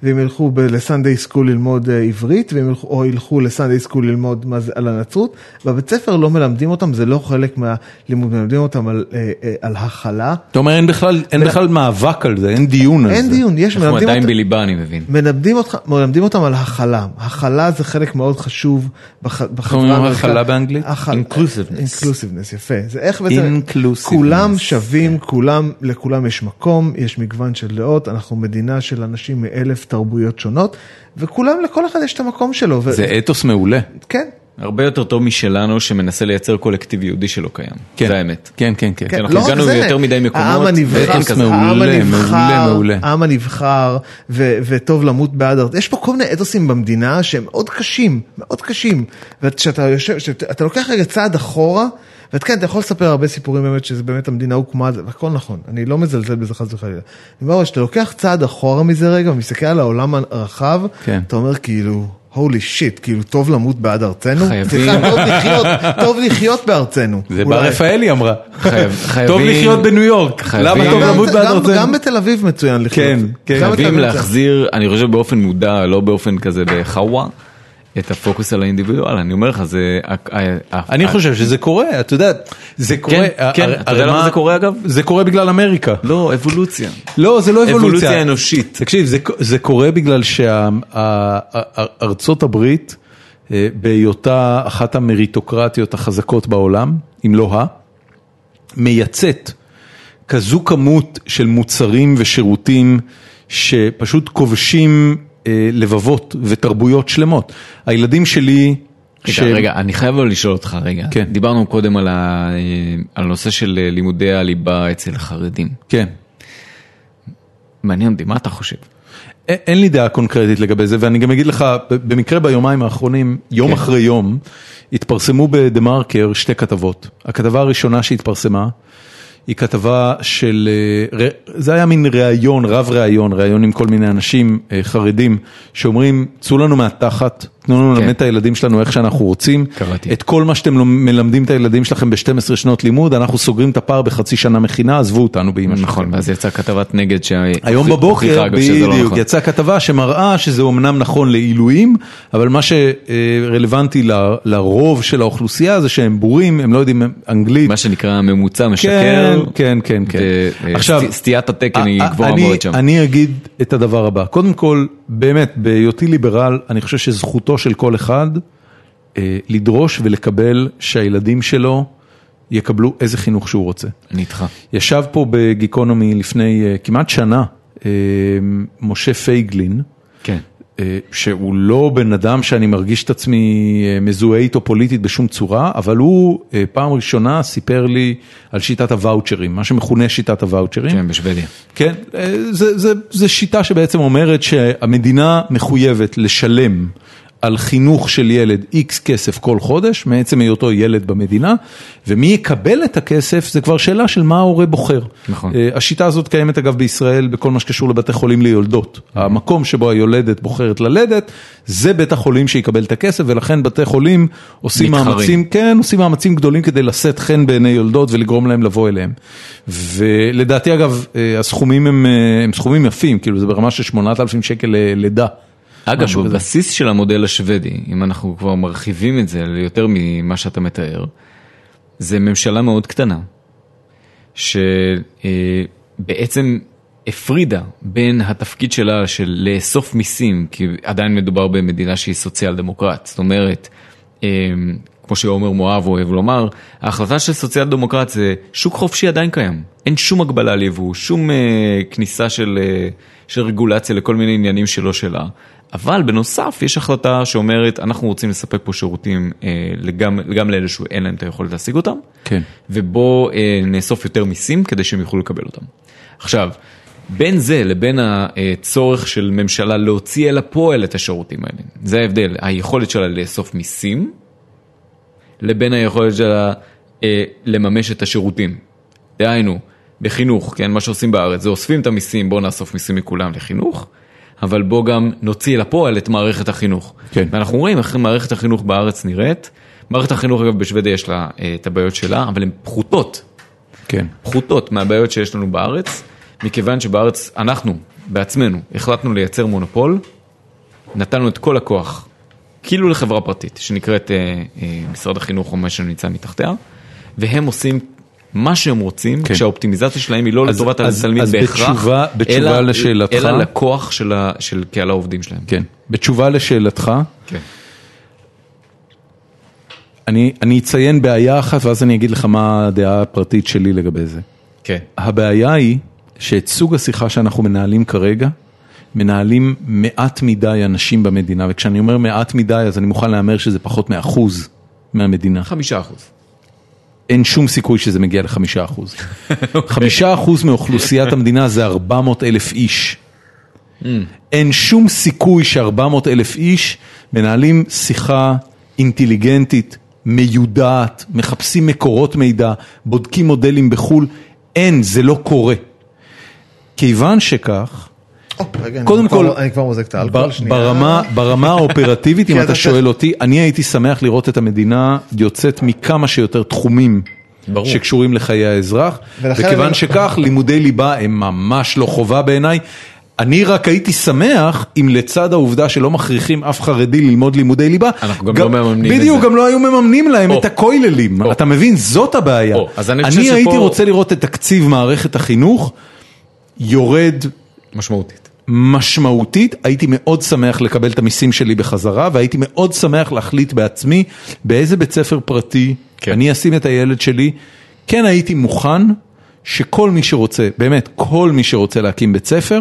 והם ילכו ב- לסנדיי סקול ללמוד אה, עברית, והם ילכו, או ילכו לסנדיי סקול ללמוד מה זה, על הנצרות, בבית ספר לא מלמדים אותם, זה לא חלק מהלימוד, מלמדים אותם על, אה, אה, על הכלה.
אתה אומר אין בכלל, אין בכלל מאבק על זה, אין דיון על כן, זה.
אין דיון, יש,
אנחנו
מלמדים
עדיין
אותם.
בליבה אני מבין.
מלמדים, אותך, מלמדים אותם על הכלה, הכלה זה חלק מאוד חשוב בח, בחברה.
אומרים
האמריקאית.
הכלה באנגלית?
הכלה-
Inclusiveness.
Inclusiveness, יפה. זה איך בעצם,
Inclusiveness. כן.
כולם שווים, כולם, לכולם יש מקום, יש מגוון של דעות, אנחנו מדינה של אנשים מאלף תרבויות שונות, וכולם, לכל אחד יש את המקום שלו. ו-
זה אתוס מעולה.
כן.
הרבה יותר טוב משלנו שמנסה לייצר קולקטיב יהודי שלא קיים.
כן.
זה האמת.
כן, כן, כן.
כן,
אנחנו
לא רק
הגענו
זה,
ליותר מדי מקומות,
העם הנבחר,
ואתוס
העם
מעולה,
הנבחר,
מעולה, מעולה.
העם הנבחר, ו- וטוב למות בעד ארץ. יש פה כל מיני אתוסים במדינה שהם מאוד קשים, מאוד קשים. וכשאתה יושב, כשאתה לוקח רגע צעד אחורה, ואתה כן, אתה יכול לספר הרבה סיפורים באמת, שזה באמת המדינה הוקמה, זה- והכל נכון, אני לא מזלזל בזה חס וחלילה. אני אומר, כשאתה לוקח צעד אחורה מזה רגע, ומסתכל על העולם הרחב,
כן.
אתה אומר כאילו... holy shit, כאילו טוב למות בעד ארצנו,
חייבים.
סליחה, טוב לחיות, טוב לחיות בארצנו.
זה
אולי.
בר רפאלי אמרה.
חייב-
טוב
חייבים-
לחיות בניו יורק,
חייבים-
למה טוב
גם-
למות בעד
גם-
ארצנו?
גם בתל אביב מצוין לחיות.
כן, כן.
גם בתל
חייבים
אביב
להחזיר, אני חושב באופן מודע, לא באופן כזה בחאווה, את הפוקוס על האינדיבידואל, אני אומר לך, זה... ה- ה- ה-
אני
ה-
חושב שזה קורה, אתה יודע, זה קורה.
כן,
הרי-
אתה
הרי
יודע למה
מה-
זה קורה, אגב?
זה קורה בגלל אמריקה.
לא, אבולוציה.
לא, זה לא אבולוציה.
אבולוציה אנושית.
תקשיב, זה, זה קורה בגלל שארצות הברית, אה, בהיותה אחת המריטוקרטיות החזקות בעולם, אם לא ה, מייצאת כזו כמות של מוצרים ושירותים שפשוט כובשים אה, לבבות ותרבויות שלמות. הילדים שלי...
ש... רגע, אני חייב אבל לשאול אותך רגע.
כן.
דיברנו קודם על, ה... אה, על הנושא של לימודי הליבה אצל חרדים.
כן.
מעניין אותי, מה אתה חושב?
א- אין לי דעה קונקרטית לגבי זה, ואני גם אגיד לך, ב- במקרה ביומיים האחרונים, יום
כן.
אחרי יום, התפרסמו בדה מרקר שתי כתבות. הכתבה הראשונה שהתפרסמה, היא כתבה של, אה, ר- זה היה מין ראיון, רב ראיון, ראיון עם כל מיני אנשים אה, חרדים, שאומרים, צאו לנו מהתחת, תנו לנו
כן.
ללמד את הילדים שלנו איך שאנחנו רוצים.
קראתי.
את כל מה שאתם לא- מלמדים את הילדים שלכם ב-12 שנות לימוד, אנחנו סוגרים את הפער בחצי שנה מכינה, עזבו אותנו באמא שלכם.
נכון, ואז יצאה כתבת נגד שה...
היום
הוכיחה,
בבוקר,
אגב, שזה לא
בדיוק,
נכון.
יצאה כתבה שמראה שזה אומנם נכון לעילויים, אבל מה שרלוונטי לרוב של האוכלוסייה זה שהם בורים, הם לא יודעים אנגלית.
מה שנקרא ממוצע
כן,
משקר.
כן, כן, כן.
ו- סטי- סטיית התקן היא
א- א-
גבוהה
אני-
מאוד שם.
אני אגיד את הדבר הבא, קודם כל, באמת, בהיותי ליברל, אני חושב שזכותו של כל אחד אה, לדרוש ולקבל שהילדים שלו יקבלו איזה חינוך שהוא רוצה.
אני איתך.
ישב פה בגיקונומי לפני אה, כמעט שנה אה, משה פייגלין,
כן.
אה, שהוא לא בן אדם שאני מרגיש את עצמי אה, מזוהה איתו פוליטית בשום צורה, אבל הוא אה, פעם ראשונה סיפר לי על שיטת הוואוצ'רים, מה שמכונה שיטת הוואוצ'רים.
כן, בשוודיה.
כן, אה, זה, זה, זה שיטה שבעצם אומרת שהמדינה מחויבת לשלם על חינוך של ילד איקס כסף כל חודש, מעצם היותו ילד במדינה, ומי יקבל את הכסף זה כבר שאלה של מה ההורה בוחר.
נכון.
אה, השיטה הזאת קיימת אגב בישראל בכל מה שקשור לבתי חולים ליולדות. המקום שבו היולדת בוחרת ללדת, זה בית החולים שיקבל את הכסף, ולכן בתי חולים עושים
מתחרים.
מאמצים כן, עושים מאמצים גדולים כדי לשאת חן בעיני יולדות ולגרום להם לבוא אליהם. ולדעתי אגב, אה, הסכומים הם, אה, הם סכומים יפים, כאילו זה ברמה של 8,000 שקל אה, ללידה.
אגב,
משהו כזה.
בבסיס של המודל השוודי, אם אנחנו כבר מרחיבים את זה ליותר ממה שאתה מתאר, זה ממשלה מאוד קטנה, שבעצם הפרידה בין התפקיד שלה של לאסוף מיסים, כי עדיין מדובר במדינה שהיא סוציאל דמוקרט, זאת אומרת, אה, כמו שעומר מואב אוהב לומר, ההחלטה של סוציאל דמוקרט זה שוק חופשי עדיין קיים, אין שום הגבלה על יבוא, שום אה, כניסה של, אה, של רגולציה לכל מיני עניינים שלא שלה. אבל בנוסף יש החלטה שאומרת אנחנו רוצים לספק פה שירותים אה, גם, גם לאלה שאין להם את היכולת להשיג אותם,
כן.
ובו אה, נאסוף יותר מיסים כדי שהם יוכלו לקבל אותם. עכשיו, בין זה לבין הצורך של ממשלה להוציא אל הפועל את השירותים האלה, זה ההבדל, היכולת שלה לאסוף מיסים, לבין היכולת שלה אה, לממש את השירותים. דהיינו, בחינוך, כן, מה שעושים בארץ זה אוספים את המיסים, בואו נאסוף מיסים מכולם לחינוך, אבל בואו גם נוציא לפועל את מערכת החינוך.
כן.
ואנחנו רואים איך מערכת החינוך בארץ נראית. מערכת החינוך, אגב, בשוודיה יש לה אה, את הבעיות שלה, אבל הן פחותות,
כן.
פחותות מהבעיות שיש לנו בארץ, מכיוון שבארץ אנחנו בעצמנו החלטנו לייצר מונופול, נתנו את כל הכוח, כאילו לחברה פרטית שנקראת אה, אה, משרד החינוך או מה שנמצא מתחתיה, והם עושים מה שהם רוצים,
כן.
כן. כשהאופטימיזציה שלהם היא לא
אז-
לטובת
אז-
התלמיד
אז
בהכרח,
בתשובה- בתשובה
אלא,
לשאלתך-
אלא לכוח של, ה, של קהל העובדים שלהם.
כן. בתשובה לשאלתך,
כן.
אני, אני אציין בעיה אחת ואז אני אגיד לך מה הדעה הפרטית שלי לגבי זה.
כן.
הבעיה היא שאת סוג השיחה שאנחנו מנהלים כרגע, מנהלים מעט מדי אנשים במדינה, וכשאני אומר מעט מדי אז אני מוכן להמר שזה פחות מאחוז מהמדינה.
חמישה אחוז.
אין שום סיכוי שזה מגיע לחמישה אחוז. חמישה אחוז מאוכלוסיית המדינה זה 400 אלף איש. אין שום סיכוי ש-400 אלף איש מנהלים שיחה אינטליגנטית, מיודעת, מחפשים מקורות מידע, בודקים מודלים בחו"ל, אין, זה לא קורה. כיוון שכך,
רגע, אני
קודם
כבר- לא-
כל,
אני כבר מוזג את
ב-
האלכוהול שנייה.
ברמה, ברמה האופרטיבית, אם
כן,
אתה
אתה-
שואל אותי, אני הייתי שמח לראות את המדינה יוצאת מכמה שיותר תחומים.
ברור.
שקשורים לחיי האזרח,
ולכן
וכיוון
אני-
שכך לימודי ליבה הם ממש לא חובה בעיניי. אני רק הייתי שמח אם לצד העובדה שלא מכריחים אף חרדי ללמוד לימודי ליבה,
אנחנו גם לא מממנים את
בדיוק,
זה.
גם לא היו מממנים להם
או.
את הכוללים,
או.
אתה מבין? זאת הבעיה.
או, אז אני חושב
אני הייתי
שפה-
רוצה לראות את תקציב מערכת החינוך יורד
משמעותית.
משמעותית, הייתי מאוד שמח לקבל את המיסים שלי בחזרה, והייתי מאוד שמח להחליט בעצמי באיזה בית ספר פרטי כן.
כן.
אני אשים את הילד שלי. כן הייתי מוכן שכל מי שרוצה, באמת, כל מי שרוצה להקים בית ספר,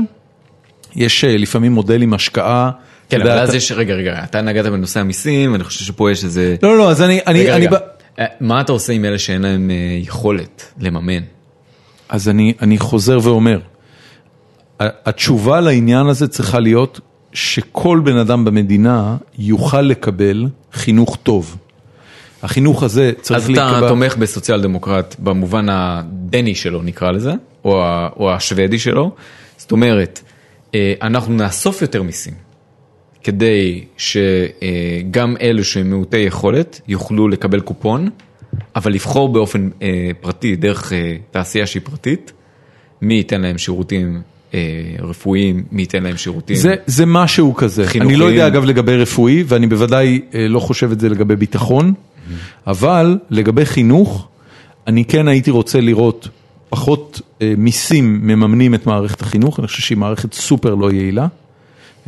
יש אה, לפעמים מודל עם השקעה.
כן,
אתה יודע,
אבל אז
אתה-
יש, רגע, רגע, אתה נגעת בנושא המיסים, אני חושב שפה יש איזה...
לא, לא, אז אני... אני,
רגע,
אני
רגע.
ב-
אה, מה אתה עושה עם אלה שאין להם אה, יכולת לממן?
אז אני, אני חוזר ואומר, ה- התשובה לעניין הזה צריכה להיות שכל בן אדם במדינה יוכל לקבל חינוך טוב. החינוך הזה
אז
צריך
אתה
להיקבע,
תומך בסוציאל דמוקרט במובן הדני שלו נקרא לזה, או, ה, או השוודי שלו. זאת אומרת, אה, אנחנו נאסוף יותר מיסים כדי שגם אלו שהם מעוטי יכולת יוכלו לקבל קופון, אבל לבחור באופן אה, פרטי, דרך אה, תעשייה שהיא פרטית, מי ייתן להם שירותים אה, רפואיים, מי ייתן להם שירותים.
זה, זה משהו כזה. אני
חינוכיים.
לא יודע אגב לגבי רפואי, ואני בוודאי אה, לא חושב את זה לגבי ביטחון, אבל לגבי חינוך, אני כן הייתי רוצה לראות פחות אה, מיסים מממנים את מערכת החינוך, אני חושב שהיא מערכת סופר לא יעילה,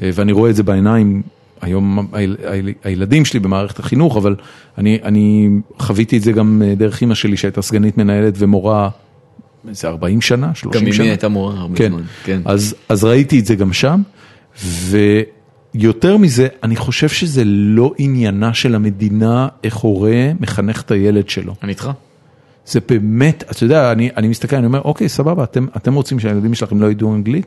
אה, ואני רואה את זה בעיניים היום הילד- הילד- הילדים שלי במערכת החינוך, אבל אני, אני חוויתי את זה גם אה, דרך אימא שלי שהייתה סגנית מנהלת ומורה איזה 40 שנה, 30
גם
שנה.
אמי הייתה מורה הרבה
כן.
זמן. כן.
אז, אז ראיתי את זה גם שם, ויותר מזה, אני חושב שזה לא עניינה של המדינה איך הורה מחנך את הילד שלו.
אני איתך.
זה באמת, אתה יודע, אני, אני מסתכל, אני אומר, אוקיי, סבבה, אתם, אתם רוצים שהילדים שלכם לא ידעו אנגלית?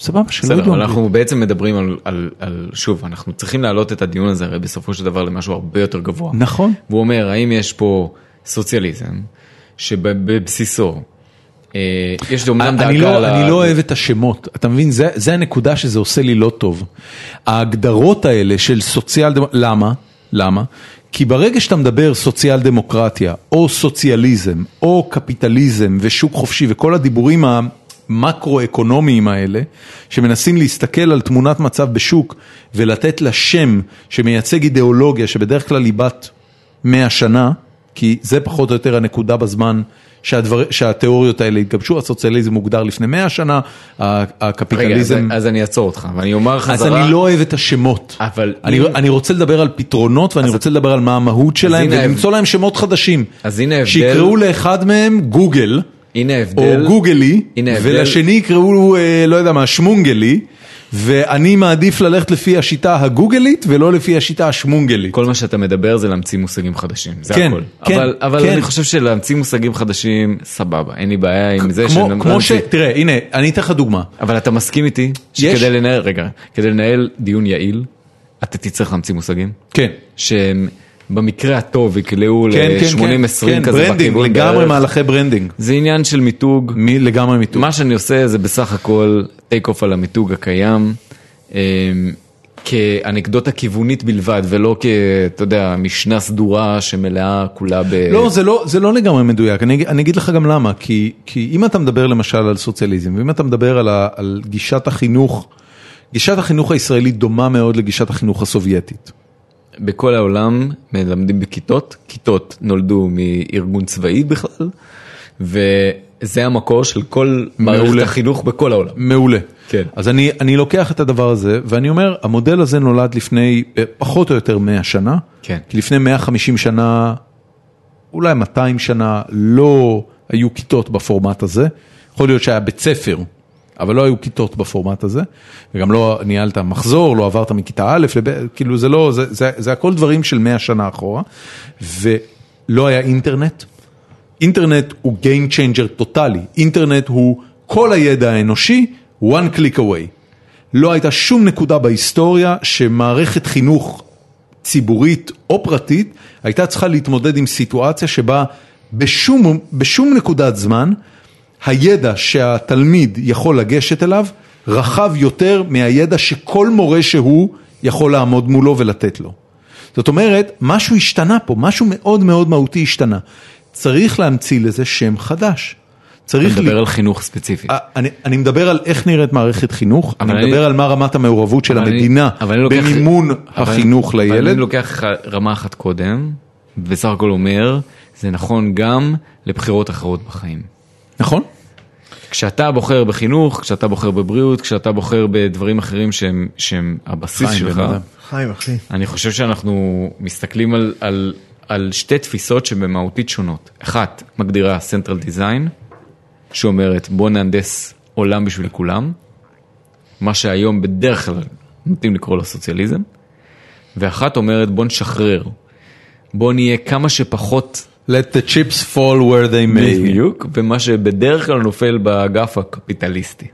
סבבה, שלא
בסדר,
ידעו
אבל
אנגלית.
אנחנו בעצם מדברים על, על, על, שוב, אנחנו צריכים להעלות את הדיון הזה הרי בסופו של דבר למשהו הרבה יותר גבוה.
נכון.
והוא אומר, האם יש פה סוציאליזם שבבסיסו, אה, יש אומנם דאגה
אני לא,
ל-
אני לא אוהב את השמות, אתה מבין? זה, זה הנקודה שזה עושה לי לא טוב. ההגדרות האלה של סוציאל דמוקרטיה, למה? למה? כי ברגע שאתה מדבר סוציאל דמוקרטיה, או סוציאליזם, או קפיטליזם, ושוק חופשי, וכל הדיבורים המקרו-אקונומיים האלה, שמנסים להסתכל על תמונת מצב בשוק, ולתת לה שם שמייצג אידיאולוגיה, שבדרך כלל היא בת 100 שנה, כי זה פחות או יותר הנקודה בזמן שהדבר, שהתיאוריות האלה התגבשו, הסוציאליזם הוגדר לפני 100 שנה, ה-
רגע, אז,
הקפיטליזם...
אז אני אעצור אותך, ואני אומר חזרה,
אז אני לא אוהב את השמות,
אבל
אני,
אם-
אני רוצה לדבר על פתרונות ואני רוצה לדבר על מה המהות שלהם
הנה
ולמצוא להם שמות חדשים.
אז הנה ההבדל-
שיקראו לאחד מהם גוגל,
הנה
או
ההבדל,
גוגלי,
הנה ההבדל-
ולשני יקראו, אה, לא יודע מה, שמונגלי, ואני מעדיף ללכת לפי השיטה הגוגלית ולא לפי השיטה השמונגלית.
כל מה שאתה מדבר זה להמציא מושגים חדשים, זה
כן,
הכל.
כן,
אבל, אבל
כן.
אני חושב שלהמציא מושגים חדשים, סבבה, אין לי בעיה עם זה
כמו,
שאני- לא
כמו ש... תראה, הנה, אני אתן לך דוגמה.
אבל אתה מסכים איתי
יש.
שכדי לנהל, רגע, כדי לנהל דיון יעיל, אתה תצטרך להמציא מושגים?
כן.
שהם במקרה הטוב יקלעו
כן, כן,
ל-80-20
כן,
כזה
ברנדינג,
בכיוון
לגמרי
בערך.
מהלכי ברנדינג.
זה עניין של מיתוג.
מי- לגמרי מיתוג.
מה שאני עושה זה בסך הכל טייק אוף על המיתוג הקיים, אמ, כאנקדוטה כיוונית בלבד, ולא כ... אתה יודע, משנה סדורה שמלאה כולה ב...
לא, זה לא, זה לא לגמרי מדויק, אני, אג- אני אגיד לך גם למה, כי, כי אם אתה מדבר למשל על סוציאליזם, ואם אתה מדבר על, ה, על גישת החינוך, גישת החינוך הישראלית דומה מאוד לגישת החינוך הסובייטית.
בכל העולם מלמדים בכיתות, כיתות נולדו מארגון צבאי בכלל, וזה המקור של כל מערכת
מעולה.
החינוך בכל העולם.
מעולה.
כן.
אז אני, אני לוקח את הדבר הזה, ואני אומר, המודל הזה נולד לפני אה, פחות או יותר 100 שנה.
כן.
כי לפני 150 שנה, אולי 200 שנה, לא היו כיתות בפורמט הזה. יכול להיות שהיה בית ספר, אבל לא היו כיתות בפורמט הזה. וגם לא ניהלת מחזור, לא עברת מכיתה א', לב... כאילו זה לא, זה, זה, זה הכל דברים של 100 שנה אחורה. ולא היה אינטרנט. אינטרנט הוא Game Changer טוטאלי, אינטרנט הוא כל הידע האנושי, one click away. לא הייתה שום נקודה בהיסטוריה שמערכת חינוך ציבורית או פרטית הייתה צריכה להתמודד עם סיטואציה שבה בשום, בשום נקודת זמן הידע שהתלמיד יכול לגשת אליו רחב יותר מהידע שכל מורה שהוא יכול לעמוד מולו ולתת לו. זאת אומרת, משהו השתנה פה, משהו מאוד מאוד מהותי השתנה. צריך להמציא לזה שם חדש. צריך...
נדבר
לי-
על חינוך ספציפי.
אה, אני, אני מדבר על איך נראית מערכת חינוך, אני
אבל אני-
מדבר על מה רמת המעורבות של
אבל אני-
המדינה
אבל אני לוקח-
במימון
אבל-
החינוך
אבל
לילד.
אני לוקח לך רמה אחת קודם, ובסך הכל אומר, זה נכון גם לבחירות אחרות בחיים.
נכון?
כשאתה בוחר בחינוך, כשאתה בוחר בבריאות, כשאתה בוחר בדברים אחרים שהם, שהם הבסיס
חיים,
שלך,
בן אדם.
חיים, אחי.
אני חושב שאנחנו מסתכלים על, על, על שתי תפיסות שבמהותית שונות. אחת מגדירה Central Design, שאומרת בוא נהנדס עולם בשביל כולם, מה שהיום בדרך כלל נוטים לקרוא לו סוציאליזם, ואחת אומרת בוא נשחרר, בוא נהיה כמה שפחות
Let the chips fall where they may.
בדיוק, אה, ומה שבדרך כלל נופל באגף הקפיטליסטי.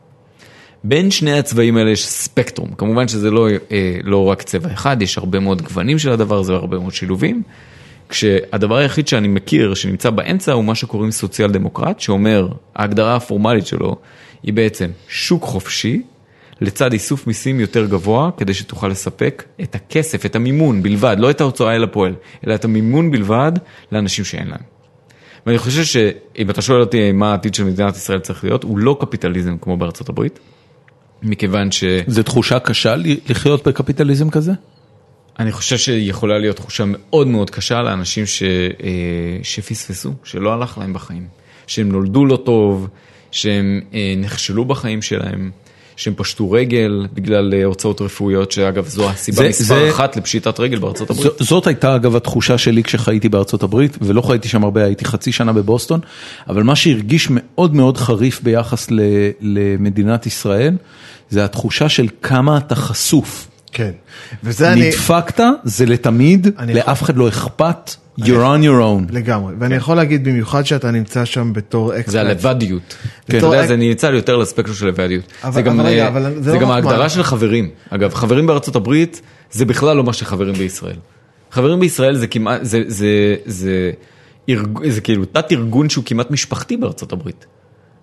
בין שני הצבעים האלה יש ספקטרום, כמובן שזה לא, אה, לא רק צבע אחד, יש הרבה מאוד גוונים של הדבר הזה והרבה מאוד שילובים. כשהדבר היחיד שאני מכיר שנמצא באמצע הוא מה שקוראים סוציאל דמוקרט, שאומר, ההגדרה הפורמלית שלו היא בעצם שוק חופשי לצד איסוף מיסים יותר גבוה, כדי שתוכל לספק את הכסף, את המימון בלבד, לא את ההוצאה אל הפועל, אלא את המימון בלבד לאנשים שאין להם. ואני חושב שאם אתה שואל אותי מה העתיד של מדינת ישראל צריך להיות, הוא לא קפיטליזם כמו בארצות הברית, מכיוון שאני
זו תחושה קשה ל- לחיות בקפיטליזם כזה?
חושב שיכולה להיות תחושה מאוד מאוד קשה לאנשים ש, אה, שפספסו, שלא הלך להם בחיים, שהם נולדו לא טוב, שהם אה, נכשלו בחיים שלהם, שהם פשטו רגל בגלל אה, הוצאות רפואיות, שאגב זו הסיבה
זה-
מספר
זה-
אחת לפשיטת רגל בארצות הברית.
ז- זאת הייתה אגב התחושה שלי כשחייתי בארצות הברית, ולא חייתי שם הרבה, הייתי חצי שנה בבוסטון, אבל מה שהרגיש מאוד מאוד חריף ביחס ל, למדינת ישראל, זה התחושה של כמה אתה חשוף.
כן. וזה אני...
נדפקת, זה לתמיד,
אני-
לאף אחד לא אכפת, you're on your own.
לגמרי.
כן.
ואני יכול להגיד במיוחד שאתה נמצא שם בתור אקספרט.
זה הלבדיות. אתה
כן.
יודע,
בתור-
זה ניצל יותר לספקטרום של לבדיות.
אבל-
זה גם,
אבל רגע,
אה,
אבל זה
זה
לא
גם
רק מה-
ההגדרה של חברים. אגב, חברים בארצות הברית זה בכלל לא מה שחברים בישראל. חברים בישראל זה כמעט, זה- זה- זה ארג- זה כאילו תת ארגון שהוא כמעט משפחתי בארצות הברית.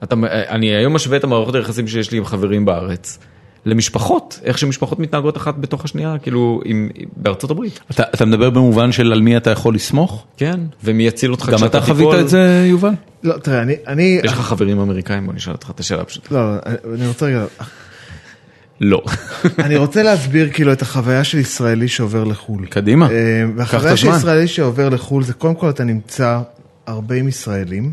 אתה, אה, אני היום משווה את המערכות היחסים שיש לי עם חברים בארץ. למשפחות, איך שמשפחות מתנהגות אחת בתוך השנייה, כאילו, עם, בארצות הברית.
אתה, אתה מדבר במובן של על מי אתה יכול לסמוך?
כן. ומי יציל אותך
גם אתה חווית
תיפול.
את זה, יובל?
לא, תראה, אני... אני...
יש לך חברים אמריקאים? בוא נשאל אותך את השאלה הפשוטה.
לא, לא, אני רוצה רגע...
לא.
אני רוצה להסביר כאילו את החוויה של ישראלי שעובר לחו"ל.
קדימה.
אה,
קח את
והחוויה של
הזמן.
ישראלי שעובר לחו"ל זה קודם כל אתה נמצא הרבה עם ישראלים,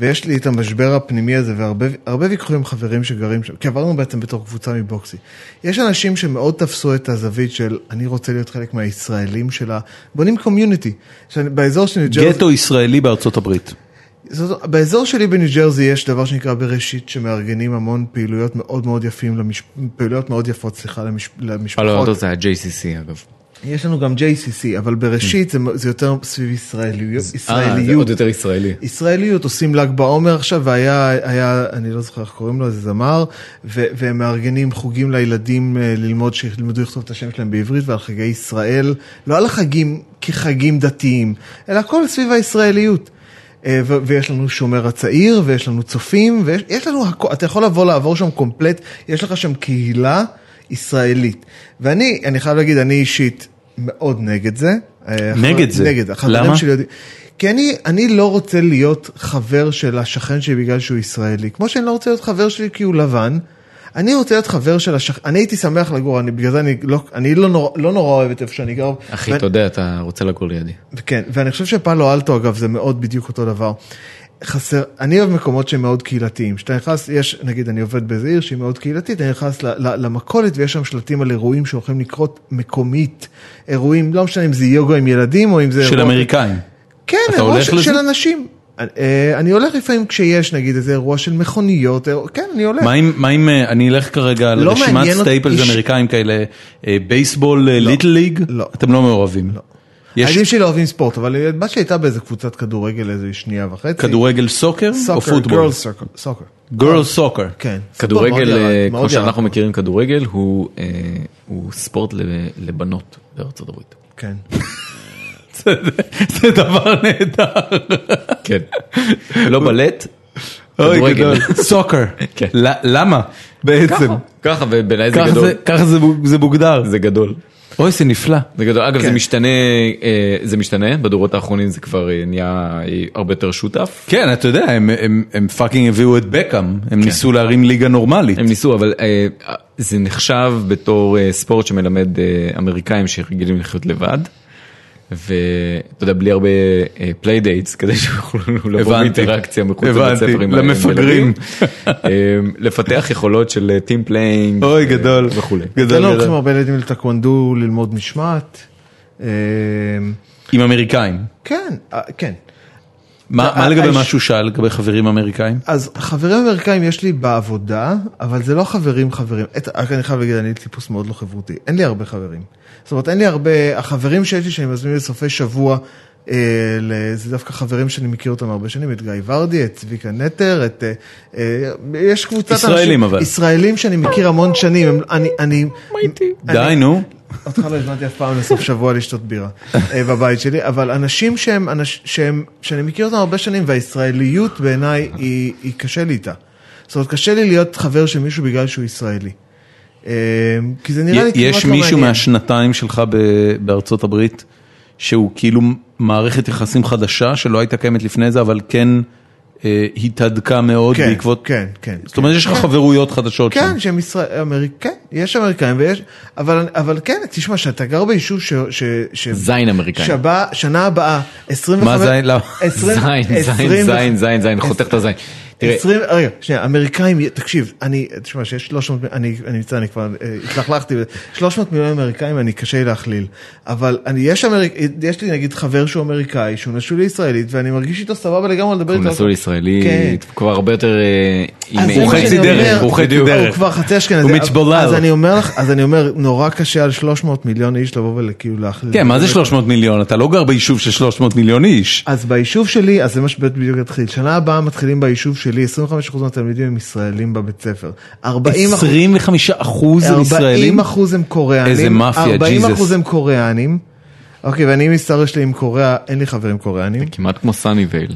ויש לי את המשבר הפנימי הזה והרבה הרבה ויכוחים עם חברים שגרים שם, כי עברנו בעצם בתור קבוצה מבוקסי. יש אנשים שמאוד תפסו את הזווית של אני רוצה להיות חלק מהישראלים של ה... בונים קומיוניטי. באזור של ניו ג'רזי...
גטו ישראלי בארצות הברית.
אה, זאת, באזור שלי בניו ג'רזי יש דבר שנקרא בראשית שמארגנים המון פעילויות מאוד מאוד יפים, למש... פעילויות מאוד יפות, סליחה, למש... למשפחות.
פאלו אלטו זה ה-JCC אגב.
יש לנו גם JCC, אבל בראשית זה, זה יותר סביב ישראליות.
אה, זה עוד
ישראליות.
יותר ישראלי.
ישראליות עושים ל"ג בעומר עכשיו, והיה, היה, אני לא זוכר איך קוראים לו, איזה זמר, ו- והם מארגנים חוגים לילדים אה, ללמוד, שילמדו לכתוב את השם שלהם בעברית, ועל חגי ישראל, לא על החגים כחגים דתיים, אלא הכל סביב הישראליות. אה, ו- ויש לנו שומר הצעיר, ויש לנו צופים, ויש יש לנו הכל, אתה יכול לבוא לעבור שם קומפלט, יש לך שם קהילה ישראלית. ואני, אני חייב להגיד, אני אישית מאוד נגד זה. אה,
נגד זה?
נגד, החברים
למה?
שלי יודעים. כי אני, אני לא רוצה להיות חבר של השכן שלי בגלל שהוא ישראלי. כמו שאני לא רוצה להיות חבר שלי כי הוא לבן, אני רוצה להיות חבר של השכן, אני הייתי שמח לגור, אני, בגלל זה אני לא, אני לא, נור, לא נורא אוהב את איפה שאני גר.
אחי,
ואני-
אתה יודע, אתה רוצה לגור לידי.
כן, ואני חושב שפאלו אלטו אגב זה מאוד בדיוק אותו דבר. חסר, אני אוהב מקומות שהם מאוד קהילתיים. כשאתה נכנס, יש, נגיד אני עובד באיזה עיר שהיא מאוד קהילתית, אני נכנס ל- ל- למכולת ויש שם שלטים על אירועים שהולכים לקרות מקומית. אירועים, לא משנה אם זה יוגה עם ילדים או אם זה...
של
אירוע-
אמריקאים.
כן,
אתה
אירוע
הולך
של,
לזה?
של אנשים. אה, אני הולך לפעמים כשיש נגיד איזה אירוע של מכוניות, אירוע, כן, אני הולך.
מה אם, מה אם אה, אני אלך כרגע
לא
לרשימת
מעניין אותי
סטייפלס
איש-
אמריקאים כאלה, אה, בייסבול, אה, ליטל ליג?
לא.
אתם לא מעורבים. יש
הילדים שלי לא אוהבים ספורט, אבל הבת שלי הייתה באיזה קבוצת כדורגל איזה שנייה וחצי.
כדורגל סוקר או פוטבול?
girls soccer, soccer.
גרל סוקר.
כן. פוטבול מאוד
כדורגל,
ירד,
אה,
מאוד
כמו
ירד.
שאנחנו מכירים כדורגל, הוא, אה, הוא ספורט ל- לבנות בארצות הברית.
כן.
זה דבר נהדר.
כן. לא בלט, כדורגל.
סוקר.
כן.
ל- למה? בעצם.
ככה, ובעיניי זה
ככה
גדול.
זה- ככה זה מוג- זה מוגדר.
זה גדול.
אוי, זה נפלא.
זה גדול. אגב, זה משתנה, אה, זה משתנה, בדורות האחרונים זה כבר אה, נהיה אה, הרבה יותר שותף.
כן, אתה יודע, הם- הם- הם פאקינג הביאו את בקאם, הם ניסו להרים ליגה נורמלית.
הם ניסו, אבל אה, אה, זה נחשב בתור אה, ספורט שמלמד אה, אמריקאים שרגילים לחיות לבד. ואתה יודע, בלי הרבה פליידייטס, כדי שיוכלו לבוא
הבנתי.
באינטראקציה מחוץ לבית
הבנתי,
ספר עם עם
למפגרים.
ילדים. אה, לפתח יכולות של אה, טים פליינג.
אוי, גדול.
וכולי.
גדול,
אצלנו
גדול.
הולכים לא הרבה ילדים לטקוונדו ללמוד משמעת. אה,
עם אמריקאים.
כן, אה, כן.
מה מה
ה-
לגבי
האיש-
מה שהוא שאל לגבי חברים אמריקאים?
אז חברים אמריקאים יש לי בעבודה, אבל זה לא חברים חברים. את, רק אני חייב להגיד, אני טיפוס מאוד לא חברותי. אין לי הרבה חברים. זאת אומרת, אין לי הרבה, החברים שיש לי שאני מזמין לסופי שבוע, אה, ל- זה דווקא חברים שאני מכיר אותם הרבה שנים, את גיא ורדי, את צביקה נטר, את... אה, אה, יש קבוצת
ישראלים, אבל.
ישראלים שאני מכיר המון שנים. הם, אני... אני אני-
די, נו.
אותך לא הזמנתי אף פעם לסוף שבוע לשתות בירה אה, בבית שלי, אבל אנשים שהם, אנש, שהם, שאני מכיר אותם הרבה שנים, והישראליות בעיניי היא, היא קשה לי איתה. זאת אומרת, קשה לי להיות חבר של מישהו בגלל שהוא ישראלי. אה, כי זה נראה לי כמעט לא מעניין.
יש מישהו מהשנתיים שלך ב- בארצות הברית, שהוא כאילו מערכת יחסים חדשה שלא הייתה קיימת לפני זה, אבל כן אה, התהדקה מאוד
כן,
בעקבות...
כן, כן.
זאת אומרת, יש לך חברויות חדשות שם.
כן, שהם ישראל, אמריק, כן, יש אמריקאים ויש, אבל, אבל כן, תשמע, שאתה גר ביישוב ש... ש, ש
זין אמריקאי.
שבה, שנה הבאה, 25...
לא.
מה זין? לא. למה?
זין, זין, זין, זין, זין, חותך את הזין. תראה.
20, רגע, שנייה, אמריקאים, תקשיב, אני, תשמע, שיש 300, מיליון- אני אני מצטער, אני כבר אה, התלכלכתי, 300 מיליון אמריקאים, אני קשה לי להכליל, אבל אני, יש אמריק, יש לי נגיד חבר שהוא אמריקאי, שהוא נשוי לישראלית, ואני מרגיש איתו סבבה לגמרי לדבר
הוא
איתו.
נשוי לישראלית,
כן.
כבר הרבה יותר... אה, עם-
אז זה
עם-
מה שאני אומר,
בדיוק.
הוא כבר חצי אשכנזי.
הוא מיץ' בולל.
אז אני אומר לך, אז אני אומר, נורא קשה על 300 מיליון איש לבוא וכאילו להכליל.
כן, מה זה 300 מיליון? אתה לא גר ביישוב של 300 מיליון איש.
אז ביישוב שלי, אז זה מה שבדיוק התחיל. שנה הבאה מתחילים ביישוב שלי, 25% מהתלמידים הם ישראלים בבית ספר. 40
25 אחוז הם ישראלים?
40 אחוז הם קוריאנים.
איזה מאפיה,
40
ג'יזוס.
אחוז הם קוריאנים. אוקיי, ואני מסתבר שלי עם קוריאה, אין לי חברים קוריאנים.
כמעט כמו סאני וייל.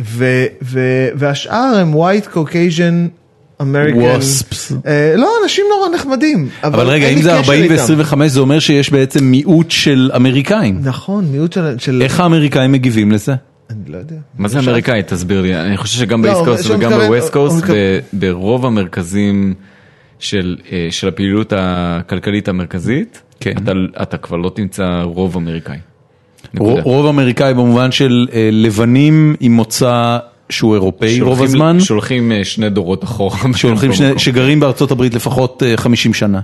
ו- ו- והשאר הם white caucasian American.
Wasps.
אה, לא, אנשים נורא נחמדים.
אבל רגע,
אין לי
אם זה
קשר
40
איתם.
ו-25 זה אומר שיש בעצם מיעוט של אמריקאים.
נכון, מיעוט של... של-
איך האמריקאים מגיבים לזה?
אני לא יודע.
מה זה אמריקאי? תסביר לי. אני חושב שגם
לא,
באיסט
אבל
קוסט
שהוא
וגם
מתכוון-
בווסט
הוא
קוסט,
מתכוון-
אוקיי.
ב- ברוב המרכזים של אה, של הפעילות הכלכלית המרכזית,
כן.
אתה- אתה כבר לא תמצא רוב אמריקאי.
רוב
נקודה.
רוב אמריקאי במובן של אה, לבנים עם מוצא שהוא אירופאי רוב
שולחים-
הזמן,
שולחים אה, שני דורות אחורה.
שהולכים שני-
במקום.
שגרים בארצות הברית לפחות אה, 50 שנה.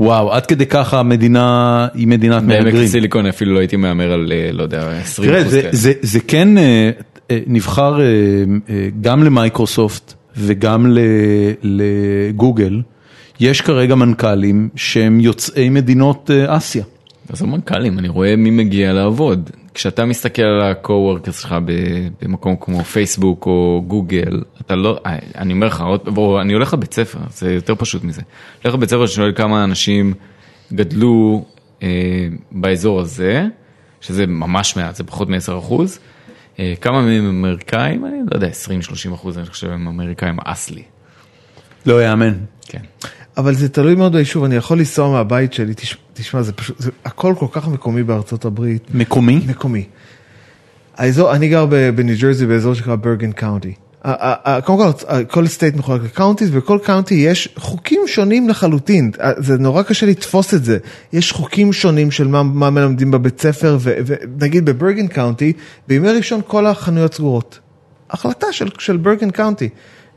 וואו, עד כדי ככה המדינה היא מדינת
בעמק
מהגרים.
הסיליקון אפילו לא הייתי מהמר על, אה, לא יודע, 20
תראה,
אחוז
זה,
כאלה.
זה, זה כן אה, אה, נבחר אה, אה, גם למייקרוסופט וגם ל- לגוגל. יש כרגע מנכ"לים שהם יוצאי מדינות אה, אסיה.
אז המנכ"לים, אני רואה מי מגיע לעבוד. כשאתה מסתכל על ה-co-workers שלך ב- במקום כמו פייסבוק או גוגל, אתה לא, אה, אני אומר לך, עוד- בוא, אני הולך לבית ספר, זה יותר פשוט מזה. הולך לבית ספר ושואל כמה אנשים גדלו אה, באזור הזה, שזה ממש מעט, זה פחות מ-10 אחוז. אה, כמה מהם הם אמריקאים? אני לא יודע, 20-30 אחוז, אני חושב, הם אמריקאים אסלי.
לא יאמן.
כן.
אבל זה תלוי מאוד ביישוב, אני יכול לנסוע מהבית שלי, תש- תשמע, זה פשוט, זה הכל כל כך מקומי בארצות הברית.
מקומי?
מקומי. האזור, אני גר ב- בניו ג'רזי באזור שנקרא ברגן קאונטי. ה- ה- ה- קודם כל, ה- כל סטייט מחולק לקאונטיז, וכל קאונטי יש חוקים שונים לחלוטין. ה- זה נורא קשה לתפוס את זה. יש חוקים שונים של מה, מה מלמדים בבית ספר, ו- ונגיד בברגן קאונטי, בימי ראשון כל החנויות סגורות. החלטה של, של ברגן קאונטי.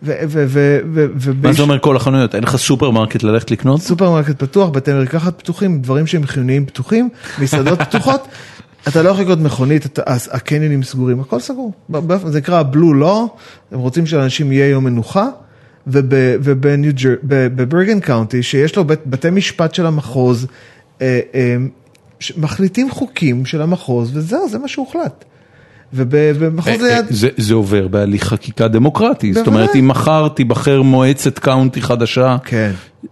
ו- ו- ו- ו- ו-
מה זה אומר כל החנויות? אין לך סופרמרקט ללכת לקנות?
סופרמרקט פתוח, בתי מרקחת פתוחים, דברים שהם חיוניים פתוחים, מסעדות פתוחות. אתה לא יכול לקנות מכונית, אתה- אז הקניונים סגורים, הכל סגור. ב- ב- זה נקרא בלו לא, הם רוצים שלאנשים יהיה יום מנוחה. ובברגן קאונטי, שיש לו בית- בתי משפט של המחוז, אה, אה, ש- מחליטים חוקים של המחוז, וזהו, זה מה שהוחלט. ובמחוז
אה, אה,
ליד...
זה, זה עובר בהליך חקיקה דמוקרטי, זאת
בוודאי.
אומרת אם מחר תיבחר מועצת קאונטי חדשה,
כן.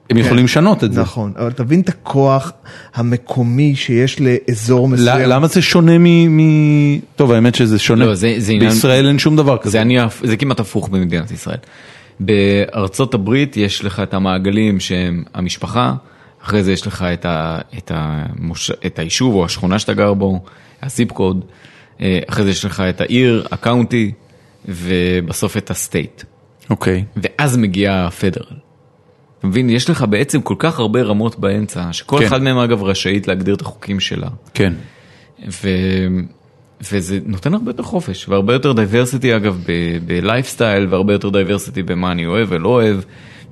הם יכולים לשנות את זה.
נכון, אבל תבין את הכוח המקומי שיש לאזור
ל-
מסוים.
למה זה שונה מ... מ- טוב האמת שזה שונה,
לא, זה- זה עניין-
בישראל אין שום דבר כזה.
זה, אני, זה כמעט הפוך במדינת ישראל. בארצות הברית יש לך את המעגלים שהם המשפחה, אחרי זה יש לך את, ה, את, המוש, את היישוב או השכונה שאתה גר בו, הסיפ קוד, אה, אחרי זה יש לך את העיר, הקאונטי, ובסוף את הסטייט.
אוקיי.
ואז מגיע הפדרל. אתה מבין, יש לך בעצם כל כך הרבה רמות באמצע, שכל
כן.
כן. אחד מהם אגב רשאית להגדיר את החוקים שלה.
כן.
ו... וזה נותן הרבה יותר חופש והרבה יותר דייברסיטי אגב בלייפסטייל והרבה יותר דייברסיטי במה אני אוהב ולא אוהב.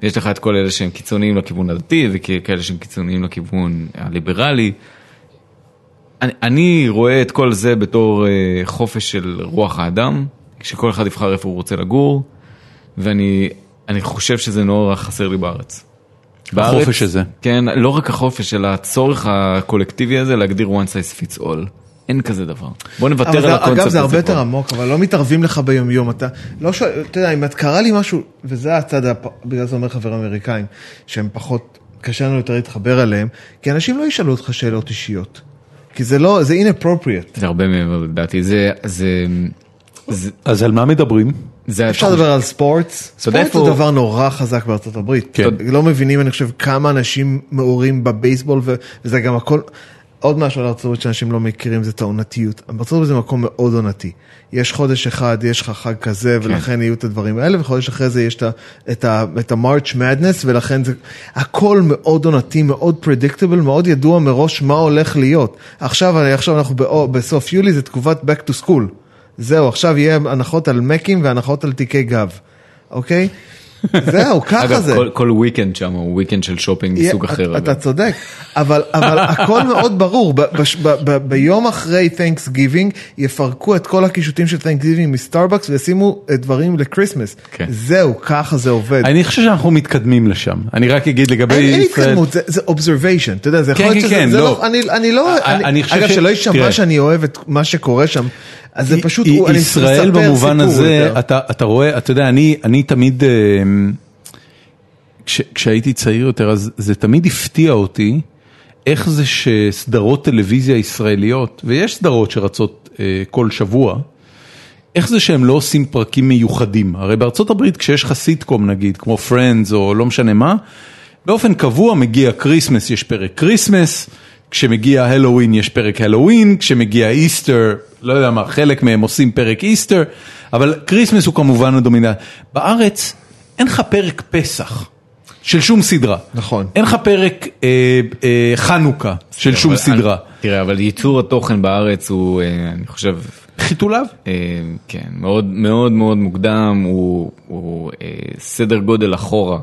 ויש לך את כל אלה שהם קיצוניים לכיוון הדתי וכאלה שהם קיצוניים לכיוון הליברלי. אני, אני רואה את כל זה בתור אה, חופש של רוח האדם, שכל אחד יבחר איפה הוא רוצה לגור, ואני אני חושב שזה נורא חסר לי בארץ.
החופש הזה.
כן, לא רק החופש, אלא הצורך הקולקטיבי הזה להגדיר one size fits all. אין כזה דבר. בוא נוותר על
אבל זה-
הקונספט הזה.
אגב, זה הרבה
כבר.
יותר עמוק, אבל לא מתערבים לך ביומיום. אתה לא שואל, אתה יודע, אם את קרה לי משהו, וזה הצד, הפ- בגלל זה אומר חבר אמריקאים, שהם פחות, קשה לנו יותר להתחבר אליהם, כי אנשים לא ישאלו אותך שאלות אישיות. כי זה לא, זה inappropriate.
זה הרבה מעבר לדעתי, זה, זה, זה,
אז על מה מדברים?
זה
אפשר לדבר על ספורטס,
יודע
ספורט
איפה-
זה דבר נורא חזק בארצות הברית.
כן.
לא מבינים, אני חושב, כמה אנשים מעורים בבייסבול, ו- וזה גם הכל... עוד משהו על ארצות הברית שאנשים לא מכירים זה את העונתיות. ארצות הברית זה מקום מאוד עונתי. יש חודש אחד, יש לך חג כזה, ולכן יהיו את הדברים האלה, וחודש אחרי זה יש את ה- את ה- את ה-March Madness, ולכן זה... הכל מאוד עונתי, מאוד predictable, מאוד ידוע מראש מה הולך להיות. עכשיו, עכשיו אנחנו בא- בסוף יולי, זה תקופת Back to School. זהו, עכשיו יהיה הנחות על מקים והנחות על תיקי גב. אוקיי? זהו, ככה
אגב,
זה.
כל- כל וויקנד שם הוא וויקנד של שופינג מסוג
אתה-
אחר.
אתה
אגב.
צודק, אבל, אבל הכל מאוד ברור, ב, בש- ב, ב, ביום אחרי תנקס גיבינג יפרקו את כל הקישוטים של תנקס גיבינג מסטארבקס וישימו אה, דברים לקריסמס.
כן.
זהו, ככה זה עובד.
אני חושב שאנחנו מתקדמים לשם. אני רק אגיד לגבי
אין, אין
ישראל-
התקדמות, זה, זה observation, אתה יודע, זה יכול
כן,
להיות
כן,
שזה,
כן,
זה
לא.
אני, אני לא,
אני-
אני,
אני חושב
אגב,
ש-
שלא יישמע
תראה.
שאני אוהב את מה שקורה שם, אז זה פשוט,
היא-
הוא- אני
ישראל
מספר
במובן
סיפור
הזה,
יותר.
אתה, אתה רואה, אתה יודע, אני, אני תמיד, אה, כש, כשהייתי צעיר יותר, אז זה תמיד הפתיע אותי איך זה שסדרות טלוויזיה ישראליות, ויש סדרות שרצות אה, כל שבוע, איך זה שהם לא עושים פרקים מיוחדים? הרי בארצות הברית כשיש לך סיטקום נגיד, כמו Friends או לא משנה מה, באופן קבוע מגיע כריסמס, יש פרק כריסמס, כשמגיע הלואוין יש פרק הלואוין, כשמגיע איסטר, לא יודע מה, חלק מהם עושים פרק איסטר, אבל כריסמס הוא כמובן הדומיננט. בארץ אין לך פרק פסח. של שום סדרה.
נכון.
אין לך פרק אה, אה, חנוכה של שום
כן, אבל-
סדרה.
תראה, אבל ייצור התוכן בארץ הוא, אה, אני חושב,
חיתוליו?
אה, כן, מאוד מאוד מאוד מוקדם, הוא- הוא אה, סדר גודל אחורה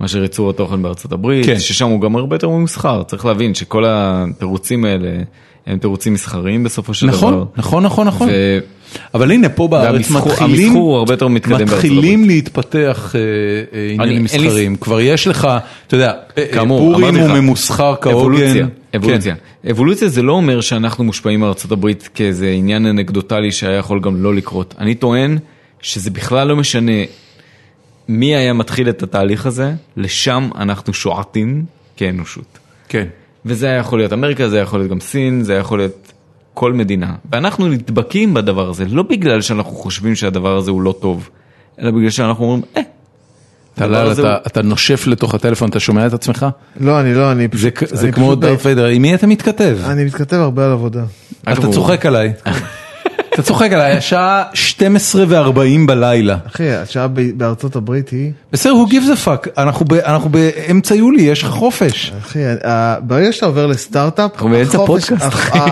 מאשר ייצור התוכן בארצות הברית,
כן.
ששם הוא גם הרבה יותר ממוסחר, צריך להבין שכל התירוצים האלה הם תירוצים מסחריים בסופו של דבר.
נכון, נכון, נכון, נכון.
ו-
אבל הנה פה בארץ
והמסחור-
מתחילים,
המסחור הוא הרבה יותר מתקדם בארצות
מתחילים להתפתח אה, אה, עניינים
אני- אין לי-
מסחריים, כבר יש לך, אתה יודע, אה,
כאמור,
פורים
אמרתי
הוא
לך.
ממוסחר
אבולוציה,
כהוגן, כן.
אבולוציה. אבולוציה זה לא אומר שאנחנו מושפעים מארצות הברית כאיזה עניין אנקדוטלי שהיה יכול גם לא לקרות. אני טוען שזה בכלל לא משנה מי היה מתחיל את התהליך הזה, לשם אנחנו שועטים כאנושות.
כן, כן,
וזה היה יכול להיות אמריקה, זה היה יכול להיות גם סין, זה היה יכול להיות כל מדינה. ואנחנו נדבקים בדבר הזה, לא בגלל שאנחנו חושבים שהדבר הזה הוא לא טוב, אלא בגלל שאנחנו אומרים, אה, הדבר
טלל,
הזה הוא-
אתה, אתה נושף לתוך הטלפון, אתה שומע את עצמך?
לא, אני לא, אני
זה,
פשוט,
כ- זה
אני
כמו
פשוט-
דארט ויידר, עם מי אתה מתכתב?
אני מתכתב הרבה על עבודה.
אגב,
אה, אתה
הוא-
צוחק עליי, אתה צוחק עליי, השעה 12 ו-40 בלילה.
אחי, השעה ב- בארצות הברית היא...
בסדר, who gives a fuck, אנחנו, ב, אנחנו באמצע יולי, יש לך חופש.
אחי, ה- ברגע שאתה עובר לסטארט-אפ,
אנחנו באמצע
החופש-
פודקאסט,
הח-
אחי.
ה-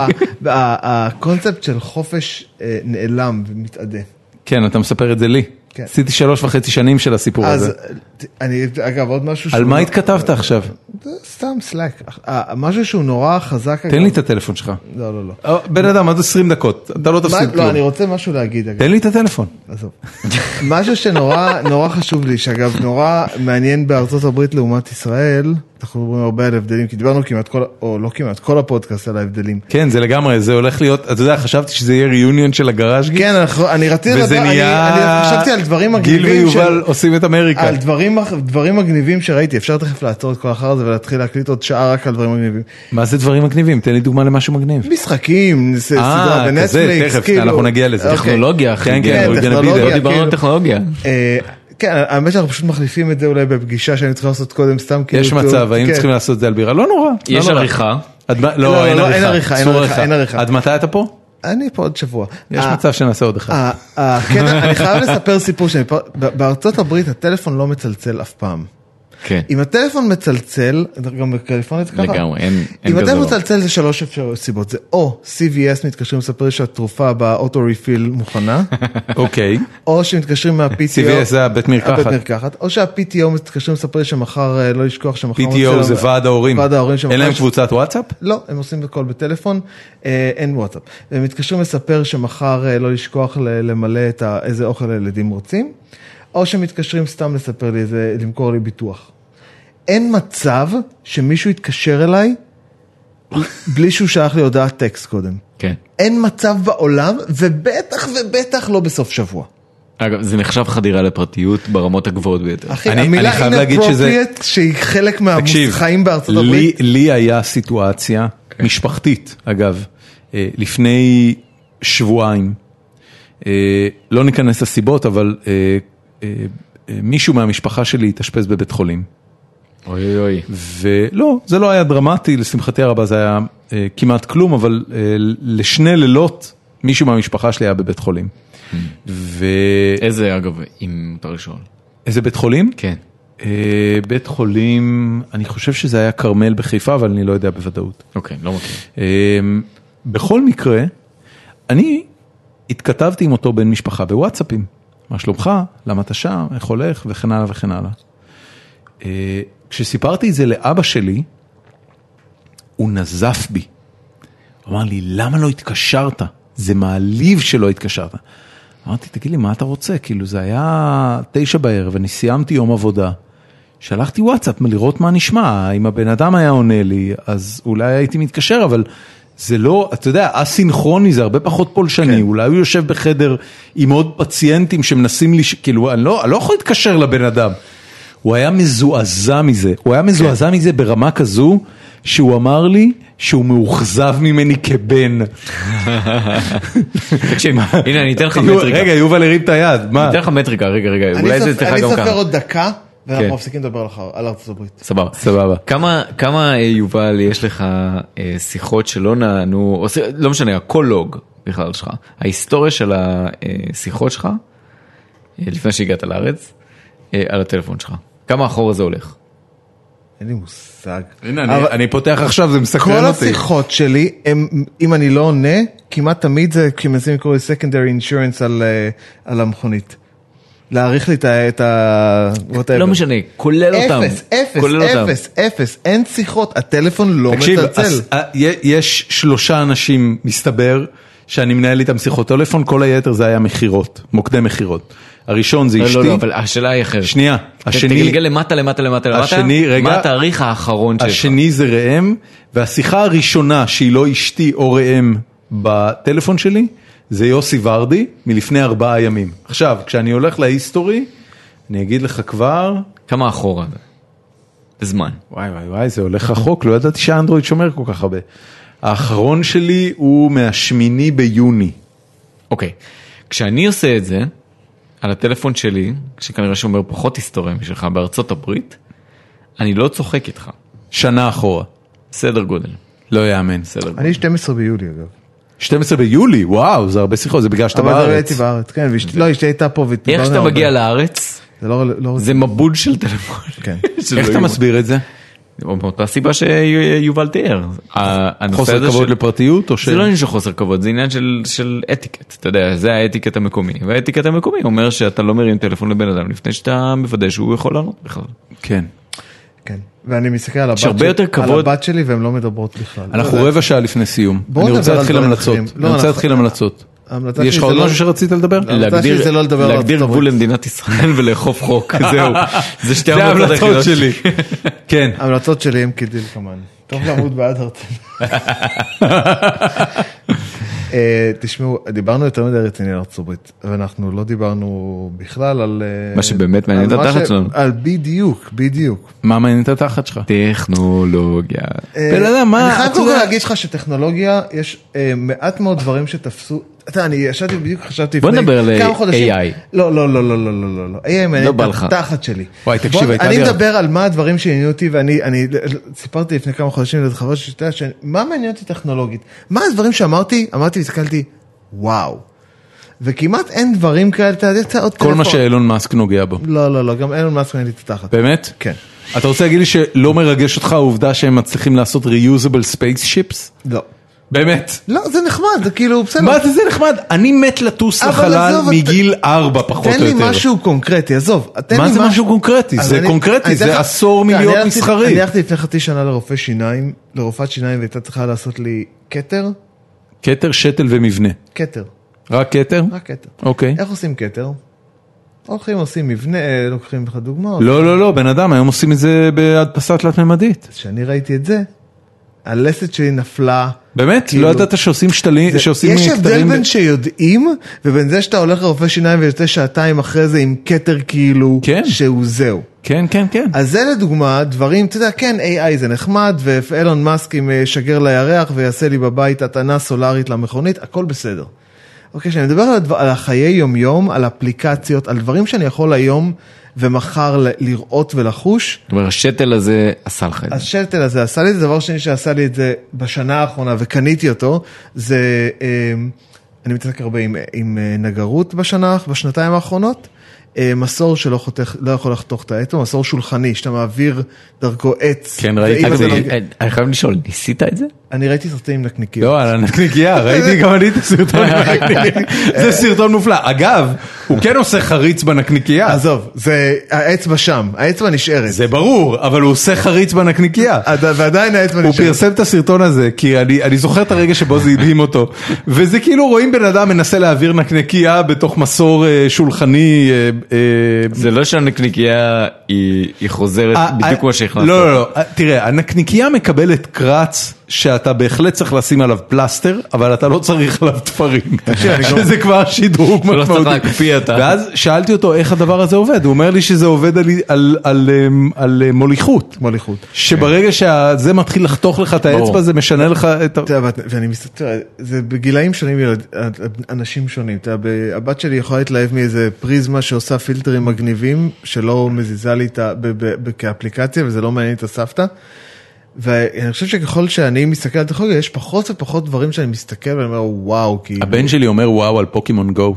ה- הקונספט של חופש אה, נעלם ומתאדה.
כן, אתה מספר את זה לי.
כן.
עשיתי שלוש וחצי שנים של הסיפור
אז
הזה.
ת- אני, אגב, עוד משהו
על
שהוא
מה
לא-
התכתבת עכשיו?
זה סתם סלאק. אה, משהו שהוא נורא חזק.
תן
אגב-
לי את הטלפון שלך.
לא, לא, לא.
אה, בן אדם, עד 20 דקות, אתה לא
מה-
תפסיד
לא, אני
כלום.
רוצה משהו להגיד, אגב.
תן לי את הטלפון.
עזוב. משהו שנורא נורא חשוב לי, שאגב נורא מעניין בארצות הברית לעומת ישראל, אנחנו מדברים הרבה על הבדלים, כי דיברנו כמעט כל, או לא כמעט, כל הפודקאסט על ההבדלים.
כן, זה לגמרי, זה הולך להיות, אתה יודע, חשבתי שזה יהיה ריוניון של הגראז' גיל,
כן, אנחנו- אני רציתי
וזה
לדבר, אני-
נהיה...
אני חשבתי על דברים
גיל
מגניבים. של-
ויובל עושים את אמריקה.
על דברים, דברים מגניבים שראיתי, אפשר תכף לעצור את כל אחר הזה ולהתחיל להקליט עוד שעה רק על דברים מגניבים.
מה זה דברים מגניבים? תן לי דוגמה למשהו מגניב.
משחקים, ס- אה, סדרה
אה, כזה,
בנטפליקס,
תכף,
כאילו.
אנחנו נגיע לזה.
אוקיי.
טכנולוגיה, אחי,
כן,
כן,
כן, we're gonna be
טכנולוגיה.
there.
לא דיברנו על
כאילו-
טכנולוגיה.
לא,
אה, כן, האמת שאנחנו פשוט מחליפים את זה אולי בפגישה שאני צריך לעשות קודם סתם כאילו.
יש מצב,
כן.
היינו צריכים לעשות את זה על בירה, לא נורא. לא
יש
נורא.
עריכה.
עד מה-
לא,
לא,
לא,
אין
לא, אין
עריכה,
עריכה, אין
צור
עריכה, אין עריכה.
עד מתי אתה פה?
אני פה עוד שבוע. אה,
יש
ה-
מצב שנעשה עוד אחד.
ה- הקטע, כן, אני חייב לספר סיפור שאני פה- ב- בארצות הברית הטלפון לא מצלצל אף פעם.
כן.
אם הטלפון מצלצל, גם בקליפורניה זה ככה?
לגמרי, אין- אין
אם
כזה
הטלפון
דבר.
מצלצל זה שלוש אפשרויות סיבות, זה או CVS מתקשרים לספר לי שהתרופה באוטו ריפיל מוכנה, אה.
אוקיי.
או שמתקשרים מה-PTO,
CVS זה הבית מרקחת.
הבית מרקחת, או שה-PTO מתקשרים לספר לי שמחר, אה, לא לשכוח שמחר...
PTO זה ועד ההורים.
ועד ההורים שמחר...
אין להם קבוצת וואטסאפ?
לא, הם עושים הכל בטלפון, אה, אין וואטסאפ. הם מתקשרים לספר שמחר אה, לא לשכוח ל- למלא את ה- איזה אוכל הילדים רוצים, או שמתקשרים סתם לספר לי, איזה, למכור לי ביטוח. אין מצב שמישהו יתקשר אליי בלי שהוא שלח לי הודעת טקסט קודם.
כן.
אין מצב בעולם, ובטח ובטח לא בסוף שבוע.
אגב, זה נחשב חדירה לפרטיות ברמות הגבוהות ביותר.
אחי,
אני-
המילה
אני חייב להגיד שזה-
inappropriate, שהיא חלק
תקשיב,
מהחיים בארצות
לי-
הברית, כן.
לי היה סיטואציה משפחתית, אגב, אה, לפני שבועיים, אה, לא ניכנס לסיבות, אבל אה, אה, אה, מישהו מהמשפחה שלי התאשפז בבית חולים.
אוי אוי אוי.
ולא, זה לא היה דרמטי, לשמחתי הרבה זה היה אה, כמעט כלום, אבל אה, לשני לילות מישהו מהמשפחה שלי היה בבית
Mm.
חולים. ואיזה
איזה אגב, אם מותר לשאול.
בית חולים?
כן.
אה, בית חולים, אני חושב שזה היה כרמל בחיפה, אבל אני לא יודע בוודאות.
אוקיי, לא מכיר.
אה, בכל מקרה, אני התכתבתי עם אותו בן משפחה בוואטסאפים. מה שלומך, למה אתה שם, איך הולך, וכן הלאה וכן הלאה. אה, כשסיפרתי את זה לאבא שלי, הוא נזף בי. הוא אמר לי, למה לא התקשרת? זה מעליב שלא התקשרת. אמרתי, תגיד לי, מה אתה רוצה? כאילו, זה היה תשע בערב, אני סיימתי יום עבודה. שלחתי וואטסאפ לראות מה נשמע, אם הבן אדם היה עונה לי, אז אולי הייתי מתקשר, אבל זה לא, אתה יודע, אסינכרוני זה הרבה פחות פולשני, כן. אולי הוא יושב בחדר עם עוד פציינטים שמנסים, לש... כאילו, אני לא, אני לא יכול להתקשר לבן אדם. הוא היה מזועזע מזה, הוא היה מזועזע
כן.
מזה ברמה כזו, שהוא אמר לי שהוא מאוכזב ממני כבן.
תקשיב, הנה אני אתן לך
יו-
מטריקה.
רגע, יובל הרים את היד, מה?
אני אתן לך מטריקה, רגע, רגע,
אני
אולי זה
סופ-
אצלך
אני
גם ככה.
סופר עוד דקה,
כן.
ואנחנו מפסיקים לדבר על ח- על ארצות הברית.
סבבה.
סבבה.
כמה, כמה אה, יובל יש לך אה, שיחות שלא נענו, או, ש- לא משנה, הכל לוג בכלל שלך, ההיסטוריה של השיחות שלך, אה, לפני שהגעת לארץ, אה, על הטלפון שלך, כמה אחורה זה הולך.
אין לי מושג.
הנה,
אבל-
אני- אני פותח עכשיו, זה מסקרן
כל
אותי.
השיחות שלי, הם, אם אני לא עונה, כמעט תמיד זה כשמנסים לקרוא לי secondary insurance על, אה, על המכונית. להעריך לי את ה... את ה whatever.
לא משנה, כולל אותם.
אפס, אפס,
כולל אותם.
אפס, אפס, אין שיחות, הטלפון לא
תקשיב,
מצלצל.
אז, אה, י- יש שלושה אנשים, מסתבר, שאני מנהל איתם שיחות טלפון, כל היתר זה היה מכירות, מוקדי מכירות. הראשון זה
לא,
אשתי,
לא, לא, אבל כן, השאלה היא אחרת.
שנייה, השני-
תגלגל למטה, למטה, למטה, למטה.
השני, רגע.
מה התאריך האחרון שלך?
השני זה ראם, והשיחה הראשונה שהיא לא אשתי או ראם בטלפון שלי, זה יוסי ורדי מלפני ארבעה ימים. עכשיו, כשאני הולך להיסטורי, אני אגיד לך כבר,
כמה אחורה זה? בזמן.
וואי וואי וואי, זה הולך רחוק, לא ידעתי שהאנדרואיד שומר כל כך הרבה. האחרון שלי הוא מהשמיני ביוני.
אוקיי, כשאני עושה את זה, על הטלפון שלי, שכנראה שומר פחות היסטוריה משלך בארצות הברית, אני לא צוחק איתך.
שנה אחורה.
סדר גודל,
לא יאמן.
סדר גודל.
אני 12 ביולי אגב.
12 ביולי, וואו, זה הרבה שיחות, זה בגלל שאתה
אבל זה
בארץ.
הייתי בארץ, כן, ואשתי- לא, אשתי הייתה פה ודיברנו.
איך שאתה
הרבה.
מגיע לארץ,
זה לא... רל- לא-
זה מבול של טלפון.
כן.
שלא
איך אתה
יאומן.
מסביר את זה?
מאותה סיבה שיובל תיאר. ה- הנושא הזה
חוסר כבוד
של-
לפרטיות או ש...
זה לא עניין של חוסר כבוד, זה עניין של, של אתיקט, אתה יודע, זה האתיקט המקומי, והאתיקט המקומי אומר שאתה לא מרים טלפון לבן אדם לפני שאתה מוודא שהוא יכול לענות בכלל.
כן.
כן. ואני מסתכל על הבת
הרבה
שלי-
יותר
על
כבוד-
הבת שלי והן לא מדברות בכלל.
אנחנו
לא יודע.
רבע שעה לפני סיום.
בואו
אני
נדבר
רוצה
על
להתחיל
דברים
המלצות.
אחרים. לא,
אני רוצה
אנחנו-
להתחיל המלצות.
ההמלצה
יש
שלי
לך
זה
עוד
לא-
משהו שרצית לדבר?
לא. ההמלצה שלי זה לא לדבר על ארצות
להגדיר גבול
הברית.
למדינת ישראל ולאכוף חוק, זהו. זה שתי
זה
ההמלצות
ההמלצות
היחידות
שלי. כן.
ההמלצות שלי הם כדלקמן. טוב למות בעד הרצון. אה, תשמעו, דיברנו יותר מדי רציני על ארצות הברית, ואנחנו לא דיברנו בכלל על... אה,
מה שבאמת מעניין
על
את
מה
התחת
ש-
שלנו.
על בדיוק, בדיוק.
מה מעניין את התחת שלך?
טכנולוגיה.
בן אדם, מה,
אה, אני חייב
אתה
קודם כל
יודע-
להגיד לך שטכנולוגיה, יש אה, מעט מאוד דברים שתפסו, אתה יודע, אני ישבתי בדיוק, חשבתי
בוא
לפני
נדבר על
כמה חודשים.
AI.
לא, לא, לא, לא, לא, לא, לא, לא, AI מעניין
בא
את
לך.
התחת שלי.
וואי, תקשיב,
בוא-
הייתה
אני
לי-
מדבר על מה הדברים שעניינו אותי, ואני אני- סיפרתי לפני כמה חודשים לאיזה חבר שלי, שאתה יודע, שאני- מה מעניין אותי טכנולוגית? מה הדברים שאמרתי, אמרתי, הסתכלתי, וואו. וכמעט אין דברים כאלה, אתה יודע, אתה עוד
כל מה
טלפון.
שאילון מאסק נוגע בו.
לא, לא, לא, גם אילון מאסק מעניין לי את התחת.
באמת?
כן.
אתה רוצה להגיד לי שלא מרגש אותך העובדה שהם מצליחים לעשות reusable spaceships?
לא.
באמת.
לא, זה נחמד, זה כאילו, בסדר.
מה זה זה נחמד? אני מת לטוס
אבל
לחלל
עזוב,
מגיל ארבע פחות או
תן
יותר.
לי משהו קונקרטי, עזוב. תן
מה
לי
זה משהו קונקרטי?
אז
זה
אני-
קונקרטי,
אני
זה
אתן לך-
עשור
תראה,
מלהיות
אני הלכתי-
מסחרי.
אני הלכתי לפני חצי שנה לרופא שיניים, לרופאת שיניים והייתה צריכה לעשות לי כתר,
כתר, שתל ומבנה.
כתר,
רק כתר?
רק כתר.
אוקיי.
איך עושים כתר? הולכים, עושים מבנה, אה, לוקחים לך דוגמאות.
לא, לא, לא, בן אדם, היום עושים את זה בהדפסה תלת-ממדית.
כשאני ראיתי את זה, הלסת שלי נפלה.
באמת?
כאילו-
לא ידעת שעושים שתלים,
זה-
שעושים
יש הבדל
כתרים-
בין שיודעים ובין זה שאתה הולך לרופא שיניים ויוצא שעתיים אחרי זה עם כתר כאילו,
כן.
שהוא זהו.
כן, כן, כן.
אז זה לדוגמה דברים, אתה יודע, כן, AI זה נחמד, ואילון מאסק אם ישגר לירח ויעשה לי בבית הטענה סולארית למכונית, הכל בסדר. אוקיי, כשאני מדבר על, הדבר, על החיי יומיום, על אפליקציות, על דברים שאני יכול היום ומחר ל- לראות ולחוש,
כלומר, השתל הזה עשה לך את זה.
השלטל הזה עשה לי את זה, דבר שני שעשה לי את זה בשנה האחרונה וקניתי אותו, זה, אמ, אני מתעסק הרבה עם, עם אה, נגרות בשנה, בשנתיים האחרונות, אה, מסור שלא חותך, לא יכול לחתוך את העט, הוא מסור שולחני, שאתה מעביר דרכו עץ.
כן, ראיתי
ואם
את
אגב,
אתה
זה.
לא-
אני-
אה, אני חייב לשאול, ניסית את זה?
אה,
אני ראיתי סרטים עם נקניקים. אה,
לא, על הנקניקייה, ראיתי גם אני את הסרטון. עם הנקניקייה. זה סרטון מופלא. אגב, הוא כן עושה חריץ בנקניקייה.
עזוב, זה האצבע שם, האצבע נשארת.
זה ברור, אבל הוא עושה חריץ בנקניקייה.
עד- ועדיין האצבע
הוא
נשארת.
פרסם את הסרטון הזה, כי אני, אני זוכר את הרגע שבו זה הדהים אותו. וזה כאילו רואים בן אדם מנסה להעביר נקניקייה בתוך מסור אה, שולחני. אה, אה,
זה לא שהנקניקייה היא היא חוזרת
אה, אה,
בדיוק כמו שהחלטת.
לא, לא, לא, אה, תראה, הנקניקייה מקבלת קרץ שאתה בהחלט צריך לשים עליו פלסטר, אבל אתה לא צריך עליו תפרים.
כן,
שזה כבר שדרוג
לא
משמעותי.
צריך להקפיא את ה-
ואז שאלתי אותו איך הדבר הזה עובד, הוא אומר לי שזה עובד על- על- על אמ, על אמ, מוליכות.
מוליכות.
שברגע שזה מתחיל לחתוך לך את האצבע זה משנה לך את ה...
אתה יודע, ואת- ואני מסתכל, זה בגילאים שונים, ילד- אנשים שונים. אתה יודע, ב- הבת שלי יכולה להתלהב מאיזה פריזמה שעושה פילטרים מגניבים, שלא מזיזה לי את ה... ב- ב- ב- כאפליקציה, וזה לא מעניין את הסבתא. ואני חושב שככל שאני מסתכל על הטכנולוגיה, יש פחות ופחות דברים שאני מסתכל ואני אומר, וואו, כי...
הבן שלי אומר וואו על פוקימון גו.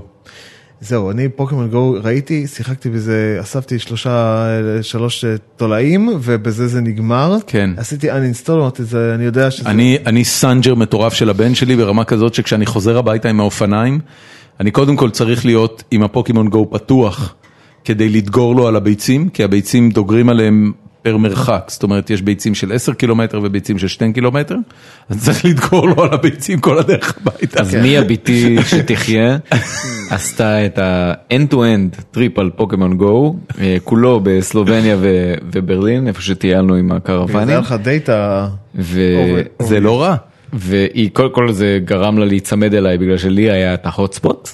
זהו, אני פוקימון גו ראיתי, שיחקתי בזה, אספתי שלושה, שלוש אה, תולעים, ובזה זה נגמר.
כן.
עשיתי uninstall, אמרתי, "זה- אני יודע שזה...
אני, אני סנג'ר מטורף של הבן שלי ברמה כזאת שכשאני חוזר הביתה עם האופניים, אני קודם כל צריך להיות עם הפוקימון גו פתוח כדי לדגור לו על הביצים, כי הביצים דוגרים עליהם פר מרחק, זאת אומרת יש ביצים של 10 קילומטר וביצים של 2 קילומטר, אז צריך לדגור לו על הביצים כל הדרך הביתה. כן.
אז מי הביתי שתחיה עשתה את ה-end to end טריפ על פוקימון גו, אה, כולו בסלובניה ו- וברלין, איפה שטיילנו עם
זה
הקרוונים,
היה לך דאטה...
ו-
זה לא רע.
והיא קודם כל זה גרם לה להיצמד אליי בגלל שלי היה את ההוט ספוט.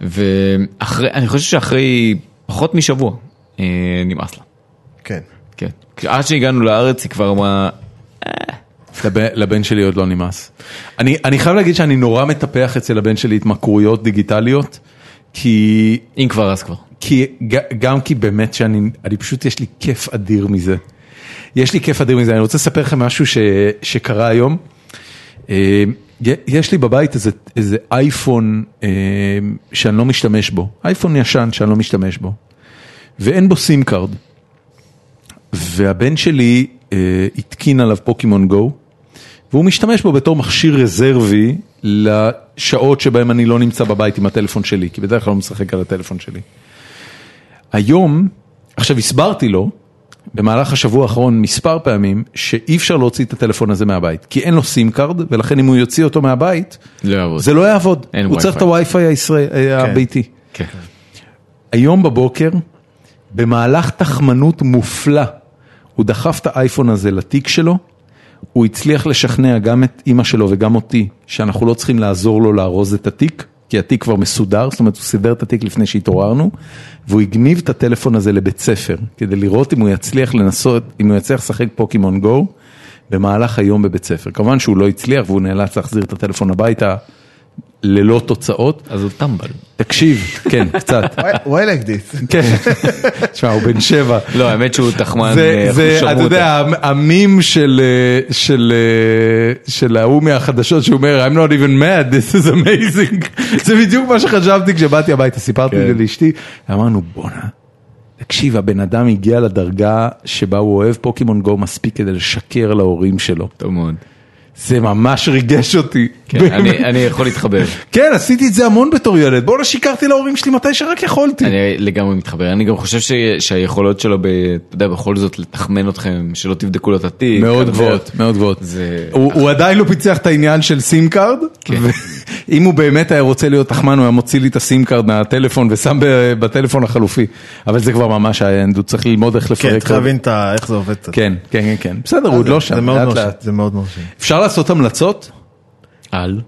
ואני חושב שאחרי פחות משבוע אה, נמאס לה.
כן.
כן. עד שהגענו לארץ היא כבר אמרה
לבן, לבן שלי עוד לא נמאס. אני, אני חייב להגיד שאני נורא מטפח אצל הבן שלי התמכרויות דיגיטליות, כי
אם כבר אז כבר.
כי ג- גם כי באמת שאני, אני פשוט יש לי כיף אדיר מזה. יש לי כיף אדיר מזה, אני רוצה לספר לכם משהו ש, שקרה היום. אה, י- יש לי בבית איזה, איזה אייפון אה, שאני לא משתמש בו, אייפון ישן שאני לא משתמש בו, ואין בו סים קארד. והבן שלי אה, התקין עליו פוקימון גו, והוא משתמש בו בתור מכשיר רזרבי לשעות שבהם אני לא נמצא בבית עם הטלפון שלי, כי בדרך כלל הוא משחק על הטלפון שלי. היום, עכשיו הסברתי לו, במהלך השבוע האחרון מספר פעמים, שאי אפשר להוציא את הטלפון הזה מהבית, כי אין לו סים קארד, ולכן אם הוא יוציא אותו מהבית,
לא יעבוד.
זה לא יעבוד,
אין
הוא צריך את
Wi-Fi.
הווי-פיי הישראל- הביתי.
כן.
היום בבוקר, במהלך תחמנות מופלא, הוא דחף את האייפון הזה לתיק שלו, הוא הצליח לשכנע גם את אימא שלו וגם אותי, שאנחנו לא צריכים לעזור לו לארוז את התיק, כי התיק כבר מסודר, זאת אומרת הוא סידר את התיק לפני שהתעוררנו, והוא הגניב את הטלפון הזה לבית ספר, כדי לראות אם הוא יצליח לנסות, אם הוא יצליח לשחק פוקימון גו, במהלך היום בבית ספר. כמובן שהוא לא הצליח והוא נאלץ להחזיר את הטלפון הביתה ללא תוצאות.
אז הוא טמבל.
תקשיב, כן, קצת.
Why- Why like this?
כן, תשמע, הוא בן שבע.
לא האמת שהוא תחמן.
זה,
אה,
זה,
חושרמוטה.
אתה יודע, המים של, אה, של, אה, של ההוא מהחדשות שאומר, I'm not even mad, this is amazing. זה בדיוק מה שחשבתי כשבאתי הביתה, סיפרתי את זה
כן.
לאשתי, אמרנו, בואנה, תקשיב, הבן אדם הגיע לדרגה שבה הוא אוהב פוקימון גו מספיק כדי לשקר להורים שלו.
טוב מאוד.
זה ממש ריגש אותי.
כן,
באמת.
אני- אני יכול להתחבר.
כן, עשיתי את זה המון בתור ילד, בואנה, שיקרתי להורים שלי מתי שרק יכולתי.
אני לגמרי מתחבר. אני גם חושב ש- שהיכולות שלו, ב- אתה יודע, בכל זאת לתחמן אתכם, שלא תבדקו לו את התיק.
מאוד
אתה
גבוהות,
יודע.
מאוד גבוהות.
זה-
הוא הוא עדיין לא פיצח את העניין של סים קארד,
כן.
אם הוא באמת היה רוצה להיות תחמן, הוא היה מוציא לי את הסים קארד מהטלפון ושם ב- בטלפון החלופי, אבל זה כבר ממש האנד, הוא צריך ללמוד איך לפרק.
כן, צריך
לו.
להבין את ה- איך זה עובד קצת.
כן, כן, כן, כן, בסדר, הוא עוד לא
זה
שם,
מאוד
לאט
מרשים,
לאט.
זה מאוד מרשים.
אפשר לעשות המלצות?
על.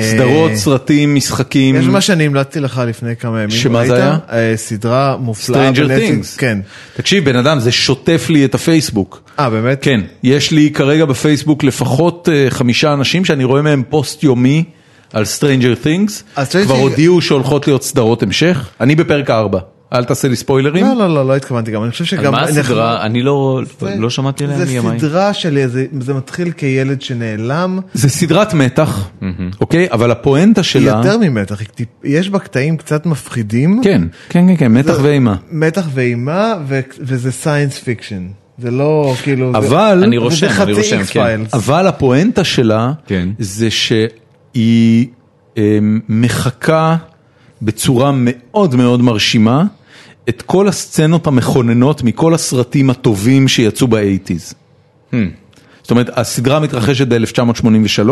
סדרות,
אה,
סרטים, משחקים.
יש מה שאני המלצתי לך לפני כמה ימים.
שמה
ראית?
זה היה?
אה, סדרה מופלאה.
Stranger
בנטפליקס.
Things.
כן.
תקשיב, בן אדם, זה שוטף לי את הפייסבוק.
אה, באמת?
כן, יש לי כרגע בפייסבוק לפחות אה, חמישה אנשים שאני רואה מהם פוסט יומי על Stranger Things.
אז Stranger
כבר
Things-
הודיעו שהולכות להיות סדרות המשך. אני בפרק הארבע, אל תעשה לי ספוילרים.
לא, לא, לא, לא התכוונתי גם. אני חושב
על
שגם...
מה הסדרה? אני לא
זה-
לא שמעתי עליה מימיים.
זה סדרה שלי, זה- זה מתחיל כילד שנעלם.
זה סדרת מתח, אוקיי? אבל הפואנטה
היא
שלה...
יותר ממתח, היא טיפ- יש בה קטעים קצת מפחידים.
כן, כן, כן, כן, מתח ואימה.
מתח ואימה, ו- וזה סיינס פיקשן. זה לא כאילו... זה-
אבל...
אני רושם,
זה
אני
חצי
רושם,
איקס
כן.
פיילס.
אבל הפואנטה שלה
כן.
זה שהיא אה, אמ, מחקה בצורה מאוד מאוד מרשימה את כל הסצנות המכוננות מכל הסרטים הטובים שיצאו באייטיז. זאת אומרת, הסדרה מתרחשת ב-1983,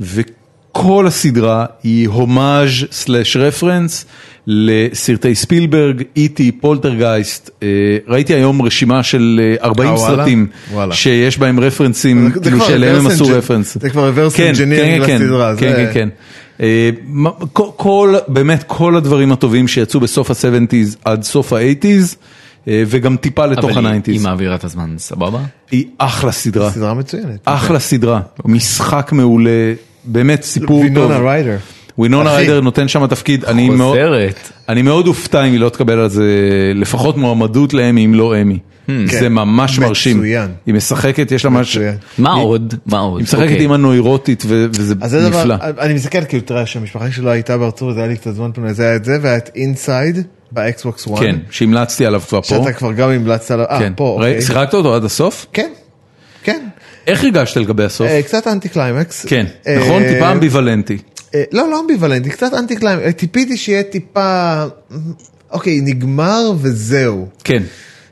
וכל הסדרה היא הומאז' סלאש רפרנס לסרטי ספילברג, איטי, פולטרגייסט. אה, ראיתי היום רשימה של אה, 40
אה, וואלה?
סרטים
וואלה.
שיש בהם רפרנסים,
זה- זה
כאילו
כבר
שאליהם הם
reverse
עשו
engine-
רפרנס.
זה כבר reverse
כן, כן,
engineering
כן,
לסדרה,
כן,
זה-
כן, כן. אה, מה- כל- כל, באמת כל הדברים הטובים שיצאו בסוף ה-70's עד סוף ה-80's, אה, וגם טיפה לתוך
אבל היא-
ה-90's.
היא מעבירה את הזמן, סבבה?
היא אחלה סדרה.
סדרה אוקיי. מצוינת.
אחלה סדרה, משחק מעולה, באמת סיפור טוב.
וינונה ריידר.
ווינונה
אחי.
ריידר נותן שם תפקיד, אני מאוד-
חוזרת.
אני מאוד אופתע אם היא לא תקבל על זה לפחות מועמדות לאמי אם לא אמי.
Hmm.
זה
כן.
ממש
מצוין.
מרשים. היא משחקת, יש לה משהו.
מצוין.
מה
היא-
עוד? מה עוד?
היא משחקת
אוקיי.
עם הנוירוטית ו- וזה
אז זה דבר,
נפלא.
אני מסתכל כאילו, תראה, כשהמשפחה שלו הייתה בארצות, אז היה לי קצת זמן פנוי, זה היה את זה, והיה את אינסייד באקסבוקס 1.
כן, שהמלצתי עליו כבר פה.
שאתה כבר גם המלצת עליו, אה,
כן.
פה, אוקיי.
ראי- שיחקת אותו עד הסוף?
כן, כן.
איך הרגשת לגבי הסוף?
אה, קצת אנטי קליימקס.
כן,
אה,
נכון? טיפה אמביוולנטי.
אה, לא, לא אמביוולנטי, קצת אנטי קליימקס. טיפיתי שיהיה טיפה, אוקיי, נגמר וזהו.
כן.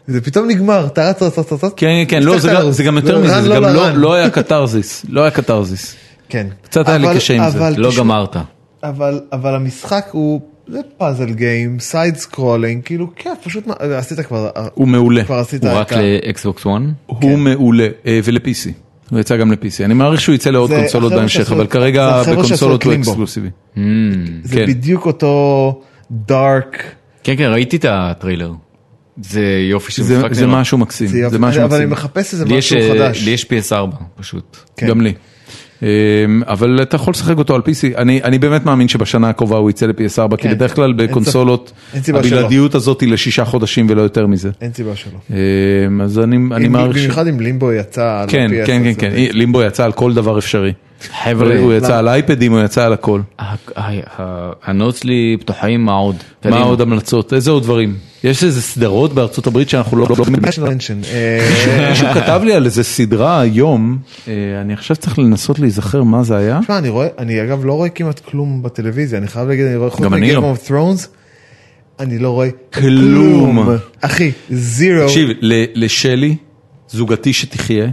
זה פתאום נגמר, אתה רץ, רץ, רץ, רץ, רץ.
כן, כן, לא, זה
הפסקת
גם-
לרוץ.
זה גם יותר
לא,
מזה,
רן,
זה גם
לא,
לא-
רן.
לא היה קתרזיס, לא היה קתרזיס.
כן.
קצת היה לי
אבל-
קשה עם זה,
אבל
לא
תשמע,
גמרת.
אבל אבל המשחק הוא זה פאזל גיים סייד סקרולינג כאילו כיף פשוט מה- עשית כבר אה,
הוא מעולה.
כבר עשית
הוא
את
רק
ה-
לאקסבוקס 1?
הוא
כן.
מעולה, אה, ול-PC. הוא יצא גם ל-PC. אני מעריך שהוא יצא לעוד
זה
קונסולות
החבר'ה
בהמשך,
שעשו-
אבל
זה
כרגע
החבר'ה שעשו
בקונסולות
את
הוא
לימבו.
אקסקלוסיבי.
זה
כן.
בדיוק אותו דארק.
Hmm. כן, כן, ראיתי את הטריילר. זה יופי של
זה-
משחק.
זה משהו מקסים, זה משהו
אבל אני
מקסים.
מחפש איזה
לי יש,
משהו
אה,
חדש.
לי יש PS4 פשוט.
כן.
גם לי. אה, אבל אתה יכול לשחק אותו על PC. אני אני באמת מאמין שבשנה הקרובה הוא יצא ל-PS4, כי
כן.
בדרך כלל
אין
בקונסולות
סיבה- אין סיבה שלא.
הבלעדיות הזאת היא לשישה חודשים ולא יותר מזה.
אין סיבה שלא.
אה, אז אני אני
אם-
מעריך... ש-
במיוחד אם לימבו יצא על
כן,
ה-PS,
כן, כן,
אז-
כן, לימבו יצא על כל דבר אפשרי.
חבר'ה,
הוא יצא על אייפדים, הוא יצא על הכל.
הנאות שלי פתוחים, מה עוד?
מה
קדימה.
עוד המלצות? איזה עוד דברים? יש איזה סדרות בארצות הברית שאנחנו לא... לא-
Special mention, אה,
מישהו כתב לי על איזה סדרה היום, אה, אני עכשיו צריך לנסות להיזכר מה זה היה.
תשמע, אני רואה, אני אגב לא רואה כמעט כלום בטלוויזיה, אני חייב להגיד, אני רואה חוץ
גם אני
מ-Game
לא.
of Thrones, אני לא רואה
כלום.
אחי, זירו.
תקשיב, ל- לשלי, זוגתי שתחיה,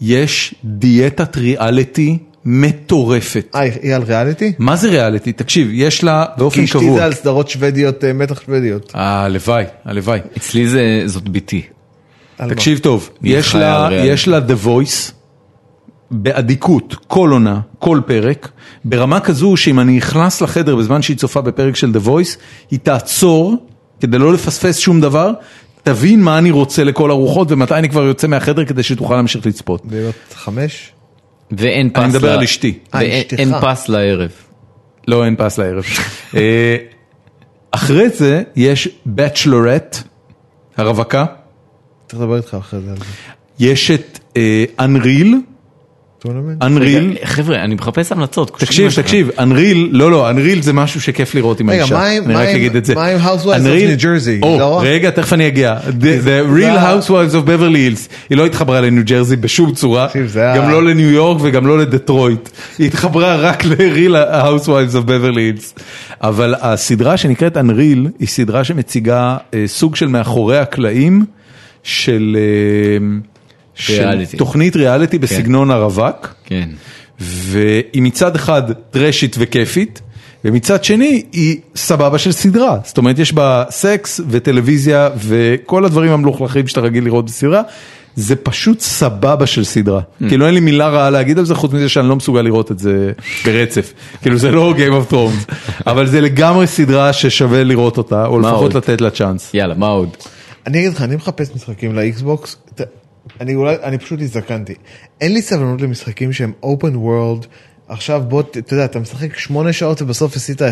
יש דיאטת ריאליטי מטורפת.
אה, היא על ריאליטי?
מה זה ריאליטי? תקשיב, יש לה
כי
באופן
אשתי זה
קבוע.
על סדרות שוודיות, אה, מתח שוודיות.
הלוואי, הלוואי.
אצלי זה- זאת ביתי.
על מה?
תקשיב טוב,
היא
יש
חיה
לה,
על ריאליטי.
יש לה The Voice, באדיקות, כל עונה, כל פרק, ברמה כזו שאם אני נכנס לחדר בזמן שהיא צופה בפרק של The Voice, היא תעצור, כדי לא לפספס שום דבר, תבין מה אני רוצה לכל הרוחות ומתי אני כבר יוצא מהחדר כדי שתוכל להמשיך לצפות.
להיות חמש?
ואין פס
אני מדבר
ל-
על אשתי.
אה,
ואין
אשתך.
אין פס לערב.
לא, אין פס לערב. אה, אחרי זה יש Bachelorette, הרווקה,
צריך לדבר איתך אחרי זה על זה.
יש את אה, Unreal,
טורנמנט?
Unreal,
רגע, חבר'ה, אני מחפש המלצות. כושלים
תקשיב,
שלך.
תקשיב, אנריל, לא, לא, אנריל זה משהו שכיף לראות עם
רגע,
האישה.
מה עם-
אני
מה
רק
עם-
אגיד את זה.
מה עם Housewives of
Unreal-
New Jersey?
או,
לא?
רגע, תכף אני אגיע. The- The
זה
real
ה-
housewives of Beverly Hills. היא לא התחברה לניו ג'רזי בשום צורה,
תקשיב, זה
גם
ה-
לא לניו יורק וגם לא לדטרויט. היא התחברה רק ל-real housewives of Beverly Hills. אבל הסדרה שנקראת אנריל היא סדרה שמציגה אה, סוג של מאחורי הקלעים של אה, של
ריאליטי.
תוכנית ריאליטי בסגנון הרווק.
כן.
והיא מצד אחד טרשית וכיפית, ומצד שני היא סבבה של סדרה. זאת אומרת, יש בה סקס וטלוויזיה וכל הדברים המלוכלכים שאתה רגיל לראות בסדרה. זה פשוט סבבה של סדרה. כאילו אין לי מילה רעה להגיד על זה, חוץ מזה שאני לא מסוגל לראות את זה ברצף. כאילו זה לא Game of Thrones, אבל זה לגמרי סדרה ששווה לראות אותה, או לפחות
עוד?
לתת לה צ'אנס.
יאללה, מה עוד?
אני אגיד לך, אני מחפש משחקים לאיקסבוקס, ת- אני אולי, אני פשוט הזדקנתי. אין לי סבלנות למשחקים שהם open world, עכשיו בוא, ת- אתה יודע, אתה משחק שמונה שעות ובסוף עשית 1%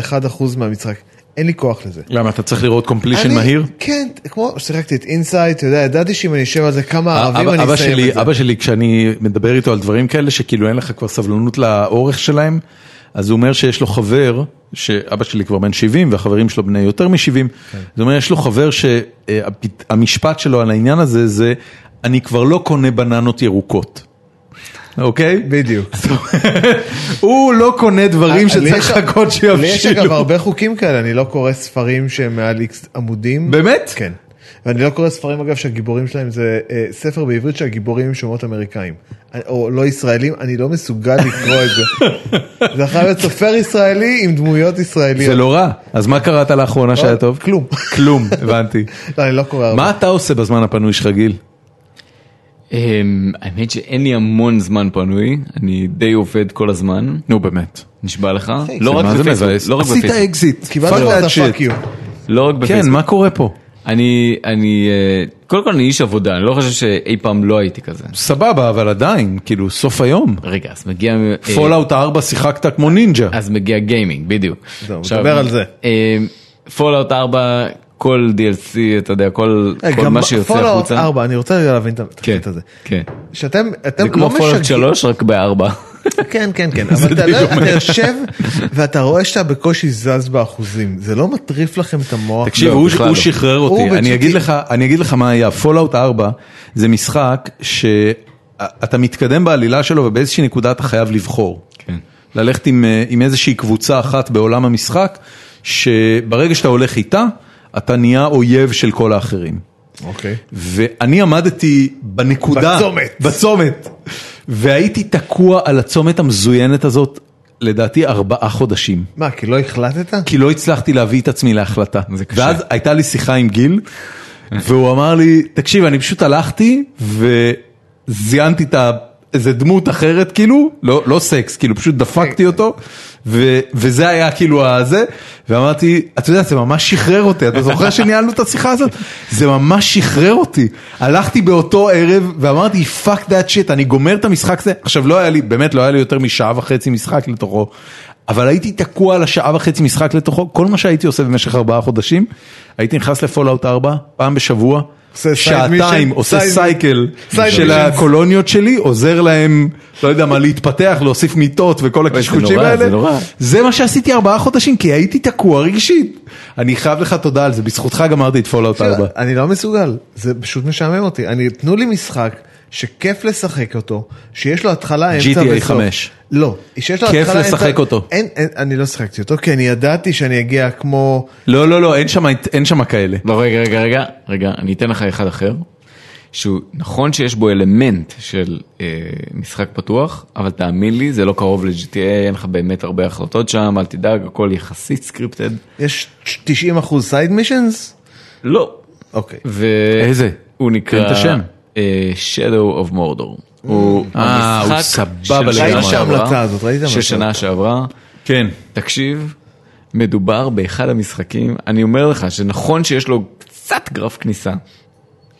מהמשחק. אין לי כוח לזה.
למה אתה צריך לראות קומפלישן
אני-
מהיר?
כן, כמו שיחקתי את אינסייט, אתה יודע, ידעתי שאם אני אשב על זה כמה ערבים
אה, אבא-
אני
אבא
אסיים
שלי-
את זה.
אבא שלי, כשאני מדבר איתו על דברים כאלה, שכאילו אין לך כבר סבלנות לאורך שלהם, אז הוא אומר שיש לו חבר, שאבא שלי כבר בן 70 והחברים שלו בני יותר מ-70,
כן.
זאת אומרת, יש לו חבר אה, שהמשפט שלו על העניין הזה זה, אני כבר לא קונה בננות ירוקות. אוקיי?
בדיוק.
הוא לא קונה דברים
אה, לי יש-
שצריך לחכות
לי יש אגב
שיבשילו.
הרבה חוקים כאלה, אני לא קורא ספרים שהם מעל איקס עמודים.
באמת?
כן. ואני לא קורא ספרים אגב שהגיבורים שלהם זה אה, ספר בעברית שהגיבורים הם שמות אמריקאים. אני- או לא ישראלים, אני לא מסוגל לקרוא את זה. זה חייב להיות סופר ישראלי עם דמויות ישראליות.
זה לא רע. אז מה קראת לאחרונה שהיה טוב?
אה, כלום.
כלום, הבנתי.
לא, אני לא קורא הרבה.
מה אתה עושה בזמן הפנוי שלך, גיל?
אמ, האמת שאין לי המון זמן פנוי, אני די עובד כל הזמן,
נו באמת.
נשבע לך.
פייק,
לא רק
מה זה מבאס?
בפייסבוק, לא רק
עשית
בפייסבוק.
אקזיט.
קיבלת
Fuck
את
that shit.
הפאק יו.
לא רק
כן,
בפייסבוק.
מה קורה פה?
אני, אני, אה, קודם כל אני איש עבודה, אני לא חושב שאי פעם לא הייתי כזה.
סבבה, אבל עדיין, כאילו, סוף היום.
רגע, אז מגיע... אה,
פולאאוט 4 שיחקת כמו נינג'ה.
אז מגיע גיימינג, בדיוק.
זהו, דבר על זה.
פולאאוט 4, כל DLC, אתה יודע, כל
אה,
כל
גם
מה שיוצא
Fallout
החוצה.
4, אני רוצה רגע להבין את
כן,
התפקיד הזה.
כן.
שאתם, אתם
זה
לא
כמו פולאאוט
משגעים-
3, רק בארבע.
כן, כן, כן, אבל אתה לא- אתה יושב ואתה רואה שאתה בקושי זז באחוזים, זה לא מטריף לכם את המוח.
תקשיב,
לא,
הוא,
בכלל
הוא
לא.
שחרר
הוא
אותי, אני
וג'י.טי.
אגיד, לך, אני אגיד לך מה היה, פולאאוט 4 זה משחק שאתה מתקדם בעלילה שלו ובאיזושהי נקודה אתה חייב לבחור.
כן.
ללכת עם, אה, עם איזושהי קבוצה אחת בעולם המשחק, שברגע שאתה הולך איתה, אתה נהיה אויב של כל האחרים.
אוקיי.
ואני עמדתי בנקודה,
בצומת.
בצומת, והייתי תקוע על הצומת המזוינת הזאת, לדעתי ארבעה חודשים.
מה, כי לא החלטת?
כי לא הצלחתי להביא את עצמי להחלטה.
זה קשה.
ואז הייתה לי שיחה עם גיל, והוא אמר לי, תקשיב, אני פשוט הלכתי וזיינתי את ה... איזה דמות אחרת כאילו, לא, לא סקס, כאילו פשוט דפקתי אותו, ו, וזה היה כאילו הזה, ואמרתי, אתה יודע, זה ממש שחרר אותי, אתה זוכר שניהלנו את השיחה הזאת? זה ממש שחרר אותי. הלכתי באותו ערב ואמרתי, fuck that shit, אני גומר את המשחק הזה. עכשיו לא היה לי, באמת לא היה לי יותר משעה וחצי משחק לתוכו, אבל הייתי תקוע על השעה וחצי משחק לתוכו, כל מה שהייתי עושה במשך ארבעה חודשים, הייתי נכנס לפולאאוט 4 פעם בשבוע,
עושה side
שעתיים,
mission,
עושה
side-
סייקל
side
של
missions.
הקולוניות שלי, עוזר להם, לא יודע מה, להתפתח, להוסיף מיטות וכל הקשקושים
נורא,
האלה.
זה נורא.
זה מה שעשיתי ארבעה חודשים, כי הייתי תקוע רגשית. אני חייב לך תודה על זה, בזכותך גמרתי את פולאאוט 4.
אני לא מסוגל, זה פשוט משעמם אותי. אני, תנו לי משחק שכיף לשחק אותו, שיש לו התחלה, אמצע
GTA
וסוף.
חמש.
לא, שיש לו
כיף
התחלה, אמצע...
לשחק אותו.
אין, אין, אני לא שחקתי אותו, כי אני ידעתי שאני אגיע כמו...
לא, לא, לא, אין שם- אין שם כאלה.
לא, רגע, רגע, רגע, רגע, אני אתן לך אחד אחר, שהוא נכון שיש בו אלמנט של אה, משחק פתוח, אבל תאמין לי, זה לא קרוב ל-GTA, אין לך באמת הרבה החלטות שם, אל תדאג, הכל יחסית סקריפטד.
יש 90 אחוז סייד מישנס?
לא.
אוקיי.
ו...
איזה?
הוא נקרא...
תן את השם.
אה, Shadow of Mordor. הוא
אה, הוא
המשחק
סבבה
של
לגמרי.
שנה
ראיתי את
שעברה,
ההמלצה הזאת, ראיתי את
של
ההמלצה
שנה שעברה.
כן.
תקשיב, מדובר באחד המשחקים, אני אומר לך שנכון שיש לו קצת גרף כניסה,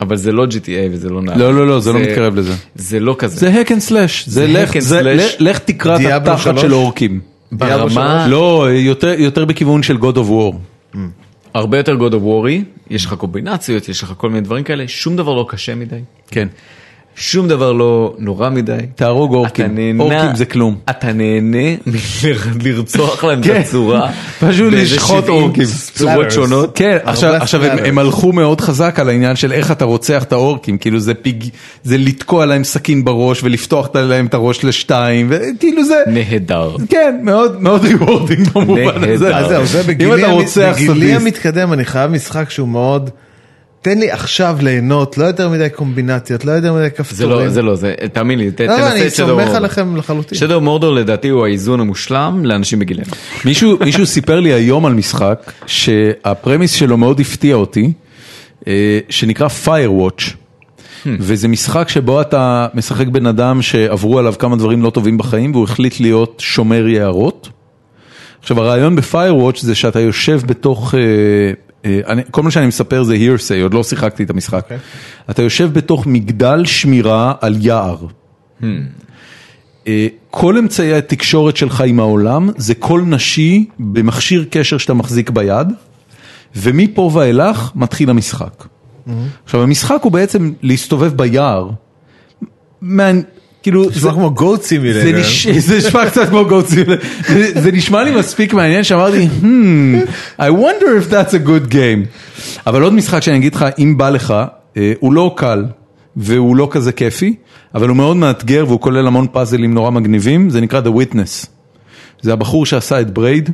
אבל זה לא GTA וזה לא נעל.
לא, לא, לא, זה לא מתקרב לזה.
זה לא כזה.
זה hack and slash, זה
זה
לך-
hack and
זה-
slash.
לך- לך תקרא את
דיאבלו
התחת
שלוש?
של אורקים.
דיאבלו ברמה- שלוש?
לא, יותר- יותר בכיוון של God of War.
הרבה יותר God of War, יש לך קומבינציות, יש לך כל מיני דברים כאלה, שום דבר לא קשה מדי,
כן.
שום דבר לא נורא מדי.
תהרוג
אתה
אורקים.
נהנה,
אורקים זה כלום.
אתה נהנה מלרצוח להם את
כן.
הצורה.
פשוט
באיזה
לשחוט
70
אורקים.
צורות
Splatters.
שונות.
כן, עכשיו,
הרבה
עכשיו הם,
סלאדרים.
הם הלכו מאוד חזק על העניין של איך אתה רוצח את האורקים, כאילו זה פיג, זה לתקוע להם סכין בראש ולפתוח להם את הראש לשתיים, וכאילו זה,
נהדר.
כן, מאוד מאוד ריוורדינג במובן
נהדר.
הזה.
אז זהו, זה
אה, אם
בגילי,
אתה
המ-
רוצח
בגילי
סדיסט,
המתקדם, אני חייב משחק שהוא מאוד... תן לי עכשיו ליהנות, לא יותר מדי קומבינציות, לא יותר מדי
זה
כפתורים.
לא, זה לא, זה, תאמין לי, ת-
לא, לא,
תנסה
אני
את שדו
סומך
מורדור.
עליכם לחלוטין.
שדו מורדור לדעתי הוא האיזון המושלם לאנשים בגילנו.
מישהו, מישהו סיפר לי היום על משחק שהפרמיס שלו מאוד הפתיע אותי, אה, שנקרא Firewatch. וזה משחק שבו אתה משחק בן אדם שעברו עליו כמה דברים לא טובים בחיים והוא החליט להיות שומר יערות. עכשיו הרעיון ב-Firewatch זה שאתה יושב בתוך, אה, אה, אני, כל מה שאני מספר זה hearsay, עוד לא שיחקתי את המשחק. Okay. אתה יושב בתוך מגדל שמירה על יער. אה, כל אמצעי התקשורת שלך עם העולם זה קול נשי במכשיר קשר שאתה מחזיק ביד, ומפה ואילך מתחיל המשחק. עכשיו המשחק הוא בעצם להסתובב ביער, מה- כאילו
נשמע כמו גו סימילר.
זה, נש... זה נשמע קצת כמו גו צימר, זה, זה נשמע לי מספיק מעניין שאמרתי, hmm, I wonder if that's a good game. אבל עוד משחק שאני אגיד לך, אם בא לך, אה, הוא לא קל, והוא לא כזה כיפי, אבל הוא מאוד מאתגר והוא כולל המון פאזלים נורא מגניבים, זה נקרא The Witness. זה הבחור שעשה את ברייד,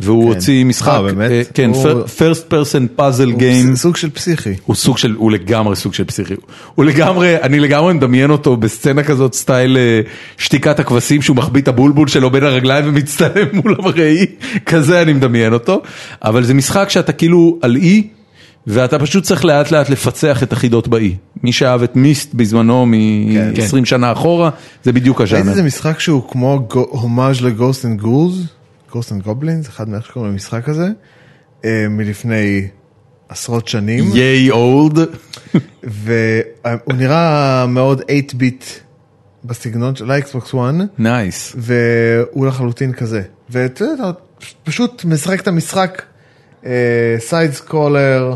והוא
כן.
הוציא משחק,
אה, באמת?
אה, כן,
הוא-
fir- first person puzzle
הוא
game.
סוג של פסיכי.
הוא סוג של, הוא לגמרי סוג של פסיכי, הוא לגמרי, אני לגמרי מדמיין אותו בסצנה כזאת סטייל אה, שתיקת הכבשים שהוא מחביא את הבולבול שלו בין הרגליים ומצטלם מול המראי, כזה אני מדמיין אותו, אבל זה משחק שאתה כאילו על אי, ואתה פשוט צריך לאט לאט לפצח את החידות באי. מי שאהב את מיסט בזמנו
כן.
מ-20 שנה אחורה, זה בדיוק
ראית
הז'אנר.
איזה משחק שהוא כמו גו- הומאז' לגוסט אנד גרוז? גוסט אנד גובלינס? אחד מאיך שקוראים למשחק הזה? אה, מלפני עשרות שנים.
ייי אולד.
והוא נראה מאוד 8-ביט בסגנון של האקסבוקס 1,
נייס.
והוא לחלוטין כזה. ואתה יודע, אתה פשוט משחק את המשחק, סייד סקולר,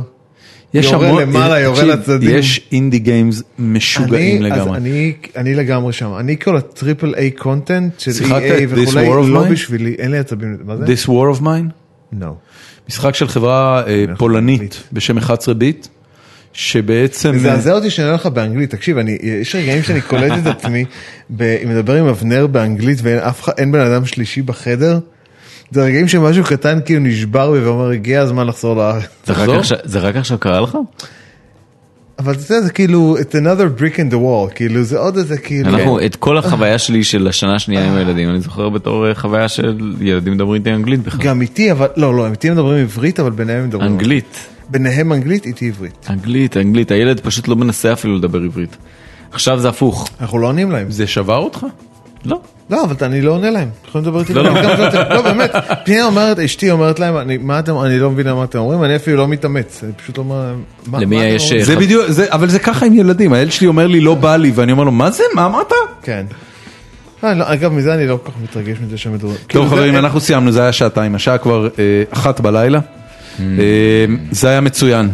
יורה למעלה, יורה
תקשיב,
לצדדים.
יש אינדי גיימס משוגעים לגמרי.
אני, אני לגמרי שם, אני כל הטריפל איי קונטנט של
שיחקת
EA
את This
וכולי,
War of
לא
Mine?
בשבילי, אין לי עצבים, מה זה?
This War of Mine?
No.
משחק של חברה אה, פולנית בשם 11 ביט, שבעצם...
מזעזע אותי שאני אומר לך באנגלית, תקשיב, אני, יש רגעים שאני קולט את עצמי, ב- אם מדבר עם אבנר באנגלית ואין אף אחד, אין בן אדם שלישי בחדר, זה רגעים שמשהו קטן כאילו נשבר בי ואומר, הגיע הזמן לחזור לארץ.
זה רק
תחזור.
עכשיו- זה רק עכשיו קרה לך?
כן. אבל אתה יודע, זה כאילו, it's another brick in the wall, כאילו, זה עוד איזה כאילו,
אנחנו, את כל החוויה שלי של השנה השנייה עם הילדים, אני זוכר בתור אה, חוויה של ילדים מדברים איתי אנגלית בכלל.
גם איתי, אבל, לא, לא, איתי מדברים עברית, אבל ביניהם הם מדברים,
אנגלית,
ביניהם אנגלית, איתי עברית.
אנגלית, אנגלית, הילד פשוט לא מנסה אפילו לדבר עברית. עכשיו זה הפוך.
אנחנו לא עונים להם.
זה שבר אותך?
לא.
לא, אבל אני לא עונה להם. יכולים לדבר איתי.
לא,
גם-
לא.
גם זאת- לא, באמת. פנינה אומרת, אשתי אומרת להם, אני- מה אתם, אני לא מבינה מה אתם אומרים, אני אפילו לא מתאמץ. אני פשוט אומר להם, מה-
למי
מה אתם
יש,
אומרים?"
אה,
זה
חב-
בדיוק, זה- אבל זה ככה עם ילדים, הילד שלי אומר לי לא בא לי, ואני אומר לו, מה זה, מה אמרת?
כן. אה, לא, אגב, מזה אני לא כל כך מתרגש מזה שהם מדברים.
לא,
כאילו,
טוב
זה-
חברים, אנחנו סיימנו, זה היה שעתיים, השעה כבר אה, אחת בלילה. אה, זה היה מצוין.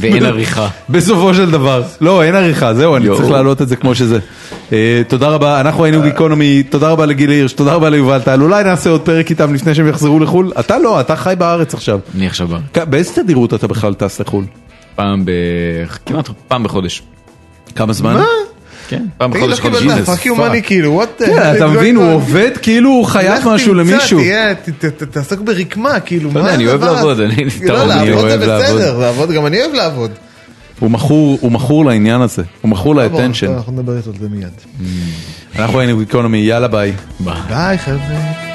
ואין עריכה.
בסופו של דבר. לא, אין עריכה, זהו, אני
יואו.
צריך להעלות את זה כמו שזה. אה, תודה רבה, אנחנו היינו גיקונומי, תודה רבה לגיל הירש, תודה רבה ליובל טל, אולי נעשה עוד פרק איתם לפני שהם יחזרו לחו"ל. אתה לא, אתה חי בארץ עכשיו.
אני עכשיו בא.
כ- באיזה תדירות אתה בכלל טס לחו"ל?
פעם ב... כמעט פעם בחודש.
כמה זמן? מה?
כן. פעם
תגיד, לא
בחודש
קיבלת פאק יו מאני, כאילו, וואט...
כן, אתה מבין, הוא עובד כאילו הוא חייב משהו למישהו.
תעסוק ברקמה, כאילו, מה
יודע, אני אוהב
הדבר?
לעבוד, אני- אתה
לא,
רואה, אני
לעבוד זה
אוהב לעבוד.
בסדר, לעבוד, גם אני אוהב לעבוד.
הוא מכור, הוא מכור לעניין הזה, הוא מכור
טוב,
לאטנשן.
אנחנו נדבר איתו על זה מיד.
אנחנו היינו גיקונומי, יאללה ביי.
ביי, חבר'ה.